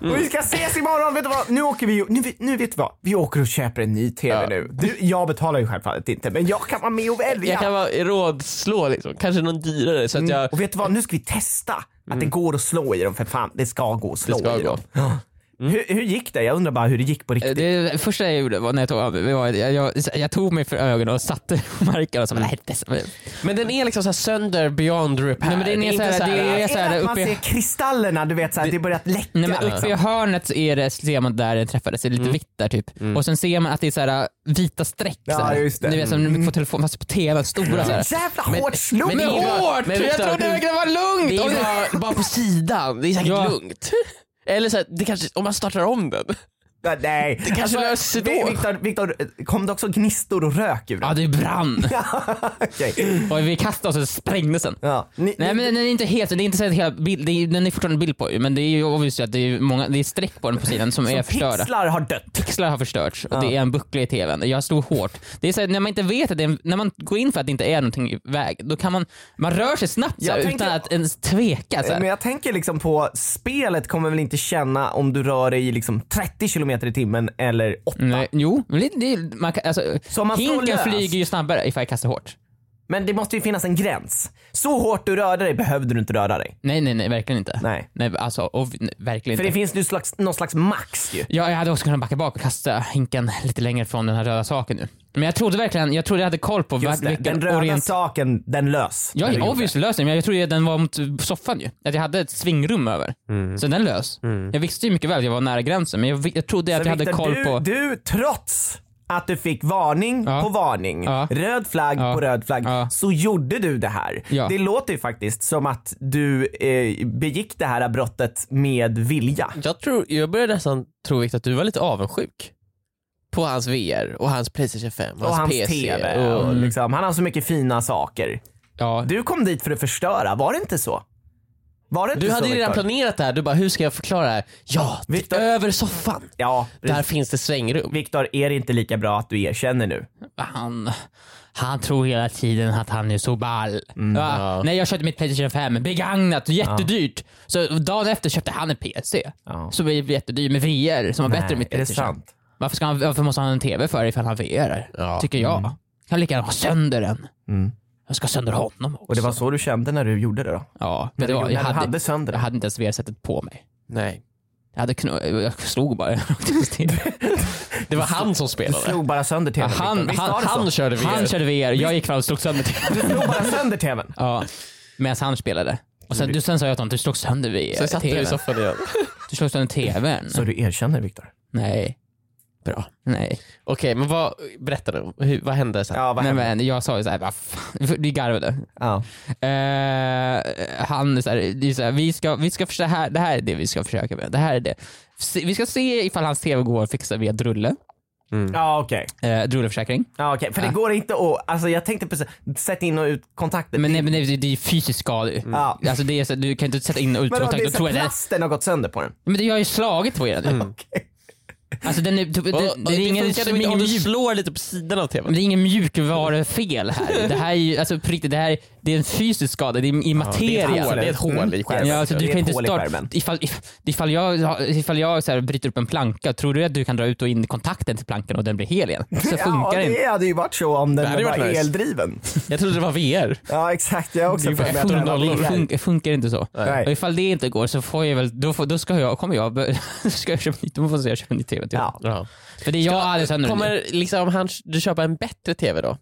Speaker 2: Mm.
Speaker 3: Och vi ska ses imorgon, vet du vad? Nu åker vi, nu, nu vet du vad? Vi åker och köper en ny TV
Speaker 2: Ja.
Speaker 3: nu. Du, jag betalar ju självfallet inte, men jag kan vara med och välja.
Speaker 2: Jag kan vara rådslå liksom, kanske någon dyrare så att jag...
Speaker 3: Mm. Och vet du vad? Nu ska vi testa att
Speaker 4: Mm.
Speaker 3: det går att slå i dem, för fan, det ska gå att slå
Speaker 2: ska
Speaker 3: i
Speaker 2: gå.
Speaker 3: dem. Ja.
Speaker 4: Mm.
Speaker 3: Hur, hur gick det? Jag undrar bara hur det gick på riktigt.
Speaker 4: Det första jag gjorde var när jag tog av mig, var- jag, jag, jag tog mig för ögonen och satte [LAUGHS] marken och sa nej, det är så-
Speaker 2: Men den är liksom så här sönder beyond repair.
Speaker 4: Nej, men den är
Speaker 2: inte
Speaker 4: så här-
Speaker 2: så här-
Speaker 4: Eh, det är så här
Speaker 3: Är det att man
Speaker 4: uppe i-
Speaker 3: ser kristallerna, du vet, så här, det börjat läcka.
Speaker 4: Nej men uppe
Speaker 3: liksom. Mm.
Speaker 4: i hörnet så är det, ser man där den träffades, det är lite vitt där typ. Och sen ser man att det är så här äh, vita streck.
Speaker 3: Ja,
Speaker 4: så här.
Speaker 3: just det. Mm.
Speaker 4: Ni vet som på telefon, fast på TV, stora så här.
Speaker 3: Så jävla hårt slog
Speaker 2: men det
Speaker 3: det.
Speaker 2: var-
Speaker 4: Hårt!
Speaker 2: Men
Speaker 4: jag
Speaker 2: Viktor,
Speaker 4: trodde det verkligen var
Speaker 2: Det
Speaker 4: lugnt! Och det-
Speaker 2: är bara, bara på sidan, det är säkert
Speaker 4: Ja.
Speaker 2: lugnt. Eller så här, det kanske, om man startar om den.
Speaker 3: Ja, Nej. Alltså, Det
Speaker 2: kanske löser sig då.
Speaker 3: Viktor, Viktor, kom det också gnistor och rök ur
Speaker 4: Ja
Speaker 3: den? [LAUGHS]
Speaker 4: det brann.
Speaker 3: Okej.
Speaker 4: Och vi kastade oss och sprängdes den.
Speaker 3: Ja. Ni,
Speaker 4: Nej men den är inte helt, det är inte så att hela bild, det är, den är fortfarande en bild på ju, men det är ju obviously att det är, många, det är streck på den på sidan som, är
Speaker 3: som
Speaker 4: förstörda.
Speaker 3: pixlar har dött.
Speaker 4: Pixlar har förstörts och det är en buckla i tvn. Jag slog hårt. Det är så här, när man inte vet att det är en, när man går in för att det inte är någonting i väg, då kan man, man rör sig snabbt så här,
Speaker 3: Jag
Speaker 4: utan
Speaker 3: tänker-
Speaker 4: att ens tveka. Så här.
Speaker 3: Men jag tänker liksom på spelet kommer väl inte känna om du rör dig i liksom 30 kilometer i timmen eller 8.
Speaker 4: Nej, jo, men det, det, man kan, alltså,
Speaker 3: Så om man slår
Speaker 4: hinken
Speaker 3: lös-
Speaker 4: flyger ju snabbare ifall jag kastar hårt.
Speaker 3: Men det måste ju finnas en gräns. Så hårt du rörde dig behövde du inte röra dig.
Speaker 4: Nej, nej, nej, verkligen inte.
Speaker 3: Nej.
Speaker 4: alltså, och, v- nej, verkligen
Speaker 3: För det
Speaker 4: inte.
Speaker 3: finns ju slags, någon slags max ju.
Speaker 4: Ja, jag hade också kunnat backa bak och kasta hinken lite längre från den här röda saken nu. Men jag trodde verkligen, jag trodde jag hade koll på
Speaker 3: Just
Speaker 4: var-
Speaker 3: det. Den
Speaker 4: vilken
Speaker 3: röda
Speaker 4: orient...
Speaker 3: saken, den lös. När du
Speaker 4: Ja,
Speaker 3: gjorde
Speaker 4: obviously lös den, men jag trodde att den var mot soffan ju. Att jag hade ett svingrum över.
Speaker 3: Mm.
Speaker 4: Så den lös. Jag visste ju mycket väl att jag var nära gränsen, men jag, vi- jag trodde att jag hade
Speaker 3: Viktor,
Speaker 4: koll
Speaker 3: du,
Speaker 4: på...
Speaker 3: Du, trots att du fick varning
Speaker 4: Ja.
Speaker 3: på varning,
Speaker 4: Ja.
Speaker 3: röd flagg
Speaker 4: Ja.
Speaker 3: på röd flagg,
Speaker 4: Ja.
Speaker 3: så gjorde du det här.
Speaker 4: Ja.
Speaker 3: Det låter ju faktiskt som att du eh, begick det här brottet med vilja.
Speaker 2: Jag, tror, jag börjar nästan tro Victor, att du var lite avundsjuk. På hans VR och hans Playstation 5 och,
Speaker 3: Och hans
Speaker 2: PC.
Speaker 3: TV. Och
Speaker 4: Mm.
Speaker 3: liksom, han har så mycket fina saker.
Speaker 4: Ja,
Speaker 3: Du kom dit för att förstöra, var det inte så? Var det inte
Speaker 2: Du
Speaker 3: så,
Speaker 2: hade ju redan
Speaker 3: Viktor?
Speaker 2: planerat det här, du bara hur ska jag förklara det här? Ja, det är
Speaker 3: Victor-
Speaker 2: över soffan.
Speaker 3: Ja,
Speaker 2: Där finns det svängrum.
Speaker 3: Viktor, är det inte lika bra att du erkänner nu?
Speaker 4: han, han tror hela tiden att han är så ball.
Speaker 3: Mm,
Speaker 4: Va?
Speaker 2: Ja.
Speaker 4: Nej, jag köpte mitt Playstation 5 begagnat, jättedyrt. Så dagen efter köpte han en PC.
Speaker 3: Ja.
Speaker 4: Som blev jättedyr med VR som var bättre än mitt
Speaker 3: är det
Speaker 4: Playstation.
Speaker 3: sant?
Speaker 4: Varför, ska han, varför måste han ha en TV för ifall han har VR?
Speaker 2: Ja.
Speaker 4: Tycker jag.
Speaker 3: Mm.
Speaker 4: Kan jag lika gärna ha sönder den. Jag ska ha sönder honom också.
Speaker 3: Och det var så du kände när du gjorde det då?
Speaker 4: ja, men det
Speaker 3: du
Speaker 4: var,
Speaker 3: gjorde-
Speaker 4: jag,
Speaker 3: när du
Speaker 4: hade,
Speaker 3: hade sönder
Speaker 4: jag
Speaker 3: den.
Speaker 4: hade inte ens VR-sättet på mig.
Speaker 2: Nej.
Speaker 4: Jag, hade knu- jag
Speaker 3: [LAUGHS]
Speaker 4: slog bara.
Speaker 2: Det var han som
Speaker 3: Du
Speaker 2: spelade.
Speaker 3: slog bara sönder tvn.
Speaker 4: han,
Speaker 3: Viktor. Visst var
Speaker 4: han,
Speaker 3: det så?
Speaker 4: han, körde VR. han körde VR, jag gick fram och
Speaker 3: [LAUGHS]
Speaker 4: slog sönder TVn.
Speaker 3: Du slog bara sönder tvn.
Speaker 4: Ja, medan han spelade. Och sen, du, sen sa jag till honom, du slog sönder vi,
Speaker 2: Sen satt du i
Speaker 4: TVn.
Speaker 2: soffan igen.
Speaker 4: Du slog sönder TVn.
Speaker 3: Så du erkänner Viktor?
Speaker 4: Nej. Bra. Nej.
Speaker 2: Okej, men vad, berätta nu. Hur, vad hände sen?
Speaker 3: Ja, vad
Speaker 4: Nej
Speaker 3: hände?
Speaker 4: men jag sa ju såhär, vad fan. [LAUGHS] Du garvade.
Speaker 3: Ja.
Speaker 4: Eh, han är så här, det är så här, vi ska, vi ska försöka, här, det här är det vi ska försöka med. Det här är det. Se, vi ska se ifall hans TV går att fixa via Drulle.
Speaker 3: Ja okej.
Speaker 4: Uh, drulleförsäkring.
Speaker 3: Ja, okej. För det går inte att, alltså jag tänkte precis, sätta in och ut kontakter.
Speaker 4: Men,
Speaker 3: Det-
Speaker 4: nej, men nej, det, det är ju fysiskt skador.
Speaker 3: Ja.
Speaker 4: Alltså, det är så, här, du kan inte sätta in
Speaker 3: men om
Speaker 4: ultrakontakt
Speaker 3: det är
Speaker 4: och
Speaker 3: så Mm.
Speaker 4: tro
Speaker 3: att
Speaker 4: att det
Speaker 3: plasten har gått sönder på den.
Speaker 4: Men det har ju slagit på er nu.
Speaker 3: Okej.
Speaker 4: Alltså den är, det, det,
Speaker 2: Och-
Speaker 4: det,
Speaker 2: och
Speaker 4: är ingen,
Speaker 2: funkade inte
Speaker 4: det, är ingen
Speaker 2: om du
Speaker 4: mjuk-
Speaker 2: slår lite på sidan av
Speaker 4: det
Speaker 2: tvn.
Speaker 4: är ingen mjukvarufel här. Det här är ju, alltså på riktigt, det här är, det är en fysisk skada. Det är i
Speaker 2: Det
Speaker 4: materia.
Speaker 2: är ett hål, det är ett hål i skärmen.
Speaker 4: Ja, alltså,
Speaker 3: Mm. Det
Speaker 4: du
Speaker 3: är
Speaker 4: kan
Speaker 3: ett
Speaker 4: inte
Speaker 3: hål i
Speaker 4: starta,
Speaker 3: skärmen.
Speaker 4: ifall, if- ifall jag, ifall jag så här bryter upp en planka, tror du att du kan dra ut och in kontakten till plankan och den blir hel igen? Så
Speaker 3: Ja,
Speaker 4: funkar det inte.
Speaker 3: det hade ju varit så om
Speaker 2: Det
Speaker 3: den
Speaker 2: hade
Speaker 3: var
Speaker 2: varit nice.
Speaker 3: eldriven.
Speaker 2: Jag trodde det var VR.
Speaker 3: Ja exakt, jag har också för mig att den var
Speaker 4: Funkar,
Speaker 3: VR.
Speaker 4: funkar, funkar inte så.
Speaker 3: Nej.
Speaker 4: Och ifall det inte går så får jag väl, då, får, då ska jag, kommer jag, [LAUGHS] bör- ska jag köpa nytt, då får jag köpa en ny TV till.
Speaker 3: Ja.
Speaker 2: Ja.
Speaker 4: För det är jag aldrig sönder den nu.
Speaker 2: Kommer liksom han, du köpa en bättre TV då?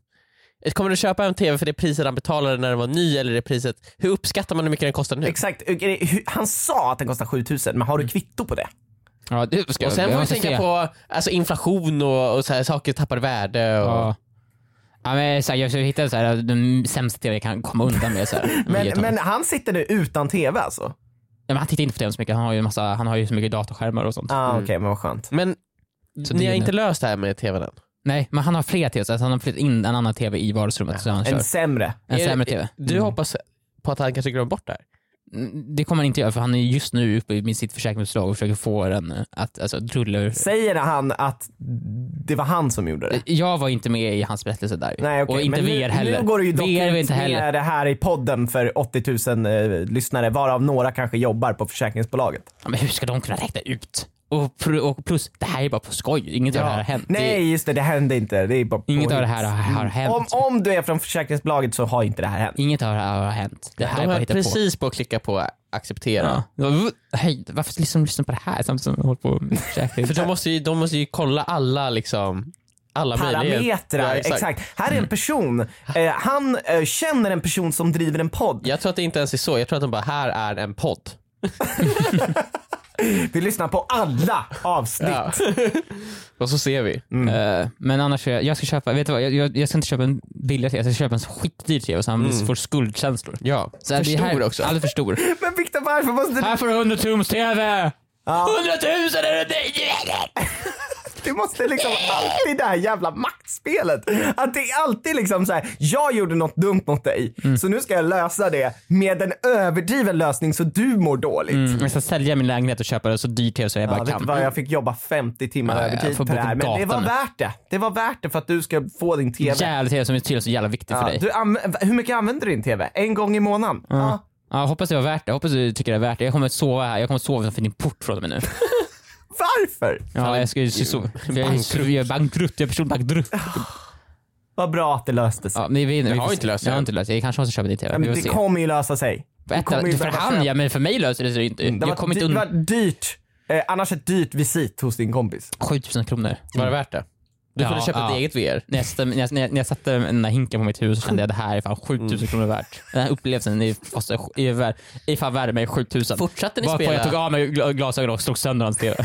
Speaker 2: Kommer du köpa en TV för det priset han betalade när den var ny eller det priset? Hur uppskattar man hur mycket den kostar nu?
Speaker 3: Exakt, Hur- han sa att den kostar 7000 men har
Speaker 4: Mm.
Speaker 3: du kvitto på det?
Speaker 4: Ja, det ska
Speaker 2: Och
Speaker 4: jag,
Speaker 2: sen
Speaker 4: jag
Speaker 2: får vi
Speaker 4: måste
Speaker 2: tänka
Speaker 4: se.
Speaker 2: på alltså, inflation och, och så här, saker tappar värde. Och...
Speaker 4: Ja. Ja, men, så här, jag försöker hitta så här, den sämsta TV jag kan komma undan med. Så här, med
Speaker 3: [LAUGHS] Men, men han sitter nu utan TV alltså?
Speaker 4: Nej, men han tittar inte på TV så mycket, han har ju, en massa, han har ju så mycket datorskärmar och sånt.
Speaker 3: Ja ah, okej men vad skönt.
Speaker 2: Men
Speaker 4: Så
Speaker 2: ni
Speaker 4: det
Speaker 2: har
Speaker 4: är
Speaker 2: inte
Speaker 4: nu.
Speaker 2: löst det här med TVn än?
Speaker 4: Nej, men han har fler TV, så att han har flyttat in en annan TV i vardagsrummet. Så han kör.
Speaker 3: En sämre.
Speaker 4: En
Speaker 2: Är-
Speaker 4: sämre TV.
Speaker 2: Du hoppas på att han kanske glömmer bort det här?
Speaker 4: Mm, Det kommer han inte göra för han är just nu uppe med sitt försäkringsbolag och försöker få den att, alltså druller.
Speaker 3: Säger han att det var han som gjorde det?
Speaker 4: Jag var inte med i hans berättelse där.
Speaker 3: Nej, okej.
Speaker 4: Och inte
Speaker 3: men nu,
Speaker 4: VR heller.
Speaker 3: Nu går det ju dock
Speaker 4: VR var
Speaker 3: ut
Speaker 4: inte heller.
Speaker 3: med det här i podden för 80 000 eh, lyssnare, varav några kanske jobbar på försäkringsbolaget.
Speaker 4: Ja, men hur ska de kunna räkna ut? Och, pr- och plus, det här är bara på skoj. Inget av det här har hänt. Det,
Speaker 3: Nej, just det, det hände inte. Det är bara
Speaker 4: inget av
Speaker 3: påhitt.
Speaker 4: det här har, har hänt.
Speaker 3: Om, om du är från försäkringsbolaget så har inte det här hänt.
Speaker 4: Inget av det här har hänt. Det här är
Speaker 2: De
Speaker 4: bara
Speaker 2: höll
Speaker 4: hittat på.
Speaker 2: precis på att klicka på acceptera.
Speaker 4: Ja. Hej, varför liksom lyssna på det här samtidigt som jag håller på med försäkring?
Speaker 2: För de måste, ju, de måste ju kolla alla liksom alla möjligheter. Ja,
Speaker 3: Parametrar, exakt. Här är en
Speaker 4: Mm.
Speaker 3: person, eh, han eh, känner en person som driver en podd.
Speaker 2: Jag tror att det inte ens är så. Jag tror att de bara, här är en podd.
Speaker 3: Vi lyssnar på alla avsnitt.
Speaker 2: Ja. och så ser vi.
Speaker 4: Eh, men annars, jag, jag ska köpa, vet du vad, jag, jag, jag ska inte köpa en billigare tv, jag ska köpa en skitdyr tv så han får skuldkänslor.
Speaker 2: Ja.
Speaker 4: Så här,
Speaker 2: för
Speaker 4: det här,
Speaker 2: stor också.
Speaker 4: Alldeles för stor.
Speaker 3: Men Viktor varför måste du,
Speaker 4: här får du 100 tums tv! 100 000 är det
Speaker 3: du måste liksom alltid det här jävla maktspelet. Att det är alltid liksom så här, jag gjorde något dumt mot dig
Speaker 4: Mm.
Speaker 3: så nu ska jag lösa det med en överdriven lösning så du mår dåligt.
Speaker 4: Mm, jag ska sälja min lägenhet och köpa det så dyr tv så jag
Speaker 3: Ja,
Speaker 4: bara
Speaker 3: vet du
Speaker 4: kan.
Speaker 3: vad, jag fick jobba 50 timmar
Speaker 4: Ja, jag
Speaker 3: övertid
Speaker 4: får
Speaker 3: för det
Speaker 4: bo på
Speaker 3: här men det
Speaker 4: gatan
Speaker 3: var
Speaker 4: nu.
Speaker 3: värt det. Det var värt det för att du ska få din TV.
Speaker 4: Jävla tv som är tydligen så jävla viktig för
Speaker 3: Ja,
Speaker 4: dig.
Speaker 3: du anv- hur mycket använder du din TV? En gång i månaden? Ja.
Speaker 4: Ja, jag hoppas det var värt det. Jag hoppas du tycker det är värt det. Jag kommer att sova här. Jag kommer att sova utanför din port från och med nu.
Speaker 3: Varför?
Speaker 4: Ja, jag ska ju sova. Jag är- jag är bankrutt. Jag är personbankrutt.
Speaker 3: Vad bra att det löste sig.
Speaker 4: Ja, men vi, vi,
Speaker 2: har inte löst det
Speaker 4: Jag har
Speaker 2: än.
Speaker 4: inte löst det. Jag kanske måste köpa din tv.
Speaker 3: men
Speaker 4: vi
Speaker 3: det
Speaker 4: får se.
Speaker 3: kommer ju lösa sig.
Speaker 4: På ett,
Speaker 3: kommer ju
Speaker 4: för
Speaker 3: behöva
Speaker 4: han
Speaker 3: köpa.
Speaker 4: ja, men för mig löser det sig inte.
Speaker 3: Det
Speaker 4: jag
Speaker 3: var,
Speaker 4: kommer
Speaker 3: dy-
Speaker 4: inte
Speaker 3: det
Speaker 4: undan.
Speaker 3: var dyrt. Eh, annars ett dyrt visit hos din kompis.
Speaker 4: 7000
Speaker 3: Mm.
Speaker 4: kronor.
Speaker 2: Var det värt det? Du
Speaker 4: Ja,
Speaker 2: kunde köpa
Speaker 4: ja.
Speaker 2: ett eget VR.
Speaker 4: När jag, satte, när, jag, när jag- när jag satte den där hinken på mitt huvud så kände jag att det här är fan 7000
Speaker 3: Mm.
Speaker 4: kronor värt. Den här upplevelsen är, kostar- är, vär- är fan värd mig 7000.
Speaker 2: Fortsatte ni
Speaker 4: Varpå
Speaker 2: spela?
Speaker 4: jag tog av mig gla- glasögonen och slog sönder
Speaker 2: [LAUGHS]
Speaker 4: hans tv.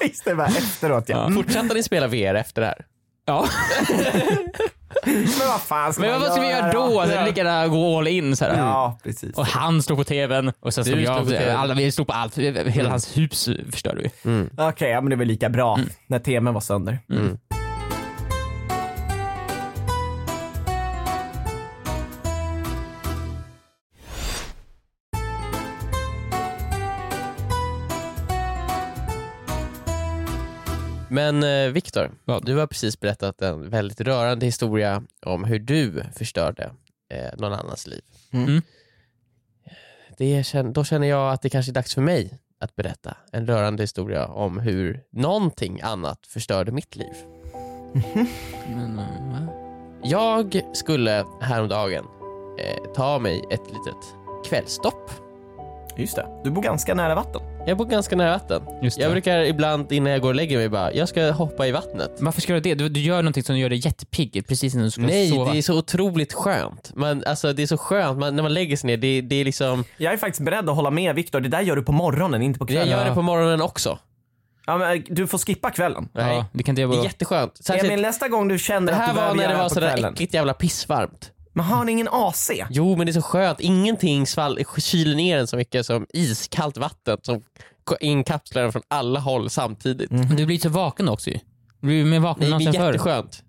Speaker 3: Visst, det var efteråt ja. Mm.
Speaker 2: Fortsatte ni spela VR efter det här?
Speaker 4: ja.
Speaker 3: Men vad fan ska
Speaker 4: Men
Speaker 3: man
Speaker 4: vad ska vi göra då? Det är lika gärna gå all in. Så här.
Speaker 3: Ja, precis.
Speaker 4: Och han slog på tvn och sen slog
Speaker 2: Du
Speaker 4: jag
Speaker 2: slog på TV:n.
Speaker 4: alla, Vi slog på allt. Hela
Speaker 3: Mm.
Speaker 4: hans hus förstörde vi.
Speaker 3: Okej, ja, men det var lika bra när tvn var sönder.
Speaker 2: Men eh, Viktor, du har precis berättat en väldigt rörande historia om hur du förstörde eh, någon annans liv.
Speaker 4: Mm.
Speaker 2: Det kän- då känner jag att det kanske är dags för mig att berätta en rörande historia om hur någonting annat förstörde mitt liv.
Speaker 4: Men, eh,
Speaker 2: Jag skulle häromdagen eh, ta mig ett litet kvällstopp.
Speaker 3: Just det. Du bor ganska nära vatten.
Speaker 2: Jag bor ganska nära vatten.
Speaker 4: Just det.
Speaker 2: Jag brukar ibland innan jag går och lägger mig bara, jag ska hoppa i vattnet.
Speaker 4: Varför ska du det? Du, du gör någonting som gör dig jättepigg precis innan du ska
Speaker 2: Nej,
Speaker 4: sova.
Speaker 2: det är så otroligt skönt. Man, alltså, det är så skönt man, när man lägger sig ner. Det, det är liksom,
Speaker 3: Jag är faktiskt beredd att hålla med Viktor. Det där gör du på morgonen, inte på
Speaker 2: jag
Speaker 3: kvällen.
Speaker 2: gör det på morgonen också.
Speaker 3: Ja, men, eh, du får skippa kvällen.
Speaker 2: Nej.
Speaker 4: Ja, det kan inte jag
Speaker 2: Det är
Speaker 4: bara...
Speaker 2: jätteskönt. Särskilt,
Speaker 3: Emil, nästa gång du känner
Speaker 2: det
Speaker 3: att
Speaker 2: här
Speaker 3: du
Speaker 2: var
Speaker 3: behöver
Speaker 2: när
Speaker 3: göra
Speaker 2: det var
Speaker 3: det på
Speaker 2: sådär
Speaker 3: kvällen.
Speaker 2: äckligt jävla pissvarmt.
Speaker 3: Men har ni ingen AC?
Speaker 2: Jo, men det är så skönt. Ingenting svall, kyler ner en så mycket som iskallt vatten som ko- inkapslar en från alla håll samtidigt.
Speaker 4: Men Du blir så vaken också ju. Du blir mer vaken
Speaker 2: Det
Speaker 4: än
Speaker 2: är
Speaker 4: Mm. någonsin förr.
Speaker 2: jätteskönt.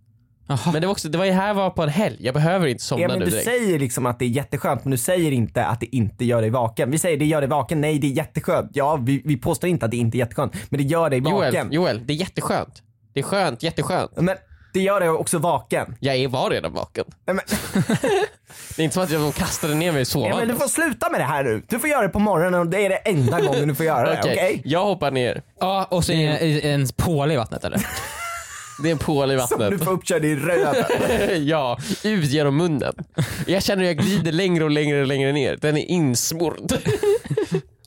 Speaker 4: Jaha.
Speaker 2: Men det var också, det var ju här var på en helg. Jag behöver inte somna
Speaker 3: Ja, men
Speaker 2: nu
Speaker 3: du
Speaker 2: direkt.
Speaker 3: säger liksom att det är jätteskönt men du säger inte att det inte gör dig vaken. Vi säger det gör dig vaken, nej det är jätteskönt. Ja, vi, vi påstår inte att det inte är jätteskönt men det gör dig vaken.
Speaker 2: Joel, Joel, det är jätteskönt. Det är skönt, jätteskönt.
Speaker 3: Men det gör dig också vaken.
Speaker 2: Jag är- var redan vaken.
Speaker 3: Nej, men,
Speaker 2: Det är inte som att jag kastade ner mig i
Speaker 3: ja, men
Speaker 2: sovvagnen.
Speaker 3: du får sluta med det här nu. Du får göra det på morgonen och det är det enda gången du får göra det.
Speaker 2: [LAUGHS]
Speaker 3: Okej?
Speaker 2: Okej, jag hoppar ner.
Speaker 4: Ja, och så är det en påle i
Speaker 2: [LAUGHS]
Speaker 4: vattnet eller?
Speaker 2: Det är en pål i
Speaker 3: Som du
Speaker 2: vattnet.
Speaker 3: får uppkörd i röven.
Speaker 2: [LAUGHS] ja, ut genom munnen. Jag känner hur jag glider längre och längre och längre ner. Den är insmord.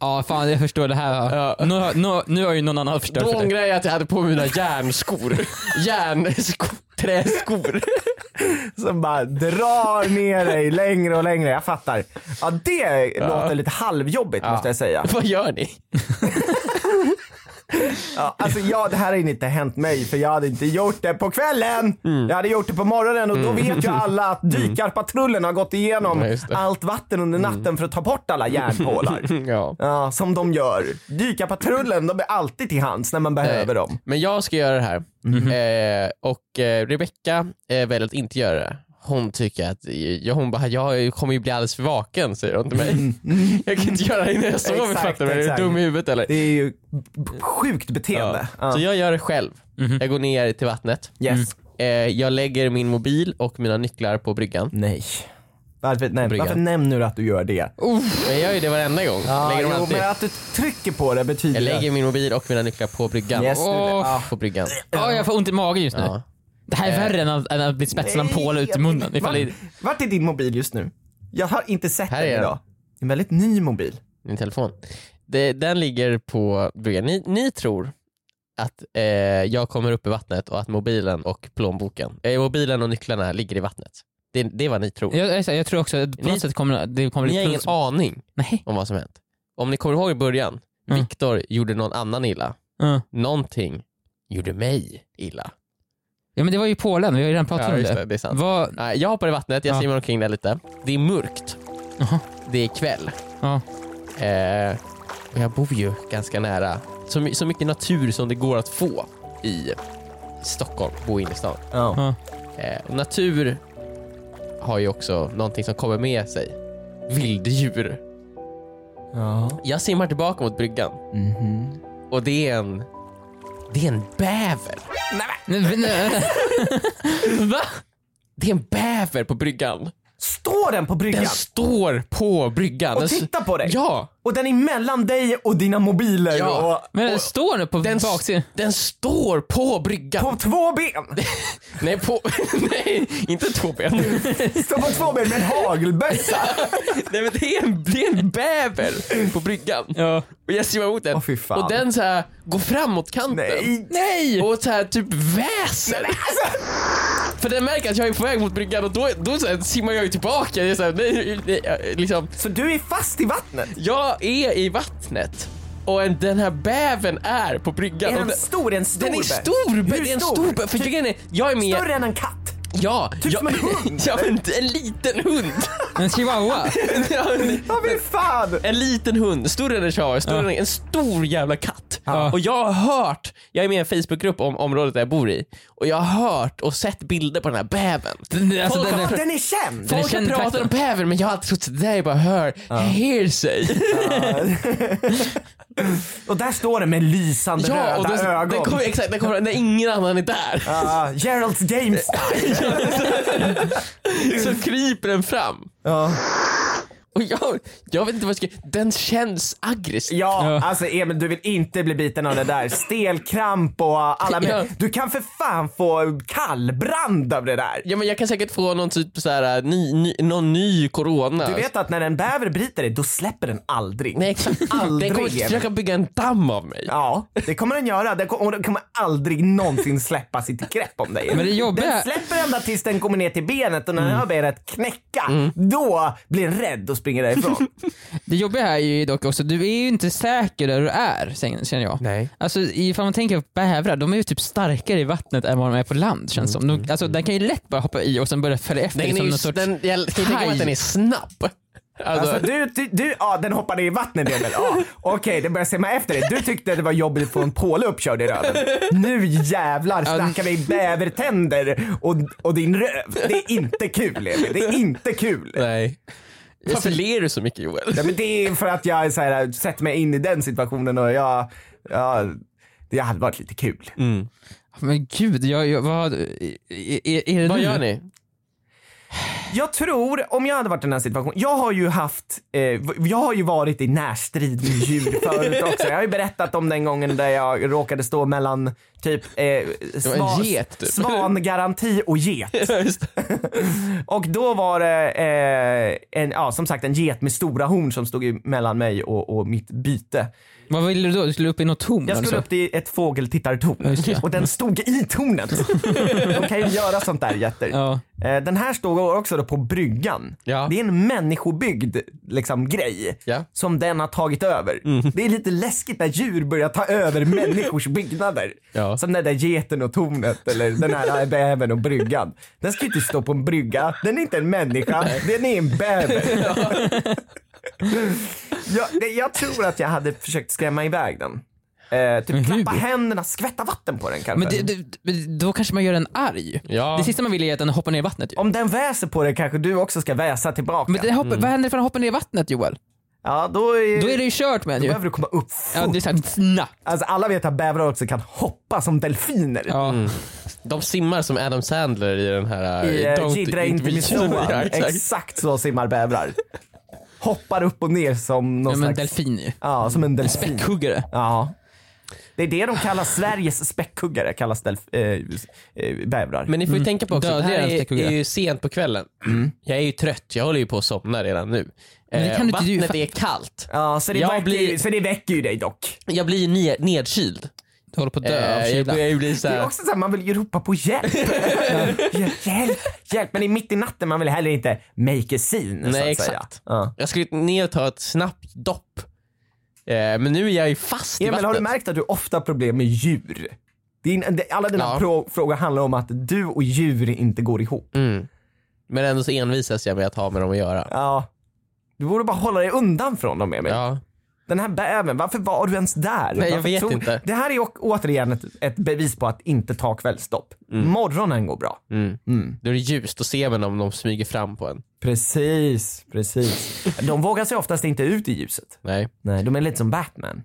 Speaker 4: Ja, fan jag förstår det här.
Speaker 2: Ja.
Speaker 4: Nu, har- nu, nu har ju någon annan förstört
Speaker 2: Då
Speaker 4: för dig.
Speaker 2: ångrar jag att jag hade på mig mina
Speaker 3: [LAUGHS]
Speaker 2: järnskor. Järnskor. Träskor.
Speaker 3: Som bara drar ner dig längre och längre. Jag fattar. Ja, det låter lite halvjobbigt måste jag säga.
Speaker 2: Vad gör ni?
Speaker 3: Ja, alltså jag, det här har inte hänt mig för jag hade inte gjort det på kvällen.
Speaker 2: Mm.
Speaker 3: Jag hade gjort det på morgonen och då vet ju alla att dykarpatrullen har gått igenom
Speaker 2: Ja, just det. Mm.
Speaker 3: allt vatten under natten för att ta bort alla järnpålar.
Speaker 2: [LAUGHS] Ja.
Speaker 3: Ja, som de gör. Dykarpatrullen, de är alltid till hands när man behöver dem. Mhm.
Speaker 2: Men jag ska göra det här. Eh, och eh, Rebecka eh, väljer att inte göra det. hon tycker att, ja, hon bara, jag kommer ju bli alldeles för vaken säger hon till mig. [LAUGHS] Jag kan inte göra det innan jag sover
Speaker 3: Mm. Exakt,
Speaker 2: fattar du? Är du
Speaker 3: exakt.
Speaker 2: dum i huvudet eller?
Speaker 3: Det är ju b- sjukt beteende. Ja. Mhm.
Speaker 2: Så jag gör det själv. Jag går ner till vattnet.
Speaker 3: Yes.
Speaker 2: Eh, jag lägger min mobil och mina nycklar på bryggan.
Speaker 3: Nej. Varför, nej,
Speaker 2: bryggan.
Speaker 3: varför nämner du att du gör det?
Speaker 2: Jag gör ju det varenda gång. lägger dem
Speaker 3: jo,
Speaker 2: alltid.
Speaker 3: men att du trycker på det betyder
Speaker 2: Jag lägger min mobil och mina nycklar på bryggan.
Speaker 3: Yes, Ah. det är det.
Speaker 2: Åh,
Speaker 3: Ja.
Speaker 2: På bryggan.
Speaker 4: Åh, jag får ont i magen just nu.
Speaker 2: Ja.
Speaker 4: Det här är värre än att, än att bli spetsad en påle ut i munnen. Ifall det,
Speaker 3: Vart, vart är din mobil just nu? Jag har inte sett
Speaker 2: Här
Speaker 3: den
Speaker 2: är den.
Speaker 3: idag. En väldigt ny mobil.
Speaker 2: Min telefon. Det, den ligger på bryggan. Ni, ni tror att eh, jag kommer upp i vattnet och att mobilen och plånboken, eh, mobilen och nycklarna ligger i vattnet. Det, det är vad ni tror.
Speaker 4: jag, jag, jag tror också att på
Speaker 2: Ni-
Speaker 4: något sätt kommer det kommer
Speaker 2: Ni
Speaker 4: bli
Speaker 2: har ingen
Speaker 4: plus-
Speaker 2: aning
Speaker 4: Nej.
Speaker 2: om vad som hänt. Om ni kommer ihåg i början,
Speaker 4: Mm.
Speaker 2: Viktor gjorde någon annan illa.
Speaker 4: Ja.
Speaker 2: Någonting gjorde mig illa.
Speaker 4: ja men det var ju Polen, vi har ju redan pratat
Speaker 2: Ja,
Speaker 4: om
Speaker 2: just
Speaker 4: det.
Speaker 2: det, det är sant.
Speaker 4: Vad,
Speaker 2: Nej, Jag hoppar i vattnet, jag
Speaker 4: Ja.
Speaker 2: simmar omkring där lite. Det är mörkt.
Speaker 4: Jaha.
Speaker 2: Det är kväll. [LAUGHS]
Speaker 4: ja.
Speaker 2: Eh, och jag bor ju ganska nära så, my- så mycket natur som det går att få i Stockholm, bo inne i stan.
Speaker 3: Ja.
Speaker 4: Ja.
Speaker 2: Eh, och natur har ju också någonting som kommer med sig. Vilddjur.
Speaker 3: Ja.
Speaker 2: Jag simmar tillbaka mot bryggan
Speaker 3: Mhm.
Speaker 2: och det är en, det är en bäver.
Speaker 4: Nej, men- nej. Va?
Speaker 2: Det är en bäver på bryggan.
Speaker 3: Står den på bryggan
Speaker 2: Den står på bryggan.
Speaker 3: och
Speaker 2: Den s-
Speaker 3: tittar på dig?
Speaker 2: Ja,
Speaker 3: Och den är mellan dig och dina mobiler
Speaker 2: Ja.
Speaker 3: och
Speaker 4: [LAUGHS] Men den står nu på
Speaker 2: den, s-
Speaker 4: baksidan.
Speaker 2: den står på bryggan.
Speaker 3: på två ben.
Speaker 2: [LAUGHS] Nej, på, [LAUGHS] nej, inte två ben.
Speaker 3: [LAUGHS] Står på två ben med en hagelbössa.
Speaker 2: nej, men det, är en, det är en bäver på bryggan.
Speaker 4: Ja.
Speaker 2: Och jag simmar mot den.
Speaker 3: Åh, fy fan.
Speaker 2: Och den så här går fram mot kanten.
Speaker 3: Nej.
Speaker 4: Nej!
Speaker 2: Och så här typ väser. För den märker att jag är på väg mot bryggan och då, då så här, simmar jag ju tillbaka. Jag, är så här, nej, nej, jag- liksom,
Speaker 3: Så du är fast i vattnet?
Speaker 2: jag är i vattnet och en, den här bäven är på bryggan.
Speaker 3: Är
Speaker 2: och
Speaker 3: den stor? Är den stor?
Speaker 2: den är
Speaker 3: bä-
Speaker 2: stor! bä-
Speaker 3: Hur
Speaker 2: Det är en
Speaker 3: stor? Typ
Speaker 2: stor bä- För grejen är, jag är med...
Speaker 3: Större än en katt?
Speaker 2: Ja,
Speaker 3: Typ
Speaker 2: jag,
Speaker 3: som en hund,
Speaker 2: [LAUGHS] ja, men en liten
Speaker 3: [LAUGHS]
Speaker 2: hund.
Speaker 4: En chihuahua.
Speaker 2: Ja, en-
Speaker 3: Ja men fan!
Speaker 2: en liten hund, större än en chihuahua, större
Speaker 4: Ja.
Speaker 2: än en stor jävla katt.
Speaker 4: Ja.
Speaker 2: Och jag har hört, jag är med i en Facebookgrupp om området där jag bor i, och jag har hört och sett bilder på den här bäven.
Speaker 4: Den, alltså,
Speaker 2: Folk
Speaker 4: den,
Speaker 2: har-
Speaker 4: den,
Speaker 3: Den är känd!
Speaker 2: Folk har
Speaker 4: känd
Speaker 2: pratat
Speaker 4: trakten.
Speaker 2: om bäver men jag har alltid trott att det där är bara hör, hearsay.
Speaker 3: och där står den med lysande
Speaker 2: ja, och
Speaker 3: röda
Speaker 2: den,
Speaker 3: ögon.
Speaker 2: den kommer, exakt, den kommer när ingen annan är där.
Speaker 3: Ja, Geralds GameStyle.
Speaker 2: [LAUGHS] Så kryper den fram.
Speaker 3: ja.
Speaker 2: Och jag, jag vet inte vad jag ska, den känns aggressiv.
Speaker 3: ja,
Speaker 4: Ja.
Speaker 3: alltså Emil du vill inte bli biten av det där. Stelkramp och alla
Speaker 2: Ja.
Speaker 3: men Du kan för fan få kallbrand av det där.
Speaker 2: Ja men jag kan säkert få någon typ så här, ny, ny, någon ny corona.
Speaker 3: Du vet att när en bäver biter dig, då släpper den aldrig.
Speaker 2: Nej exakt.
Speaker 3: [LAUGHS] Aldrig
Speaker 2: Den kommer
Speaker 3: igen.
Speaker 2: försöka bygga en damm av mig.
Speaker 3: Ja, det kommer den göra. Den kommer, och den kommer aldrig någonsin släppa sitt grepp om dig.
Speaker 4: Men det jobbiga-
Speaker 3: Den släpper ända tills den kommer ner till benet och när den har benet knäcka, då blir den rädd och springer därifrån.
Speaker 4: det jobbiga här är ju dock också, du är ju inte säker där du är, sen- känner jag.
Speaker 2: Nej.
Speaker 4: Alltså ifall man tänker på bävrar, de är ju typ starkare i vattnet än vad de är på land känns som. De, alltså den kan ju lätt bara hoppa i och sen börja följa efter
Speaker 2: Den är
Speaker 4: som
Speaker 2: ju,
Speaker 4: någon sorts...
Speaker 2: den, jag kan ju tänka mig att den är snabb. Alltså,
Speaker 3: Alltså du, du, du ja den hoppade i vattnet Emil. Ja, Okej, den börjar simma efter dig. Du tyckte att det var jobbigt att få en påle uppkörd i röven. Nu jävlar snackar vi bävertänder och, och din röv. Det är inte kul Emil. Det är inte kul.
Speaker 2: nej. Varför ler du så mycket Joel?
Speaker 3: Nej, men det är för att jag så här, sett mig in i den situationen och jag, jag det hade varit lite kul.
Speaker 4: Men gud, jag, jag, vad... Är, är, är det
Speaker 2: Vad
Speaker 4: nu?
Speaker 2: gör
Speaker 3: [LAUGHS]
Speaker 2: ni?
Speaker 3: Jag tror, om jag hade varit i den här situationen, jag har ju haft, eh, jag har ju varit i närstrid med djur förut också. Jag har ju berättat om den gången där jag råkade stå mellan typ, eh, sva-
Speaker 2: get, typ.
Speaker 3: svangaranti och get.
Speaker 2: Just det.
Speaker 3: Och då var det eh, en, ja, som sagt en get med stora horn som stod ju mellan mig och, och mitt byte.
Speaker 4: Vad ville du då? Du skulle upp i något torn?
Speaker 3: Jag
Speaker 4: eller
Speaker 3: skulle
Speaker 4: så?
Speaker 3: upp till ett fågeltittartorn
Speaker 4: just det.
Speaker 3: och den stod i tornet. De kan ju göra sånt där jätter.
Speaker 4: Ja.
Speaker 3: Eh, Den här stod också då på bryggan.
Speaker 2: Ja.
Speaker 3: Det är en människobyggd liksom, grej
Speaker 2: Ja.
Speaker 3: som den har tagit över.
Speaker 4: Mm.
Speaker 3: Det är lite läskigt när djur börjar ta
Speaker 4: [LAUGHS]
Speaker 3: över människors byggnader.
Speaker 2: Ja.
Speaker 3: Som den där geten och tornet eller den
Speaker 4: [LAUGHS]
Speaker 3: här bävern och bryggan. Den ska ju inte stå på en brygga. Den är inte en människa, den är en
Speaker 4: [LAUGHS]
Speaker 3: bäver. jag, det- jag tror att jag hade försökt skrämma iväg den. Eh,
Speaker 4: Men
Speaker 3: typ
Speaker 4: hur?
Speaker 3: klappa händerna, skvätta vatten på den kanske.
Speaker 4: Men det, det, men då kanske man gör den arg.
Speaker 2: Ja.
Speaker 4: Det sista man vill är att den hoppar ner i vattnet ju.
Speaker 3: Om den väser på dig kanske du också ska väsa tillbaka.
Speaker 4: Men den hoppar, vad händer ifall den hoppar ner i vattnet Joel?
Speaker 3: Ja, då, är,
Speaker 4: Då är det ju kört med den
Speaker 3: då
Speaker 4: ju.
Speaker 3: behöver du komma upp
Speaker 4: Ja,
Speaker 3: fort.
Speaker 4: det är såhär snabbt.
Speaker 3: Alltså alla vet att bävrar också kan hoppa som delfiner.
Speaker 4: Ja.
Speaker 2: De simmar som Adam Sandler i den här... eh,
Speaker 3: I eh,
Speaker 2: Don't
Speaker 3: Gidra
Speaker 2: Eat
Speaker 3: inte
Speaker 2: Me
Speaker 4: [LAUGHS]
Speaker 3: mitt
Speaker 2: Too.
Speaker 3: toan.
Speaker 2: Ja, exakt.
Speaker 3: Exakt så simmar bävrar. Hoppar upp och ner som någon
Speaker 4: Ja, men
Speaker 3: slags...
Speaker 4: delfin ju.
Speaker 3: Ja, som en delfin.
Speaker 4: Späckhuggare.
Speaker 3: Ja. Det är det de kallar Sveriges späckhuggare, kallas delf- eh, eh, bävrar.
Speaker 2: Men ni får ju tänka på också, det
Speaker 4: Dödliga
Speaker 2: här
Speaker 4: än
Speaker 2: är,
Speaker 4: stekugga.
Speaker 2: är ju sent på kvällen. Jag är ju trött, jag håller ju på att somna redan nu.
Speaker 4: Mm. Men det
Speaker 2: Eh,
Speaker 4: kan inte du-
Speaker 2: vattnet är kallt.
Speaker 3: ja, så det,
Speaker 2: Jag
Speaker 3: väcker,
Speaker 2: blir-
Speaker 3: blir... så det väcker ju dig dock.
Speaker 2: Jag blir ju ne- nedkyld.
Speaker 4: Du håller på att
Speaker 2: Eh,
Speaker 4: dö av
Speaker 2: jag
Speaker 4: kyla.
Speaker 2: börjar ju bli
Speaker 3: Det är
Speaker 2: såhär,
Speaker 3: också såhär, man vill ju ropa på
Speaker 4: [LAUGHS]
Speaker 3: hjälp. Hjälp, hjälp, hjälp. Men i mitt i natten, man vill heller inte make a scene så
Speaker 2: Nej,
Speaker 3: att säga.
Speaker 2: exakt.
Speaker 3: Ja.
Speaker 2: jag skulle ner och ta ett snabbt dopp. Eh, men nu är jag ju fast i
Speaker 3: Emil, har du
Speaker 2: vattnet.
Speaker 3: märkt att du ofta har problem med djur? Din, de- alla dina
Speaker 2: Ja.
Speaker 3: pro- frågor handlar om att du och djur inte går ihop.
Speaker 2: Mm. Men ändå så envisas jag med att ha med dem att göra.
Speaker 3: Ja. Du borde bara hålla dig undan från dem Emil.
Speaker 2: Ja.
Speaker 3: Den här bävern, varför var du ens där?
Speaker 2: Nej, jag
Speaker 3: Varför
Speaker 2: vet inte.
Speaker 3: Det här är å- återigen ett, ett bevis på att inte ta kvällsstopp. Morgonen går bra.
Speaker 2: Mm.
Speaker 3: Mm.
Speaker 2: Då är det ljust, då ser man om de smyger fram på en.
Speaker 3: Precis, precis. De vågar sig oftast inte ut i ljuset.
Speaker 2: Nej.
Speaker 3: Nej, de är lite som Batman.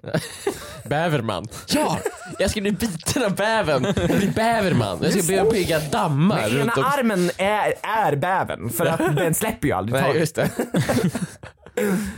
Speaker 2: Bäverman. Ja! Jag skulle bli biten av bävern. Jag blir bäverman. Jag ska börja bygga dammar
Speaker 3: Ena
Speaker 2: runt om.
Speaker 3: armen är, är bävern
Speaker 2: [LAUGHS]
Speaker 3: för att den släpper ju aldrig
Speaker 2: Nej,
Speaker 3: taget.
Speaker 2: just det. Eh, [LAUGHS]
Speaker 3: Nej,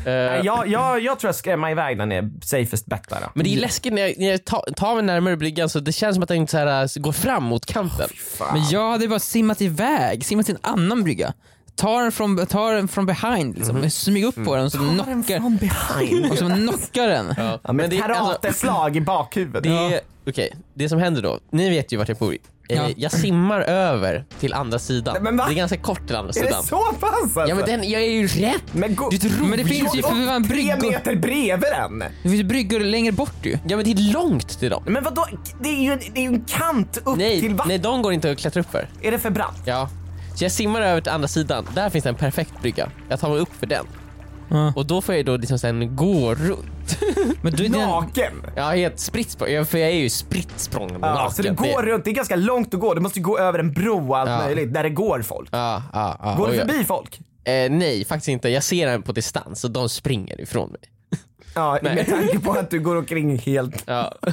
Speaker 3: Eh, Jag, jag, jag tror jag skrämmer iväg den är safest bet där.
Speaker 2: Men det är läskigt när jag, när jag ta- tar mig närmare bryggan så det känns som att den så här, äh, går fram mot kanten.
Speaker 4: Men
Speaker 3: Men
Speaker 4: jag hade bara simmat iväg, simmat till en annan brygga. Ta den från, ta den från behind liksom,
Speaker 2: Mhm.
Speaker 4: smyg upp på den så
Speaker 3: jag har den
Speaker 4: knockar,
Speaker 2: [LAUGHS]
Speaker 3: från behind.
Speaker 4: och så knockar den.
Speaker 3: Ja, men
Speaker 2: det, alltså,
Speaker 3: Karateslag i bakhuvudet.
Speaker 2: det, är- okej, det som händer då, ni vet ju vart jag bor. Eh,
Speaker 4: Ja.
Speaker 2: Jag simmar över till andra sidan.
Speaker 3: Nej, men va?
Speaker 2: det är ganska kort till andra
Speaker 3: Är
Speaker 2: sidan.
Speaker 3: det så pass alltså?
Speaker 2: Ja men den, jag är ju rätt!
Speaker 3: Men go-
Speaker 4: Du tror- Men det finns ju för fan
Speaker 3: Tre
Speaker 4: bryggor.
Speaker 3: meter bredvid den.
Speaker 4: Det finns ju bryggor längre bort ju.
Speaker 2: Ja men det är långt till dem.
Speaker 3: Men vadå? Det är ju en, det är ju en kant upp till
Speaker 2: Nej,
Speaker 3: vattnet.
Speaker 2: nej de går inte att klättra upp för.
Speaker 3: Är det för brant?
Speaker 2: Ja. Så jag simmar över till andra sidan, där finns det en perfekt brygga. Jag tar mig upp för den.
Speaker 4: Ja.
Speaker 2: Och då får jag ju då liksom sen gå runt.
Speaker 4: [LAUGHS] Men du, den,
Speaker 3: Naken.
Speaker 2: Ja, helt spritt språng. Ja, För jag är ju spritt språngande
Speaker 3: Ja,
Speaker 2: naken.
Speaker 3: så det går runt, det är ganska långt att gå. Du måste ju gå över en bro och allt
Speaker 2: Ja.
Speaker 3: möjligt där det går folk.
Speaker 2: Ja, ja, ja.
Speaker 3: Går
Speaker 2: Och
Speaker 3: du
Speaker 2: jag-
Speaker 3: förbi folk?
Speaker 2: Eh, nej, faktiskt inte. Jag ser den på distans och de springer ifrån mig.
Speaker 3: Ja, med tanke på att du går omkring helt...
Speaker 2: Ja.
Speaker 3: [LAUGHS]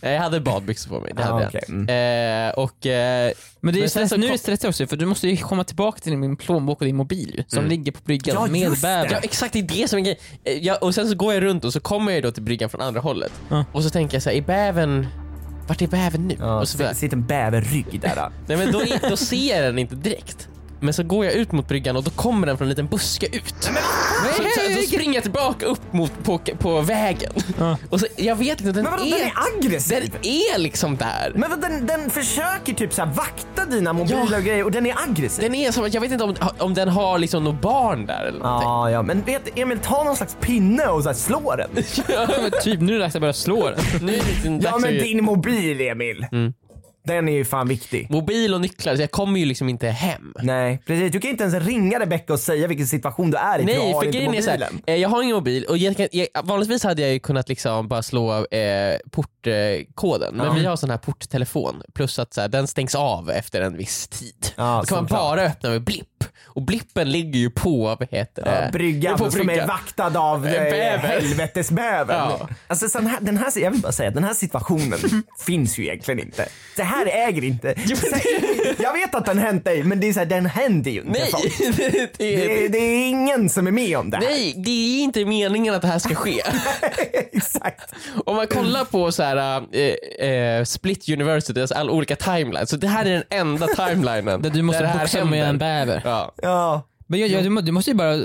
Speaker 2: jag hade badbyxor på mig, det
Speaker 3: Ja,
Speaker 2: hade jag.
Speaker 3: Ah, okej. Mm.
Speaker 2: Eh, och, eh,
Speaker 4: men det är
Speaker 2: Men
Speaker 4: ju
Speaker 2: sen
Speaker 4: stress,
Speaker 2: så
Speaker 4: nu är
Speaker 2: kom-
Speaker 4: det stressigt också för du måste ju komma tillbaka till min plånbok och din mobil ju, som
Speaker 2: Mm.
Speaker 4: ligger på bryggan
Speaker 3: Ja,
Speaker 4: med
Speaker 3: just det.
Speaker 2: ja,
Speaker 4: bävern.
Speaker 2: [LAUGHS] exakt, det är det som är grejen. Eh, jag- Och sen så går jag runt och så kommer jag då till bryggan från andra hållet.
Speaker 3: Ah.
Speaker 4: Ja.
Speaker 2: Och så tänker jag så här, är bävern... Vart är bävern nu?
Speaker 3: Ja,
Speaker 2: och så
Speaker 3: så
Speaker 2: bara,
Speaker 3: sitter en bäverrygg där. då.
Speaker 2: nej, men då,
Speaker 3: [LAUGHS]
Speaker 2: är- då ser jag den inte direkt. Men så går jag ut mot bryggan och då kommer den från en liten buske ut. Så, så, så springer jag tillbaka upp mot, på, på vägen.
Speaker 4: Ja.
Speaker 2: Och så, jag vet inte, den,
Speaker 3: Ah. Men vadå, den
Speaker 2: är,
Speaker 3: är aggressiv!
Speaker 2: den är liksom där.
Speaker 3: Men vad, den, den försöker typ så här vakta dina mobiler
Speaker 2: Ja.
Speaker 3: och grejer och den är aggressiv.
Speaker 2: Den är som, jag vet inte om, om den har liksom något barn där eller någonting.
Speaker 3: Ja, ja, men vet du, Emil, ta någon slags pinne och så här
Speaker 2: [LAUGHS]
Speaker 3: slå den.
Speaker 4: Ja, men typ, nu är det dags att börja slå den.
Speaker 2: Nu [LAUGHS] är det liksom dags
Speaker 3: Ja,
Speaker 2: att-
Speaker 3: men din mobil, Emil.
Speaker 2: Mm.
Speaker 3: Den är ju fan viktig.
Speaker 2: Mobil och nycklar, så jag kommer ju liksom inte hem.
Speaker 3: Nej, precis. Du kan inte ens ringa Rebecca och säga vilken situation du är i. du
Speaker 2: Nej,
Speaker 3: har
Speaker 2: för
Speaker 3: inte
Speaker 2: grejen är
Speaker 3: mobilen.
Speaker 2: så här, eh, jag har ingen mobil och jag, kan- jag, vanligtvis hade jag ju kunnat liksom bara slå eh, portkoden men
Speaker 3: Ja.
Speaker 2: vi har sån här porttelefon plus att så här, den stängs av efter en viss tid.
Speaker 3: Ja,
Speaker 2: Då kan man
Speaker 3: såklart.
Speaker 2: bara öppna med blipp och blippen ligger ju på, vad heter det?
Speaker 3: Ja, bryggan
Speaker 2: på
Speaker 3: som är
Speaker 2: bryggan.
Speaker 3: vaktad av eh,
Speaker 2: Bäver.
Speaker 3: helvetesbävern.
Speaker 2: Ja.
Speaker 3: Alltså, sån här, den här, jag vill bara säga den här situationen finns ju egentligen inte. Det här äger inte. Så- Jag vet att den hänt dig men det är så här, den händer ju inte
Speaker 2: Nej,
Speaker 3: folk.
Speaker 2: det,
Speaker 3: Det, är- det är ingen som är med om det här.
Speaker 2: nej, det är inte meningen att det här ska ske.
Speaker 3: [LAUGHS] Exakt.
Speaker 2: Om man kollar på så här, eh, eh, Split University, alltså alla olika timelines, så det här är den enda timelinen
Speaker 4: Där du måste
Speaker 2: det här
Speaker 4: boxa med
Speaker 2: händer.
Speaker 4: en bäver.
Speaker 2: Ja.
Speaker 3: Ja.
Speaker 4: Men jag, jag, du, må- du måste ju bara...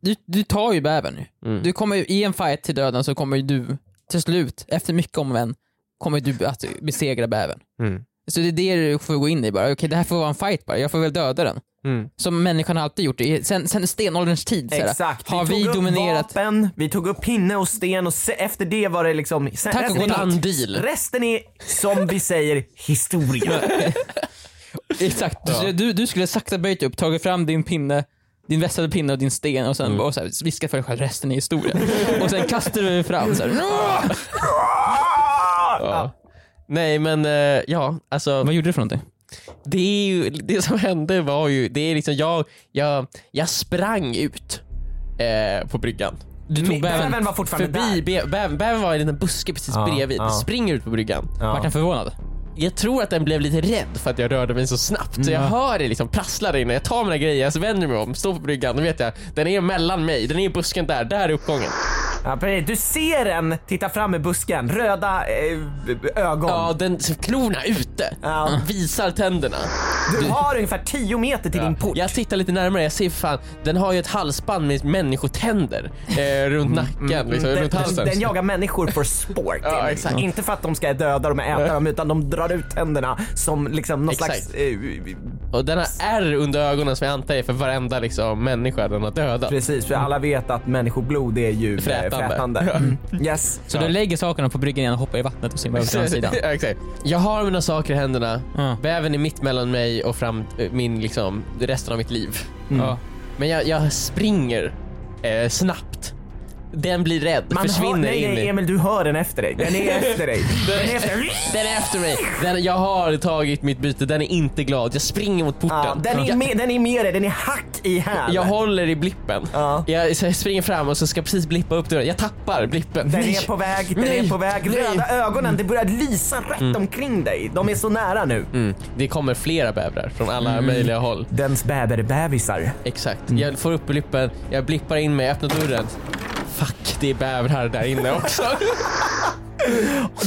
Speaker 4: Du, du tar ju bävern ju. Du kommer ju, i en fight till döden så kommer ju du till slut, efter mycket om och men, kommer du att besegra bävern.
Speaker 2: Mm.
Speaker 4: Så det är det du får gå in i bara. Okej, det här får vara en fight bara. Jag får väl döda den.
Speaker 2: Mm.
Speaker 4: Som människan alltid gjort. det. Sen, sen stenålderns tid så här,
Speaker 3: Exakt.
Speaker 4: har vi
Speaker 3: tog
Speaker 4: dominerat.
Speaker 3: upp vapen, vi tog upp pinne och sten och se, efter det var det liksom... Sen,
Speaker 4: Tack och
Speaker 3: resten, är-
Speaker 2: Bandil.
Speaker 3: resten är som vi säger historia.
Speaker 4: [LAUGHS] Exakt. Du, du, du skulle sakta böjt upp, tagit fram din pinne, din vässade pinne och din sten och sen bara så här, viskat för dig själv resten är historia. och sen kastar du fram så här.
Speaker 3: Ah!
Speaker 2: Nej men eh, ja, alltså
Speaker 4: Vad gjorde du för någonting?
Speaker 2: det, är ju, det som hände var ju, det är liksom jag, jag, jag sprang ut eh, på bryggan.
Speaker 4: Du tog
Speaker 3: Men
Speaker 4: bäven.
Speaker 3: bävern var fortfarande
Speaker 2: Förbi
Speaker 3: där.
Speaker 2: bä- bävern, bävern var i en liten buske precis
Speaker 3: Ja,
Speaker 2: bredvid,
Speaker 3: ja.
Speaker 2: springer ut på bryggan.
Speaker 4: Vart
Speaker 3: Ja.
Speaker 4: den förvånad?
Speaker 2: Jag tror att den blev lite rädd för att jag rörde mig så snabbt. Så jag
Speaker 4: Mm.
Speaker 2: hör det liksom prassla där inne. Jag tar mina grejer, så vänder jag mig om, står på bryggan. Då vet jag, den är mellan mig. Den är i busken där. Där är uppgången.
Speaker 3: Ja, precis. Du ser den titta fram i busken, röda eh, ögon.
Speaker 2: Ja, den klorna ute.
Speaker 3: Ja.
Speaker 2: Visar tänderna.
Speaker 3: Du har ungefär 10 meter till din port.
Speaker 2: Jag tittar lite närmare. Jag ser fan, den har ju ett halsband med människotänder eh, runt nacken. liksom,
Speaker 3: Mm, Den,
Speaker 2: runt halsen.
Speaker 3: den jagar människor för sport.
Speaker 2: [LAUGHS] Ja, exakt.
Speaker 3: Inte för att de ska döda dem och äta dem utan de drar ut tänderna som liksom någon
Speaker 2: Exakt.
Speaker 3: slags... Eh,
Speaker 2: Och den har ärr under ögonen som jag antar är för varenda liksom, människa den har dödat.
Speaker 3: precis, för alla vet att människoblod är ju eh,
Speaker 2: Frätande.
Speaker 3: frätande. Mm. Yes.
Speaker 4: Så du lägger sakerna på bryggan igen och hoppar i vattnet och simmar över
Speaker 3: [LAUGHS]
Speaker 4: till andra sidan?
Speaker 2: [LAUGHS] Ja, Exakt. Jag har mina saker i händerna.
Speaker 4: Ja.
Speaker 2: Bävern är mitt mellan mig och fram, eh, min, liksom, resten av mitt liv.
Speaker 4: Ja.
Speaker 2: Men jag, jag springer eh, snabbt. Den blir rädd, försvinner
Speaker 3: hör, nej,
Speaker 2: in
Speaker 3: nej,
Speaker 2: i...
Speaker 3: Emil, du hör den efter dig. Den är efter dig. Den är efter dig.
Speaker 2: [LAUGHS] Den är efter mig. Den, jag har tagit mitt byte, den är inte glad. Jag springer mot porten.
Speaker 3: Ja, den, är
Speaker 2: jag,
Speaker 3: med, den är med dig, den är hack i häl.
Speaker 2: jag håller i blippen.
Speaker 3: Ja.
Speaker 2: Jag, så jag springer fram och så ska jag precis blippa upp dörren. Jag tappar blippen.
Speaker 3: Den
Speaker 2: Nej.
Speaker 3: är på väg, den
Speaker 2: Nej.
Speaker 3: är på väg.
Speaker 2: Nej.
Speaker 3: Röda
Speaker 4: Mm.
Speaker 3: ögonen, det börjar lysa rätt omkring dig. De är så nära nu.
Speaker 2: Mm. Det kommer flera bävrar från alla
Speaker 3: Mm.
Speaker 2: möjliga håll.
Speaker 3: Dens bäverbävisar.
Speaker 2: Exakt.
Speaker 4: Mm.
Speaker 2: Jag får upp blippen, jag blippar in mig, öppnar dörren. Fuck, det är bävrar där
Speaker 4: [LAUGHS]
Speaker 2: inne också.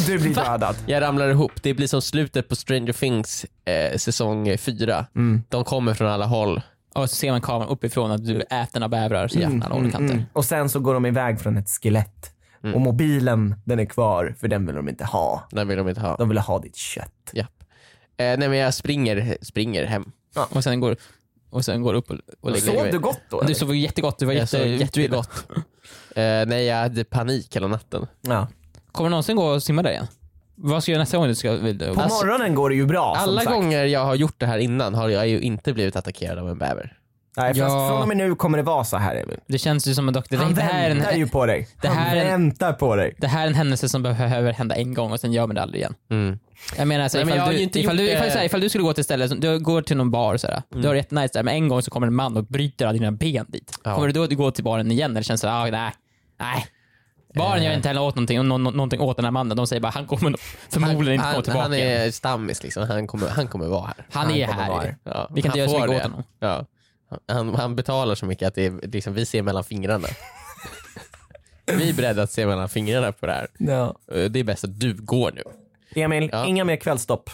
Speaker 3: Du blir dödad.
Speaker 2: jag ramlar ihop. Det blir som slutet på Stranger Things eh, säsong 4.
Speaker 4: Mm.
Speaker 2: De kommer från alla håll.
Speaker 4: Och så ser man kameran uppifrån att du är äten av bävrar så
Speaker 3: Mm,
Speaker 4: jävla alla håller kanter.
Speaker 3: Och sen så går de iväg från ett skelett.
Speaker 4: Mm.
Speaker 3: Och mobilen, den är kvar för den vill de inte ha.
Speaker 2: Den vill de inte ha.
Speaker 3: De vill ha ditt kött.
Speaker 2: Japp. Eh, nej men jag springer, springer hem.
Speaker 4: Och sen går och sen går upp och, och lägger
Speaker 3: Sov
Speaker 4: dig.
Speaker 3: du gott då?
Speaker 4: Du
Speaker 3: eller?
Speaker 4: sov jättegott, du var
Speaker 2: Jag
Speaker 4: jätte,
Speaker 2: sov
Speaker 4: jättegott.
Speaker 2: jättegott. eh, nej jag hade panik hela natten.
Speaker 3: Ja.
Speaker 4: Kommer du någonsin gå och simma där igen? Vad ska du göra nästa gång du ska vill du?
Speaker 3: På
Speaker 4: Alltså,
Speaker 3: morgonen går det ju bra. som
Speaker 2: Alla
Speaker 3: sagt.
Speaker 2: gånger jag har gjort det här innan har jag ju inte blivit attackerad av en bäver.
Speaker 3: Nej, fast
Speaker 4: Ja.
Speaker 3: från och med nu kommer det vara så här Emil.
Speaker 4: det känns ju som en doktor.
Speaker 3: Han
Speaker 4: Det här,
Speaker 3: väntar
Speaker 4: är
Speaker 3: ju
Speaker 4: en,
Speaker 3: på dig.
Speaker 4: det
Speaker 3: Han
Speaker 4: här är en-
Speaker 3: väntar på dig.
Speaker 4: det här är en händelse som behöver hända en gång och sen gör man det aldrig igen. Jag menar alltså,
Speaker 2: Nej, men
Speaker 4: ifall,
Speaker 2: jag har
Speaker 4: du,
Speaker 2: ju inte
Speaker 4: ifall,
Speaker 2: gjort
Speaker 4: du,
Speaker 2: det. Mm.
Speaker 4: ifall, så här, ifall du skulle gå till stället, du går till någon bar och sådär. Du har det jättenice där men en gång så kommer en man och bryter alla dina ben dit.
Speaker 2: Ja.
Speaker 4: Kommer du då att gå till baren igen eller känns det såhär, ah, nej, nej. Baren
Speaker 2: Eh.
Speaker 4: gör inte heller åt någonting, nå- nå- någonting åt den här mannen. De säger bara han kommer nog förmodligen inte komma
Speaker 2: han,
Speaker 4: tillbaka.
Speaker 2: han är stammis liksom, han kommer, han kommer vara här.
Speaker 4: han är
Speaker 3: han kommer vara här.
Speaker 4: här.
Speaker 2: Ja,
Speaker 4: Vi kan inte
Speaker 2: han
Speaker 4: göra så
Speaker 2: får
Speaker 4: mycket åt
Speaker 2: det.
Speaker 4: honom.
Speaker 2: Ja. Han, han betalar så mycket att det är, liksom, vi ser mellan [LAUGHS] fingrarna. vi är beredda att se mellan fingrarna på det här. Eh, Det är bäst att du går nu.
Speaker 3: Emil,
Speaker 2: Ja.
Speaker 3: inga mer kvällstopp.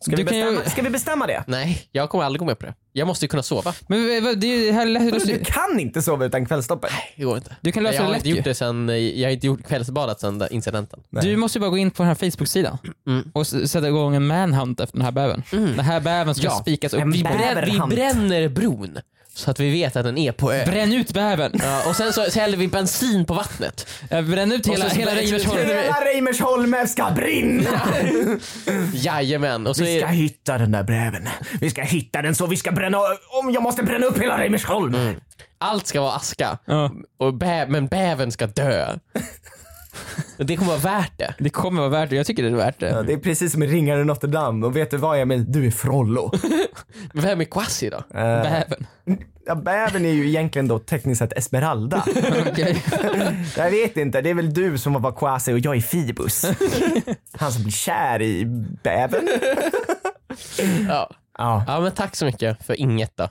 Speaker 3: Ska
Speaker 4: Du
Speaker 3: vi,
Speaker 4: kan ju-
Speaker 3: bestämma, ska vi bestämma det?
Speaker 2: Nej, jag kommer aldrig gå med på det. Jag måste ju kunna sova.
Speaker 4: Men vad- vad- det är ju heller-
Speaker 3: Du kan inte sova utan kvällstoppet.
Speaker 2: Det går inte.
Speaker 4: Du kan lösa
Speaker 2: jag
Speaker 4: det
Speaker 2: har
Speaker 4: lätt
Speaker 2: inte
Speaker 4: ju.
Speaker 2: gjort det sen, eh, jag har inte gjort kvällsbadat sen den incidenten.
Speaker 4: Du måste ju bara gå in på den här Facebook-sidan
Speaker 2: Mm.
Speaker 4: och s- sätta igång en manhunt efter den här bävern. Den här bävern ska
Speaker 2: Ja.
Speaker 4: spikas upp.
Speaker 3: En
Speaker 4: Vi
Speaker 3: bäver.
Speaker 4: bränn,
Speaker 2: Brän, vi
Speaker 3: Överhand.
Speaker 2: bränner bron så att vi vet att den är på ö.
Speaker 4: bränn ut bävern.
Speaker 2: Ja, och sen så, så häller vi bensin på [LAUGHS] vattnet.
Speaker 4: Ja, Bränn ut hela,
Speaker 2: Och så- [LAUGHS]
Speaker 4: hela Reimersholm.
Speaker 3: Hela Reimersholme ska brinna!
Speaker 2: Jajamän. Och så
Speaker 3: Vi ska
Speaker 2: är,
Speaker 3: hitta den där bräven. Vi ska hitta den så vi ska bränna... Om jag måste bränna upp hela Reimersholm!
Speaker 2: allt ska vara aska.
Speaker 4: Ja.
Speaker 2: Och bä, men bävern ska dö. det kommer vara värt det.
Speaker 4: Det kommer vara värt det. Jag tycker det är värt det.
Speaker 3: Ja, det är precis som i Ringaren Notre Dame. Och vet du vad Emil? Du är Frollo.
Speaker 2: Men vem är Quasi då?
Speaker 3: Eh.
Speaker 4: Bävern.
Speaker 3: ja, bäven är ju egentligen då tekniskt sett Esmeralda.
Speaker 4: Okej.
Speaker 3: Jag vet inte, det är väl du som var Kwasi och jag är Fibus. Han som blir kär i bäven.
Speaker 2: Ja.
Speaker 3: Ja.
Speaker 2: ja, men tack så mycket för inget då.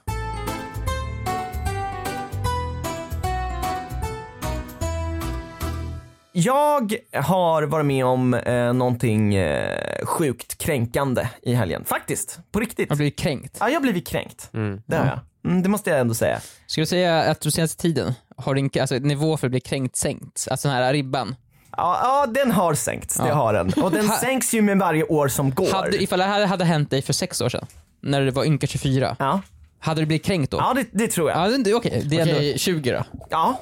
Speaker 3: Jag har varit med om eh, någonting eh, sjukt kränkande i helgen. Faktiskt, på riktigt.
Speaker 4: Jag blir kränkt.
Speaker 3: Ja, jag har blivit kränkt. Det har jag. Mm, det måste jag ändå säga.
Speaker 4: Ska du säga att du senaste tiden har din alltså, nivå för att bli kränkt sänkt? Alltså den här ribban.
Speaker 3: Ja, ja den har sänkts, det
Speaker 4: Ja.
Speaker 3: har den. Och den
Speaker 4: Ha-
Speaker 3: sänks ju med varje år som går.
Speaker 4: Hade, ifall det här hade hänt dig för sex år sedan, när du var ynka 24,
Speaker 3: Ja,
Speaker 4: hade du blivit kränkt då?
Speaker 3: ja det, det tror jag.
Speaker 4: Ja, det- Okej, det är
Speaker 2: Okej,
Speaker 4: ändå
Speaker 2: 20 då?
Speaker 3: Ja,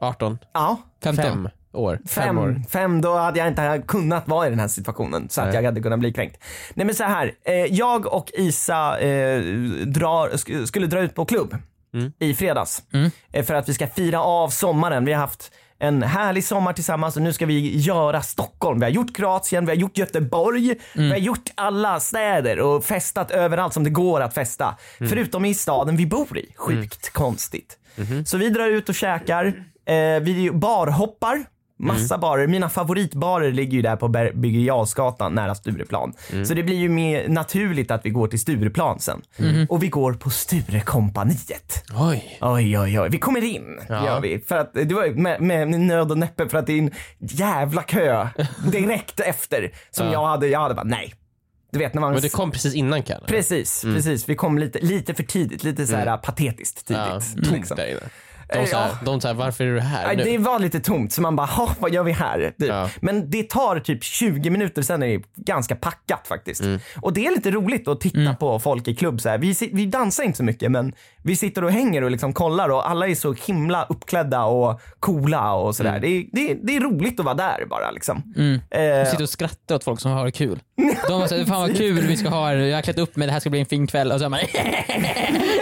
Speaker 2: 18?
Speaker 3: ja.
Speaker 4: 15.
Speaker 2: Fem år? Fem år?
Speaker 3: Fem, fem, då hade jag inte kunnat vara i den här situationen så att jag hade kunnat bli kränkt. Nej men så här, eh, jag och Isa eh, drar, sk- skulle dra ut på klubb i fredags. Eh, för att vi ska fira av sommaren. Vi har haft en härlig sommar tillsammans och nu ska vi göra Stockholm. Vi har gjort Kroatien, vi har gjort Göteborg, vi har gjort alla städer och festat överallt som det går att festa. Förutom i staden vi bor i. Sjukt konstigt. Så vi drar ut och käkar, eh, vi barhoppar. Massa barer. Mina favoritbarer ligger ju där på Ber- Birger Jarlsgatan nära Stureplan. Så det blir ju mer naturligt att vi går till Stureplan sen. Och vi går på Sturekompaniet.
Speaker 2: Oj.
Speaker 3: Oj, oj, oj. Vi kommer in,
Speaker 2: Ja.
Speaker 3: gör vi. För att, det var ju med, med nöd och näppe för att det är en
Speaker 2: [LAUGHS]
Speaker 3: jävla kö direkt efter. Som
Speaker 2: Ja.
Speaker 3: jag hade, jag hade bara nej. Du vet när man...
Speaker 2: Men det kom Mm. precis innan kan
Speaker 3: Precis, precis. Vi kom lite, lite för tidigt, lite så här patetiskt tidigt.
Speaker 2: Ja, Mm.
Speaker 3: liksom.
Speaker 2: tomt där inne. De sa,
Speaker 3: Ja.
Speaker 2: de sa varför är du här
Speaker 3: Nej,
Speaker 2: nu?
Speaker 3: det var lite tomt, så man bara, "Ha, vad gör vi här? Typ.
Speaker 2: Ja.
Speaker 3: Men det tar typ 20 minuter, sen är det ganska packat faktiskt.
Speaker 2: Mm.
Speaker 3: Och det är lite roligt att titta
Speaker 4: Mm.
Speaker 3: på folk i klubb. Så här. Vi, sit- vi dansar inte så mycket, men vi sitter och hänger och liksom kollar och alla är så himla uppklädda och coola och
Speaker 2: Mm.
Speaker 3: sådär. Det, är- det, är- det är roligt att vara där bara liksom. Eh,
Speaker 4: Sitter Mm. och skrattar åt folk som
Speaker 3: [LAUGHS]
Speaker 4: har kul. De bara såhär, fan vad kul vi ska ha här, jag har klätt upp mig, det här ska bli en fin kväll. Och så är man [LAUGHS]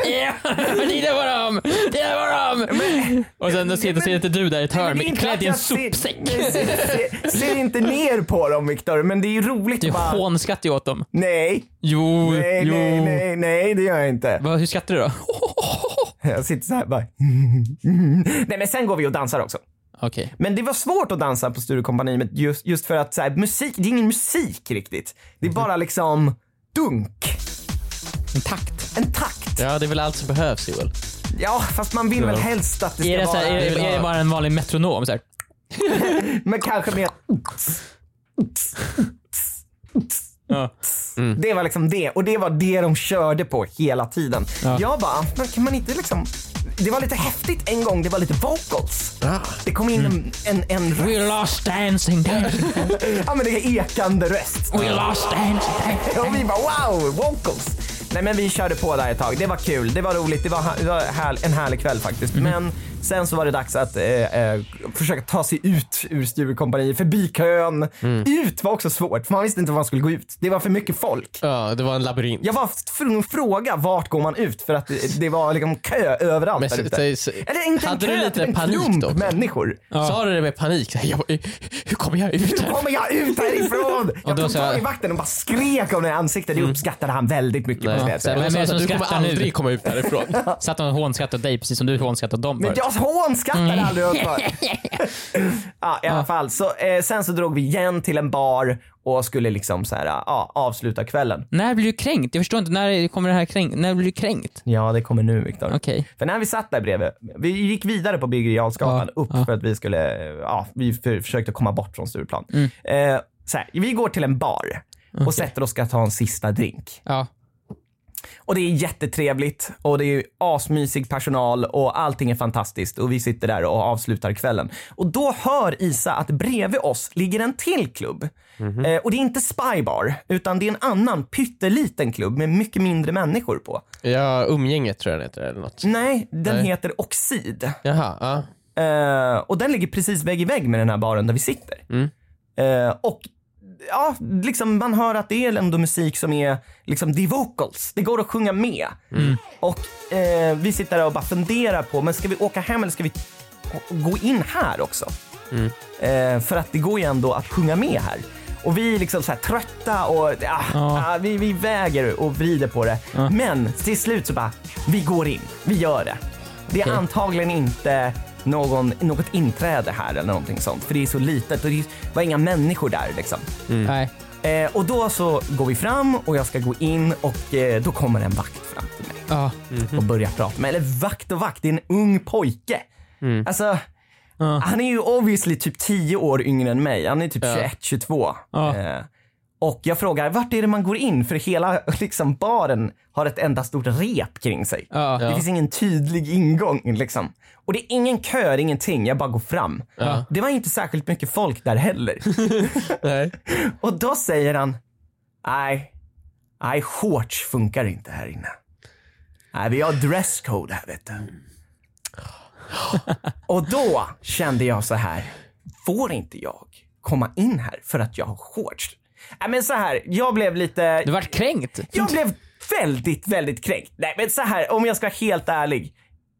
Speaker 4: "Ja, Titta på dem! Titta på dem! Och sen då sitter, sitter du där i ett
Speaker 3: men det är
Speaker 4: hörn
Speaker 3: inte
Speaker 4: klädd
Speaker 3: att
Speaker 4: i en
Speaker 3: jag ser-
Speaker 4: sopsäck.
Speaker 3: ser, ser inte ner på dem Viktor, men det är ju roligt
Speaker 4: Du
Speaker 3: att bara...
Speaker 4: hånskrattar ju åt dem.
Speaker 3: Nej,
Speaker 4: Jo,
Speaker 3: nej,
Speaker 4: jo.
Speaker 3: nej, nej, nej, det gör jag inte.
Speaker 4: Vad, hur skrattar du då?
Speaker 3: Jag sitter så här bara. [LAUGHS] Nej men sen går vi och dansar också.
Speaker 4: Okej.
Speaker 3: Men det var svårt att dansa på Sturecompagniet just, just för att så här, musik, det är ingen musik riktigt. Det är bara liksom dunk,
Speaker 4: En takt.
Speaker 3: en takt. Ja,
Speaker 2: Ja, det är väl allt som behövs Joel.
Speaker 3: fast man vill väl helst att det ska
Speaker 4: Är det, så
Speaker 3: vara...
Speaker 4: här, är, det, är det bara en vanlig metronom? Så här?
Speaker 3: Men kanske mer...
Speaker 4: Ja.
Speaker 3: Det var liksom det. Och det var det de körde på hela tiden. Jag bara, men kan man inte liksom... Det var lite häftigt en gång, det var lite vocals. Det kom in en, en, en
Speaker 4: We lost dancing, dancing.
Speaker 3: ja, men det är ekande röst.
Speaker 4: We lost dancing. dancing.
Speaker 3: Och vi bara wow, vocals! Nej men vi körde på där ett tag, det var kul, det var roligt, det var, ha- det var här, en härlig kväll faktiskt.
Speaker 2: Mhm.
Speaker 3: Men sen så var det dags att eh, eh, försöka ta sig ut ur Sturecompagniet, förbi kön.
Speaker 2: Mm.
Speaker 3: Ut var också svårt, för man visste inte var man skulle gå ut. Det var för mycket folk.
Speaker 2: Ja, det var en labyrint.
Speaker 3: Jag var tvungen att fråga vart går man ut för att det, det var liksom kö överallt
Speaker 2: Men
Speaker 3: där
Speaker 2: så-
Speaker 3: ute.
Speaker 2: så-
Speaker 3: Eller inte
Speaker 2: hade
Speaker 3: en kö,
Speaker 2: du lite
Speaker 3: typ en
Speaker 2: panik
Speaker 3: klump
Speaker 2: då?
Speaker 3: människor.
Speaker 2: Sa du det med panik? Jag, bara, hur kommer jag ut här?
Speaker 3: kommer jag ut härifrån? Jag
Speaker 4: då
Speaker 3: tog
Speaker 4: så här-
Speaker 3: tag i vakten och bara skrek om det i ansiktet.
Speaker 2: Mm.
Speaker 3: Det uppskattade han väldigt mycket. måste jag
Speaker 2: Nej.
Speaker 3: säga.
Speaker 4: Vem är det
Speaker 2: Jag sa
Speaker 4: som
Speaker 2: att du kommer
Speaker 4: skrattar nu?
Speaker 2: aldrig komma ut därifrån.
Speaker 4: Satt de och hånskrattade åt dig precis som du hånskrattade åt dem
Speaker 3: Men
Speaker 4: förut.
Speaker 3: jag hånskrattar aldrig åt mig. ja, I alla fall. Så, eh, sen så drog vi igen till en bar och skulle liksom så här, ja, avsluta kvällen.
Speaker 4: När blir du kränkt? Jag förstår inte, när kommer det här kränkt? När blir du kränkt?
Speaker 3: Ja, det kommer nu Viktor.
Speaker 4: Okej.
Speaker 3: För när vi satt där bredvid, vi gick vidare på Birger Jarlsgatan upp för att vi skulle, eh, ja, vi för, försökte komma bort från Stureplan. Eh, så här, vi går till en bar och sätter oss och ska ta en sista drink.
Speaker 4: Ja.
Speaker 3: Och det är jättetrevligt och det är asmysig personal och allting är fantastiskt och vi sitter där och avslutar kvällen. Och då hör Isa att bredvid oss ligger en till klubb. Eh, och det är inte Spybar utan det är en annan pytteliten klubb med mycket mindre människor på.
Speaker 2: Ja, umgänget tror jag den heter eller något.
Speaker 3: Nej, den heter Oxid.
Speaker 2: Jaha, ja.
Speaker 3: Eh, och den ligger precis vägg i vägg med den här baren där vi sitter. Eh, och ja, liksom man hör att det är ändå musik som är liksom the vocals. Det går att sjunga med. Och eh, vi sitter där och bara funderar på, men ska vi åka hem eller ska vi gå in här också? Eh, för att det går ju ändå att sjunga med här. Och vi är liksom så här trötta och ah, ah, vi, vi väger och vrider på det. Men till slut så bara, vi går in. Vi gör det. Det är antagligen inte någon, något inträde här eller någonting sånt. För det är så litet och det var inga människor där liksom.
Speaker 4: Nej.
Speaker 3: Eh, och då så går vi fram och jag ska gå in och eh, då kommer en vakt fram till mig
Speaker 4: Ja.
Speaker 3: och börjar prata med Eller vakt och vakt, det är en ung pojke.
Speaker 4: Mm.
Speaker 3: Alltså, han är ju obviously typ 10 år yngre än mig. Han är typ 21, 22.
Speaker 4: Ja.
Speaker 3: Eh, och jag frågar, vart är det man går in? För hela [LAUGHS] liksom, baren har ett enda stort rep kring sig.
Speaker 4: Ja.
Speaker 3: Det finns ingen tydlig ingång liksom. Och det är ingen kö, det är ingenting. Jag bara går fram. Det var inte särskilt mycket folk där heller.
Speaker 2: Nej.
Speaker 3: Och då säger han, nej, nej shorts funkar inte här inne. Nej, vi har dresscode här vet du. Och då kände jag så här, får inte jag komma in här för att jag har shorts? Nej men så här, jag blev lite,
Speaker 4: Du vart kränkt?
Speaker 3: jag blev väldigt, väldigt kränkt. Nej men så här, om jag ska vara helt ärlig.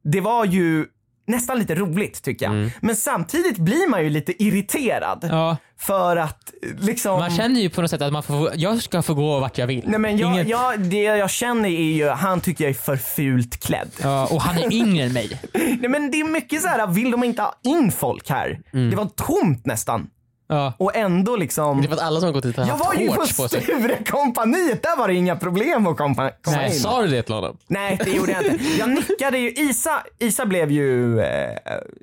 Speaker 3: Det var ju nästan lite roligt tycker jag. Men samtidigt blir man ju lite irriterad.
Speaker 4: Mm. Ja.
Speaker 3: För att liksom...
Speaker 4: Man känner ju på något sätt att man får, jag ska få gå vart jag vill.
Speaker 3: Nej, men jag,
Speaker 4: Ingen-
Speaker 3: jag, det jag känner är ju, han tycker jag är för fult klädd.
Speaker 4: Ja, och han är yngre än mig.
Speaker 3: Nej, men det är mycket så här, vill de inte ha in folk här?
Speaker 2: Mm.
Speaker 3: Det var tomt nästan.
Speaker 4: Ja.
Speaker 3: Och ändå liksom.
Speaker 2: Det är för att alla som har gått hit har
Speaker 3: Jag
Speaker 2: haft
Speaker 3: var ju på
Speaker 2: shorts på sig.
Speaker 3: Sturecompagniet, där var det inga problem att komma, komma
Speaker 2: Nej,
Speaker 3: in.
Speaker 2: sa du det till honom?
Speaker 3: Nej, det gjorde jag inte. Jag nickade ju. Isa, Isa blev ju... Eh,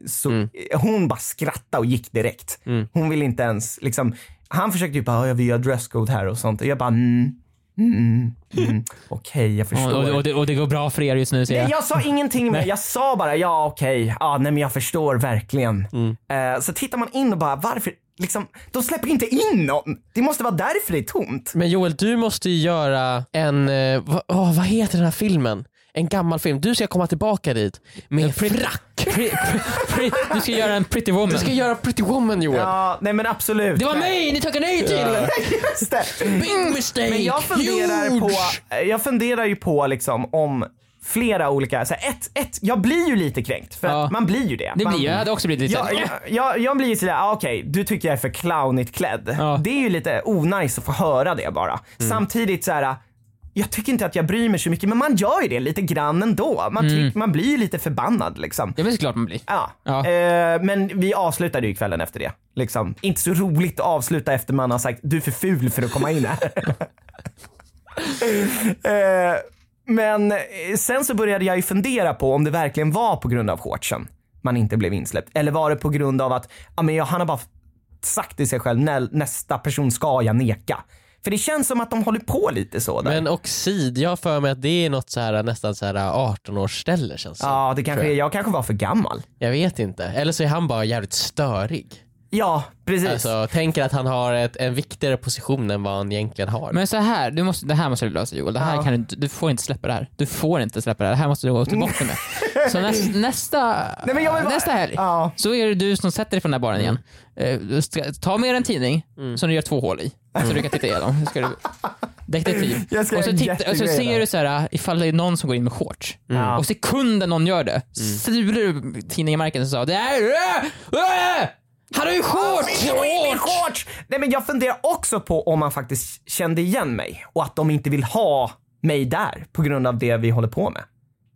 Speaker 3: så,
Speaker 2: Mm.
Speaker 3: Hon bara skrattade och gick direkt. Hon ville inte ens... Liksom, han försökte ju bara, "Ja, jag vill göra dresscode här och sånt. Och jag bara, mm, mm, mm. okej, jag förstår.
Speaker 4: Och, och, och, det, och det går bra för er just nu ser
Speaker 3: Nej,
Speaker 4: jag.
Speaker 3: jag sa ingenting mer. Jag sa bara ja okej, ja, nej men jag förstår verkligen. Eh, så tittar man in och bara varför, liksom, de släpper inte in någon. Det måste vara därför det är tomt.
Speaker 2: Men Joel, du måste ju göra en, eh, va, åh, vad heter den här filmen? En gammal film. Du ska komma tillbaka dit med frack.
Speaker 4: Pre- pre- pre- Du ska göra en pretty
Speaker 2: [LAUGHS]
Speaker 4: woman.
Speaker 2: Du ska göra Pretty Woman Joel.
Speaker 3: Ja, nej men absolut. [LAUGHS]
Speaker 4: Det var mig ni tackade nej till!
Speaker 3: Just det.
Speaker 2: Big mistake!
Speaker 3: Men jag funderar,
Speaker 2: Mm, Huge!
Speaker 3: på, jag funderar ju på liksom om flera olika, så här, ett, ett, jag blir ju lite kränkt för
Speaker 4: Ja.
Speaker 3: att man blir ju det.
Speaker 4: Det
Speaker 3: man,
Speaker 4: blir jag, jag hade också blivit lite
Speaker 3: jag, jag, jag, jag blir ju sådär, ah, okej du tycker jag är för clownigt klädd.
Speaker 4: Ja.
Speaker 3: Det är ju lite onajs att få höra det bara. Samtidigt så här. Jag tycker inte att jag bryr mig så mycket men man gör ju det lite grann ändå. Man, tyck, man blir ju lite förbannad liksom.
Speaker 4: Det är väl såklart man blir.
Speaker 3: Ja.
Speaker 4: Ja.
Speaker 3: Eh, men vi avslutade ju kvällen efter det. Liksom. Inte så roligt att avsluta efter man har sagt du är för ful för att komma in här. [LAUGHS] eh, men eh, sen så började jag ju fundera på om det verkligen var på grund av shortsen man inte blev insläppt. Eller var det på grund av att ja, men jag, han har bara sagt till sig själv "Nä- nästa person ska jag neka. För det känns som att de håller på lite så. Där.
Speaker 2: Men oxid, jag har för mig att det är något så här, nästan så här 18-årsställe känns det som.
Speaker 3: ja, det kanske är, jag kanske var för gammal.
Speaker 2: Jag vet inte. Eller så är han bara jävligt störig.
Speaker 3: Ja, precis.
Speaker 2: Alltså, tänker att han har ett, en viktigare position än vad han egentligen har.
Speaker 4: Men så här, du måste, det här måste du lösa Joel. Det här
Speaker 3: Ja.
Speaker 4: kan du, inte- du får inte släppa det här. Du får inte släppa det här. Det här måste du gå till botten med.
Speaker 3: [LAUGHS]
Speaker 4: Så näs, nästa,
Speaker 3: Nej, men jag vill bara-
Speaker 4: nästa helg
Speaker 3: Ja. Mm.
Speaker 4: så är det du som sätter dig från den där baren igen. Eh, du ska- Ta med dig en tidning som du gör två hål i. Så du kan titta igenom.
Speaker 3: [LAUGHS]
Speaker 4: Ska du, detektiv.
Speaker 3: Jag ska
Speaker 4: och, så
Speaker 3: göra en
Speaker 4: titta, och så
Speaker 3: jättegrej
Speaker 4: ser
Speaker 3: där. Mm.
Speaker 4: du så här, ifall det är någon som går in med shorts.
Speaker 3: Ja.
Speaker 4: Och sekunden någon gör det, sular du tidningen i marken och sa det är... Äh, äh, han har ju shorts!
Speaker 3: Min shorts! Min shorts! Nej men jag funderar också på om man faktiskt kände igen mig och att de inte vill ha mig där på grund av det vi håller på med.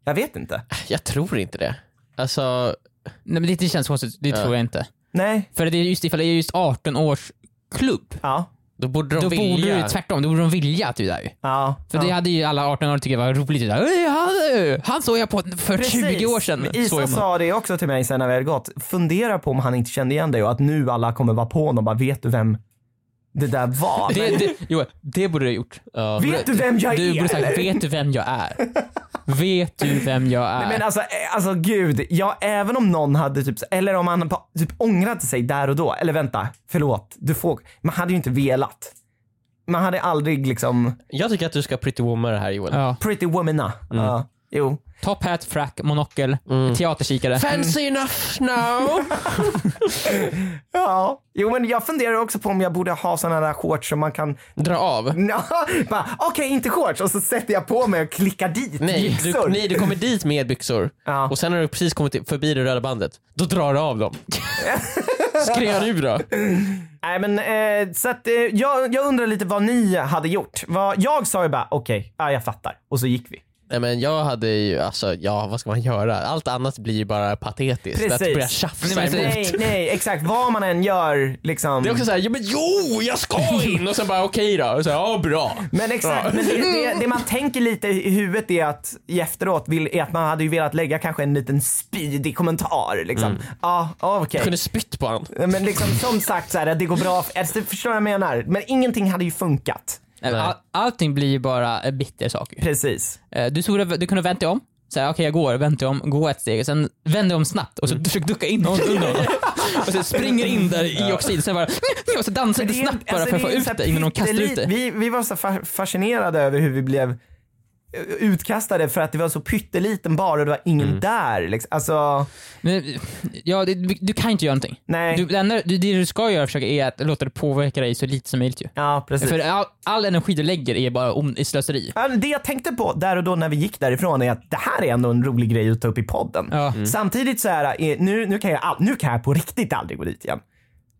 Speaker 3: Jag vet inte.
Speaker 2: Jag tror inte det. Alltså,
Speaker 4: Nej men det, det känns konstigt, det tror jag inte.
Speaker 3: Nej.
Speaker 4: För det är just ifall det är just 18 års klubb,
Speaker 3: Ja.
Speaker 2: då borde de
Speaker 4: då
Speaker 2: vilja.
Speaker 4: borde du tvärtom, då borde de vilja att du är där.
Speaker 3: Ja.
Speaker 4: För
Speaker 3: ja.
Speaker 4: det hade ju alla 18 år tyckt var roligt. Det där, "Ey, han, han såg jag på för 20 år sedan.
Speaker 3: Men Isa
Speaker 4: såg man.
Speaker 3: sa det också till mig sen när vi hade gått. Fundera på om han inte kände igen dig och att nu alla kommer vara på honom och bara vet du vem det där var?
Speaker 4: Det, det, jo, det borde du ha gjort.
Speaker 2: Ja.
Speaker 3: vet du vem jag
Speaker 4: Du
Speaker 3: är?
Speaker 4: borde sagt,
Speaker 3: eller?
Speaker 4: vet du vem jag är? vet du vem jag är?
Speaker 3: Men alltså, eh, alltså gud, ja, även om någon hade typ, eller om han pa- typ ångrat sig där och då, eller vänta, förlåt, du får, man hade ju inte velat. Man hade aldrig liksom,
Speaker 2: Jag tycker att du ska pretty woman det här Joel.
Speaker 4: ja.
Speaker 3: pretty womana.
Speaker 2: Mm.
Speaker 3: Ja, jo.
Speaker 4: Top hat, frack, monokel, teaterkikare.
Speaker 2: Fancy enough now.
Speaker 3: Ja. Jo men jag funderar också på om jag borde ha sådana där shorts som man kan, [LAUGHS]
Speaker 2: Dra av.
Speaker 3: ja, bara okej inte shorts och så sätter jag på mig och klickar dit
Speaker 2: Nej
Speaker 3: byxor.
Speaker 2: du, nej, du kommer dit med byxor
Speaker 3: Ja.
Speaker 2: och sen när du precis kommit förbi det röda bandet, då drar du av
Speaker 4: [LAUGHS]
Speaker 2: dem. Skrev du då?
Speaker 3: Nej men eh, så att eh, jag, jag undrar lite vad ni hade gjort. Vad, jag sa ju bara okej, ja, jag fattar och så gick vi.
Speaker 2: Nej men jag hade ju, alltså ja vad ska man göra? Allt annat blir ju bara patetiskt. Att
Speaker 3: Precis.
Speaker 2: börja tjafsa
Speaker 4: Nej, men
Speaker 2: emot.
Speaker 3: Nej, nej, exakt. Vad man än gör liksom.
Speaker 2: Det är också såhär, ja, men jo jag ska in! Och sen bara okej då. Och så, här, ja bra.
Speaker 3: Men exakt, men det, det, det man tänker lite i huvudet är att i efteråt vill, är att man hade ju velat lägga kanske en liten spydig kommentar. Liksom. Ja, ja, okej.
Speaker 2: Jag kunde spytt på han.
Speaker 3: Men liksom, som sagt, så här, det går bra. Alltså, förstår vad jag menar? Men ingenting hade ju funkat.
Speaker 4: Nej, men All, allting blir ju bara eh, bittersaker.
Speaker 3: Precis.
Speaker 4: Eh, Du, tog, det- du kunde vänta dig om. Säga okej jag går, vänta dig om, gå ett steg, och sen vände om snabbt och så försöker ducka in någon under honom. Och sen springer in där i oxid, sen bara, [LAUGHS] och så dansar lite
Speaker 3: är-
Speaker 4: snabbt bara
Speaker 3: alltså,
Speaker 4: för att
Speaker 3: det
Speaker 4: få
Speaker 3: är ju
Speaker 4: ut
Speaker 3: så här
Speaker 4: det innan de kastar ut
Speaker 3: pyttelite-
Speaker 4: det.
Speaker 3: Vi, vi var så fa- fascinerade över hur vi blev eh, utkastade för att det var så pytteliten bar och det var ingen där. Liksom. Alltså,
Speaker 4: Men, ja, det, du kan inte göra någonting.
Speaker 3: nej.
Speaker 4: Du, det, enda, du, det du ska göra försöka är att låta det påverka dig så lite som möjligt ju.
Speaker 3: Ja, precis.
Speaker 4: För all, all energi du lägger är bara om, i slöseri.
Speaker 3: Ja, men Det jag tänkte på där och då när vi gick därifrån är att det här är ändå en rolig grej att ta upp i podden.
Speaker 4: Ja.
Speaker 3: Samtidigt så här, eh, nu, nu, kan jag, all- nu kan jag på riktigt aldrig gå dit igen.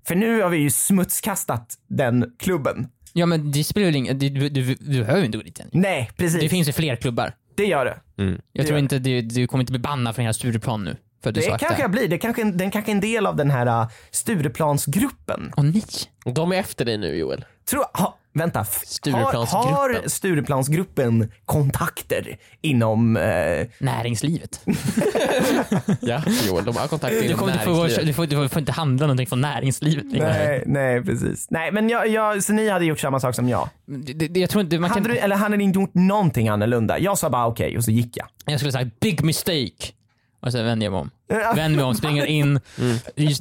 Speaker 3: För nu har vi ju smutskastat den klubben.
Speaker 4: Ja men det spelar väl ingen, du, du, du, du behöver ju inte gå dit än.
Speaker 3: Nej, precis.
Speaker 4: Det
Speaker 3: Det,
Speaker 4: finns ju fler klubbar.
Speaker 3: gör det.
Speaker 4: Jag
Speaker 3: Det
Speaker 4: tror
Speaker 3: gör
Speaker 4: inte du, du kommer inte bli bannad från hela Stureplan nu. För att du
Speaker 3: Det
Speaker 4: sa att
Speaker 3: kanske jag blir. Det kanske, den kanske är en del av den här eh, Stureplansgruppen.
Speaker 4: Åh nej.
Speaker 2: De är efter dig nu Joel.
Speaker 3: Tror, ha, vänta. F-
Speaker 2: Stureplansgruppen.
Speaker 3: Har, har Stureplansgruppen kontakter inom... Eh,
Speaker 4: Näringslivet.
Speaker 2: Ja, Joel. De har kontakt
Speaker 4: Du,
Speaker 2: inom
Speaker 4: kommer inte få,
Speaker 2: näringslivet.
Speaker 4: du, får, du får inte handla någonting från näringslivet längre.
Speaker 3: nej, nej, precis. Nej, men jag, jag, så ni hade gjort samma sak som jag?
Speaker 4: Det, det, det- jag tror inte, man kan,
Speaker 3: Hade du, eller hade ni inte gjort någonting annorlunda? Jag sa bara okej och så gick jag.
Speaker 4: Jag skulle sagt big mistake. Och sen vänder jag mig om. Vänder mig
Speaker 3: [LAUGHS]
Speaker 4: om, springer in,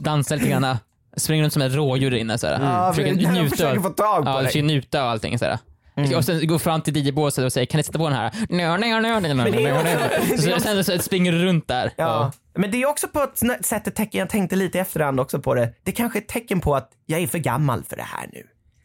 Speaker 4: dansar lite grann. Springer runt som ett rådjur där inne. Såhär.
Speaker 3: Ja,
Speaker 4: Försöker
Speaker 3: [LAUGHS] för-
Speaker 4: njuta.
Speaker 3: försöker få tag på
Speaker 4: ja,
Speaker 3: dig. Mm.
Speaker 4: försöker njuta och allting sådär. Och sen går fram till DJ-båset och säger kan ni sätta på
Speaker 3: [LAUGHS]
Speaker 4: den här? Nö, nö, nö, nö, nö,
Speaker 3: det är
Speaker 4: nö,
Speaker 3: också-
Speaker 4: nö.
Speaker 3: det är
Speaker 4: Så Sen så springer du runt där.
Speaker 3: Ja.
Speaker 4: Ja.
Speaker 3: Men det är också på ett snö- sätt ett tecken, jag tänkte lite i efterhand också på det. Det kanske är ett tecken på att jag är för gammal för det här nu.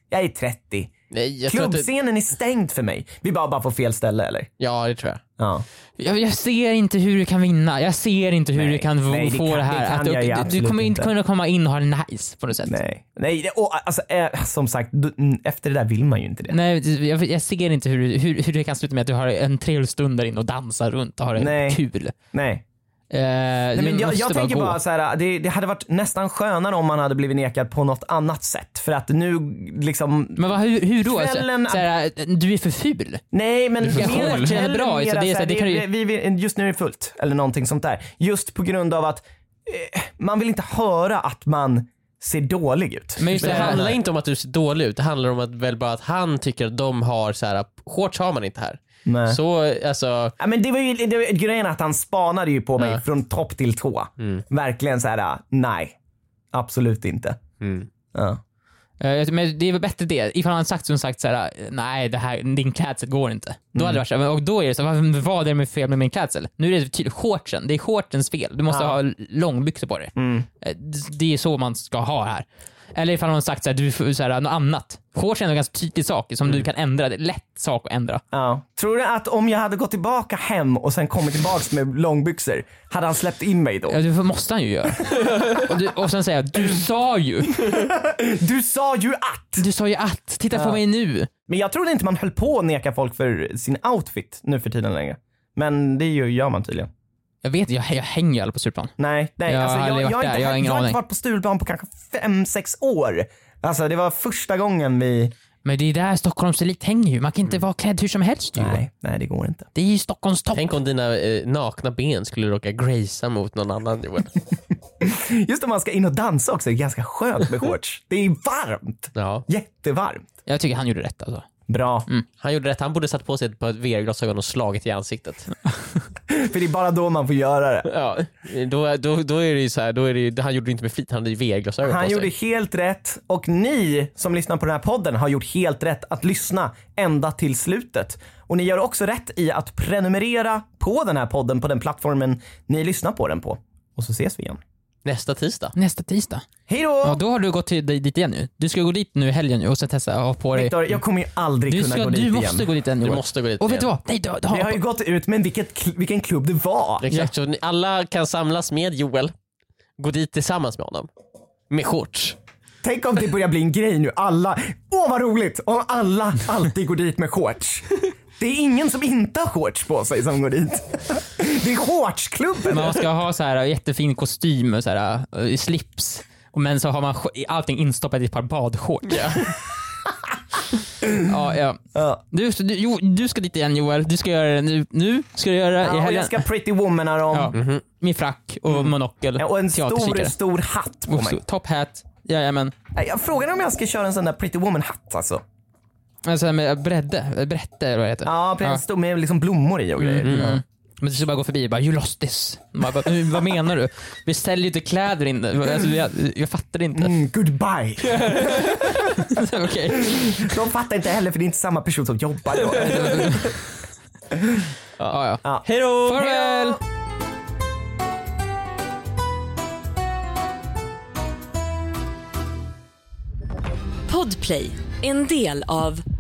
Speaker 3: Jag är 30.
Speaker 2: Nej, jag tror att det,
Speaker 3: Klubbscenen är stängd för mig. Vi bara bara på fel ställe eller?
Speaker 2: Ja, det tror jag.
Speaker 3: Ja.
Speaker 4: Jag, jag ser inte hur du kan vinna. Jag ser inte hur
Speaker 3: Nej,
Speaker 4: du kan v-
Speaker 3: nej, det
Speaker 4: få
Speaker 3: kan-
Speaker 4: det, här.
Speaker 3: det kan jag ju
Speaker 4: att du, du,
Speaker 3: absolut
Speaker 4: du kommer
Speaker 3: inte.
Speaker 4: inte kunna komma in och ha det nice på något sätt.
Speaker 3: Nej. Nej, det, och, alltså, eh, som sagt, du- mm, efter det där vill man ju inte det.
Speaker 4: Nej, jag, jag ser inte hur, du- hur, hur det kan sluta med att du har en trevlig stund där inne och dansar runt och har det
Speaker 3: Nej.
Speaker 4: kul.
Speaker 3: Nej.
Speaker 4: Eh,
Speaker 3: Nej,
Speaker 4: du
Speaker 3: men jag,
Speaker 4: måste
Speaker 3: jag tänker
Speaker 4: gå.
Speaker 3: bara så här, det, det hade varit nästan skönare om man hade blivit nekad på något annat sätt. För att nu liksom,
Speaker 4: Men vad, hur, hur då?
Speaker 3: Kvällen-
Speaker 4: Så, så här, du är för ful.
Speaker 3: Nej men
Speaker 4: får
Speaker 3: mer
Speaker 4: koll.
Speaker 3: hotell,
Speaker 4: Det är bra,
Speaker 3: mera
Speaker 4: så det är så här,
Speaker 3: så här,
Speaker 4: det kan
Speaker 3: det-
Speaker 4: ju-
Speaker 3: vi, vi, just nu är det fullt eller någonting sånt där. Just på grund av att eh, man vill inte höra att man ser dålig ut.
Speaker 4: Men just
Speaker 2: Men
Speaker 4: det
Speaker 2: det
Speaker 4: här,
Speaker 2: handlar inte om att du ser dålig ut. Det handlar om att väl bara att han tycker att de har så här. Shorts har man inte här.
Speaker 3: Nej.
Speaker 2: Så alltså.
Speaker 3: Ja, men det var ju det var, grejen är att han spanade ju på mig från topp till tå.
Speaker 4: Mm.
Speaker 3: Verkligen så här, ah, nej. Absolut inte. Ja.
Speaker 4: eh, men det är väl bättre det. Ifall han sagt som sagt så här, eh, nej det här, din klädsel går inte. Då hade det varit så här, och då är det så här, "Vad- vad är det med fel med min klädsel? Nu är det tydligt shortsen, det är shortens fel. Du måste
Speaker 3: Ja.
Speaker 4: ha långbyxor på dig. Eh, det- Det är så man ska ha här. Eller ifall han sagt så här, du får så här, något annat. Shortsen är en ganska tydlig sak som du kan ändra, det är en lätt sak att ändra.
Speaker 3: Ja. Tror du att om jag hade gått tillbaka hem och sen kommit tillbaka med långbyxor, hade han släppt in mig då?
Speaker 4: Ja, det måste han ju göra. och, du, och sen säger jag, du sa ju
Speaker 3: Du sa ju att!
Speaker 4: Du sa ju att, titta på mig nu.
Speaker 3: Men jag trodde inte man höll på att neka folk för sin outfit nu för tiden längre. Men det ju- gör man tydligen.
Speaker 4: Jag vet, jag, jag hänger ju aldrig på Stureplan.
Speaker 3: Nej, nej.
Speaker 4: Jag har
Speaker 3: alltså, jag, jag,
Speaker 4: aldrig varit
Speaker 3: har inte,
Speaker 4: där, jag har ingen
Speaker 3: jag har inte
Speaker 4: aning.
Speaker 3: varit på Stureplan på kanske fem, sex år. Alltså det var första gången vi...
Speaker 4: Men det är där Stockholms elit hänger ju. Man kan inte vara klädd hur som helst ju.
Speaker 3: Nej, nej det går inte.
Speaker 4: Det är ju Stockholms topp.
Speaker 2: Tänk om dina eh, nakna ben skulle råka gracea mot någon annan
Speaker 3: [LAUGHS]
Speaker 2: Joel.
Speaker 3: Just om man ska in och dansa också, det är ganska skönt
Speaker 4: [LAUGHS]
Speaker 3: med shorts. Det är varmt.
Speaker 2: Ja.
Speaker 3: Jättevarmt.
Speaker 4: Jag tycker han gjorde rätt alltså.
Speaker 3: Bra.
Speaker 2: Han gjorde rätt. Han borde satt på sig ett par VR-glasögon och slagit i
Speaker 3: [LAUGHS]
Speaker 2: ansiktet.
Speaker 3: För det är bara då man får göra det.
Speaker 2: Ja. Då, då, då är det ju så här, då är det ju, han gjorde det inte med flit, han hade ju VR-glasögon på
Speaker 3: Han
Speaker 2: sig.
Speaker 3: gjorde helt rätt och ni som lyssnar på den här podden har gjort helt rätt att lyssna ända till slutet. Och ni gör också rätt i att prenumerera på den här podden på den plattformen ni lyssnar på den på. Och så ses vi igen.
Speaker 2: Nästa tisdag.
Speaker 4: Nästa tisdag.
Speaker 3: Hej då!
Speaker 4: Ja, då har du gått till, dit igen nu. Du ska gå dit nu i helgen ju och så testa ha på dig.
Speaker 3: Viktor, jag kommer ju aldrig
Speaker 4: Du,
Speaker 3: kunna
Speaker 4: ska,
Speaker 3: gå
Speaker 4: du
Speaker 3: dit
Speaker 4: måste
Speaker 3: igen.
Speaker 4: gå dit igen
Speaker 2: Du
Speaker 4: Joel.
Speaker 2: måste gå dit
Speaker 4: Och
Speaker 2: igen.
Speaker 4: vet du vad? Nej, du, du,
Speaker 3: Vi har ju gått ut med vilket, kl- vilken klubb det var.
Speaker 2: Exakt, så ni alla kan samlas med Joel, gå dit tillsammans med honom. Med shorts.
Speaker 3: Tänk om det börjar bli en grej nu. Alla, åh vad roligt om alla alltid går dit med shorts. Det är ingen som inte har shorts på sig som går dit. Det är shortsklubben.
Speaker 4: Man ska ha så här eh, jättefin kostym och så här, eh, slips. Och Men så har man sk- allting instoppat i ett par badshorts. [LAUGHS] ja, ja.
Speaker 3: Ja.
Speaker 4: Du, du, jo, du ska dit igen Joel. Du ska göra det nu. nu ska du göra det i
Speaker 3: Ja, och
Speaker 4: helgen.
Speaker 3: jag ska pretty womana dem.
Speaker 4: ja.
Speaker 2: Mhm.
Speaker 4: Min frack och monokel.
Speaker 3: Mhm. Ja, Och en stor, oh
Speaker 4: teaterkikare.
Speaker 3: stor hatt på
Speaker 4: Och
Speaker 3: mig.
Speaker 4: så- Top hat. Jajamän.
Speaker 3: Nej, Jag frågar om jag ska köra en sån där pretty woman-hatt alltså.
Speaker 4: Alltså med bredde. Brette eller vad det heter.
Speaker 3: Ja, på en stor med liksom blommor i och
Speaker 4: Mm,
Speaker 3: grejer.
Speaker 2: Mm.
Speaker 3: Ja.
Speaker 4: Men du ska bara gå förbi och bara “you lost this”. Man Bara, "Nu, vad menar du? Vi säljer ju inte kläder inne. Alltså, jag, jag
Speaker 3: [LAUGHS]
Speaker 4: fattar inte. [LAUGHS]
Speaker 3: Mm, goodbye.
Speaker 4: Okej. [LAUGHS]
Speaker 3: De fattar inte heller för det är inte samma person som jobbar då.
Speaker 4: Ja, ja.
Speaker 3: Ja.
Speaker 2: Hej då!
Speaker 4: Farväl!
Speaker 1: Podplay, en del av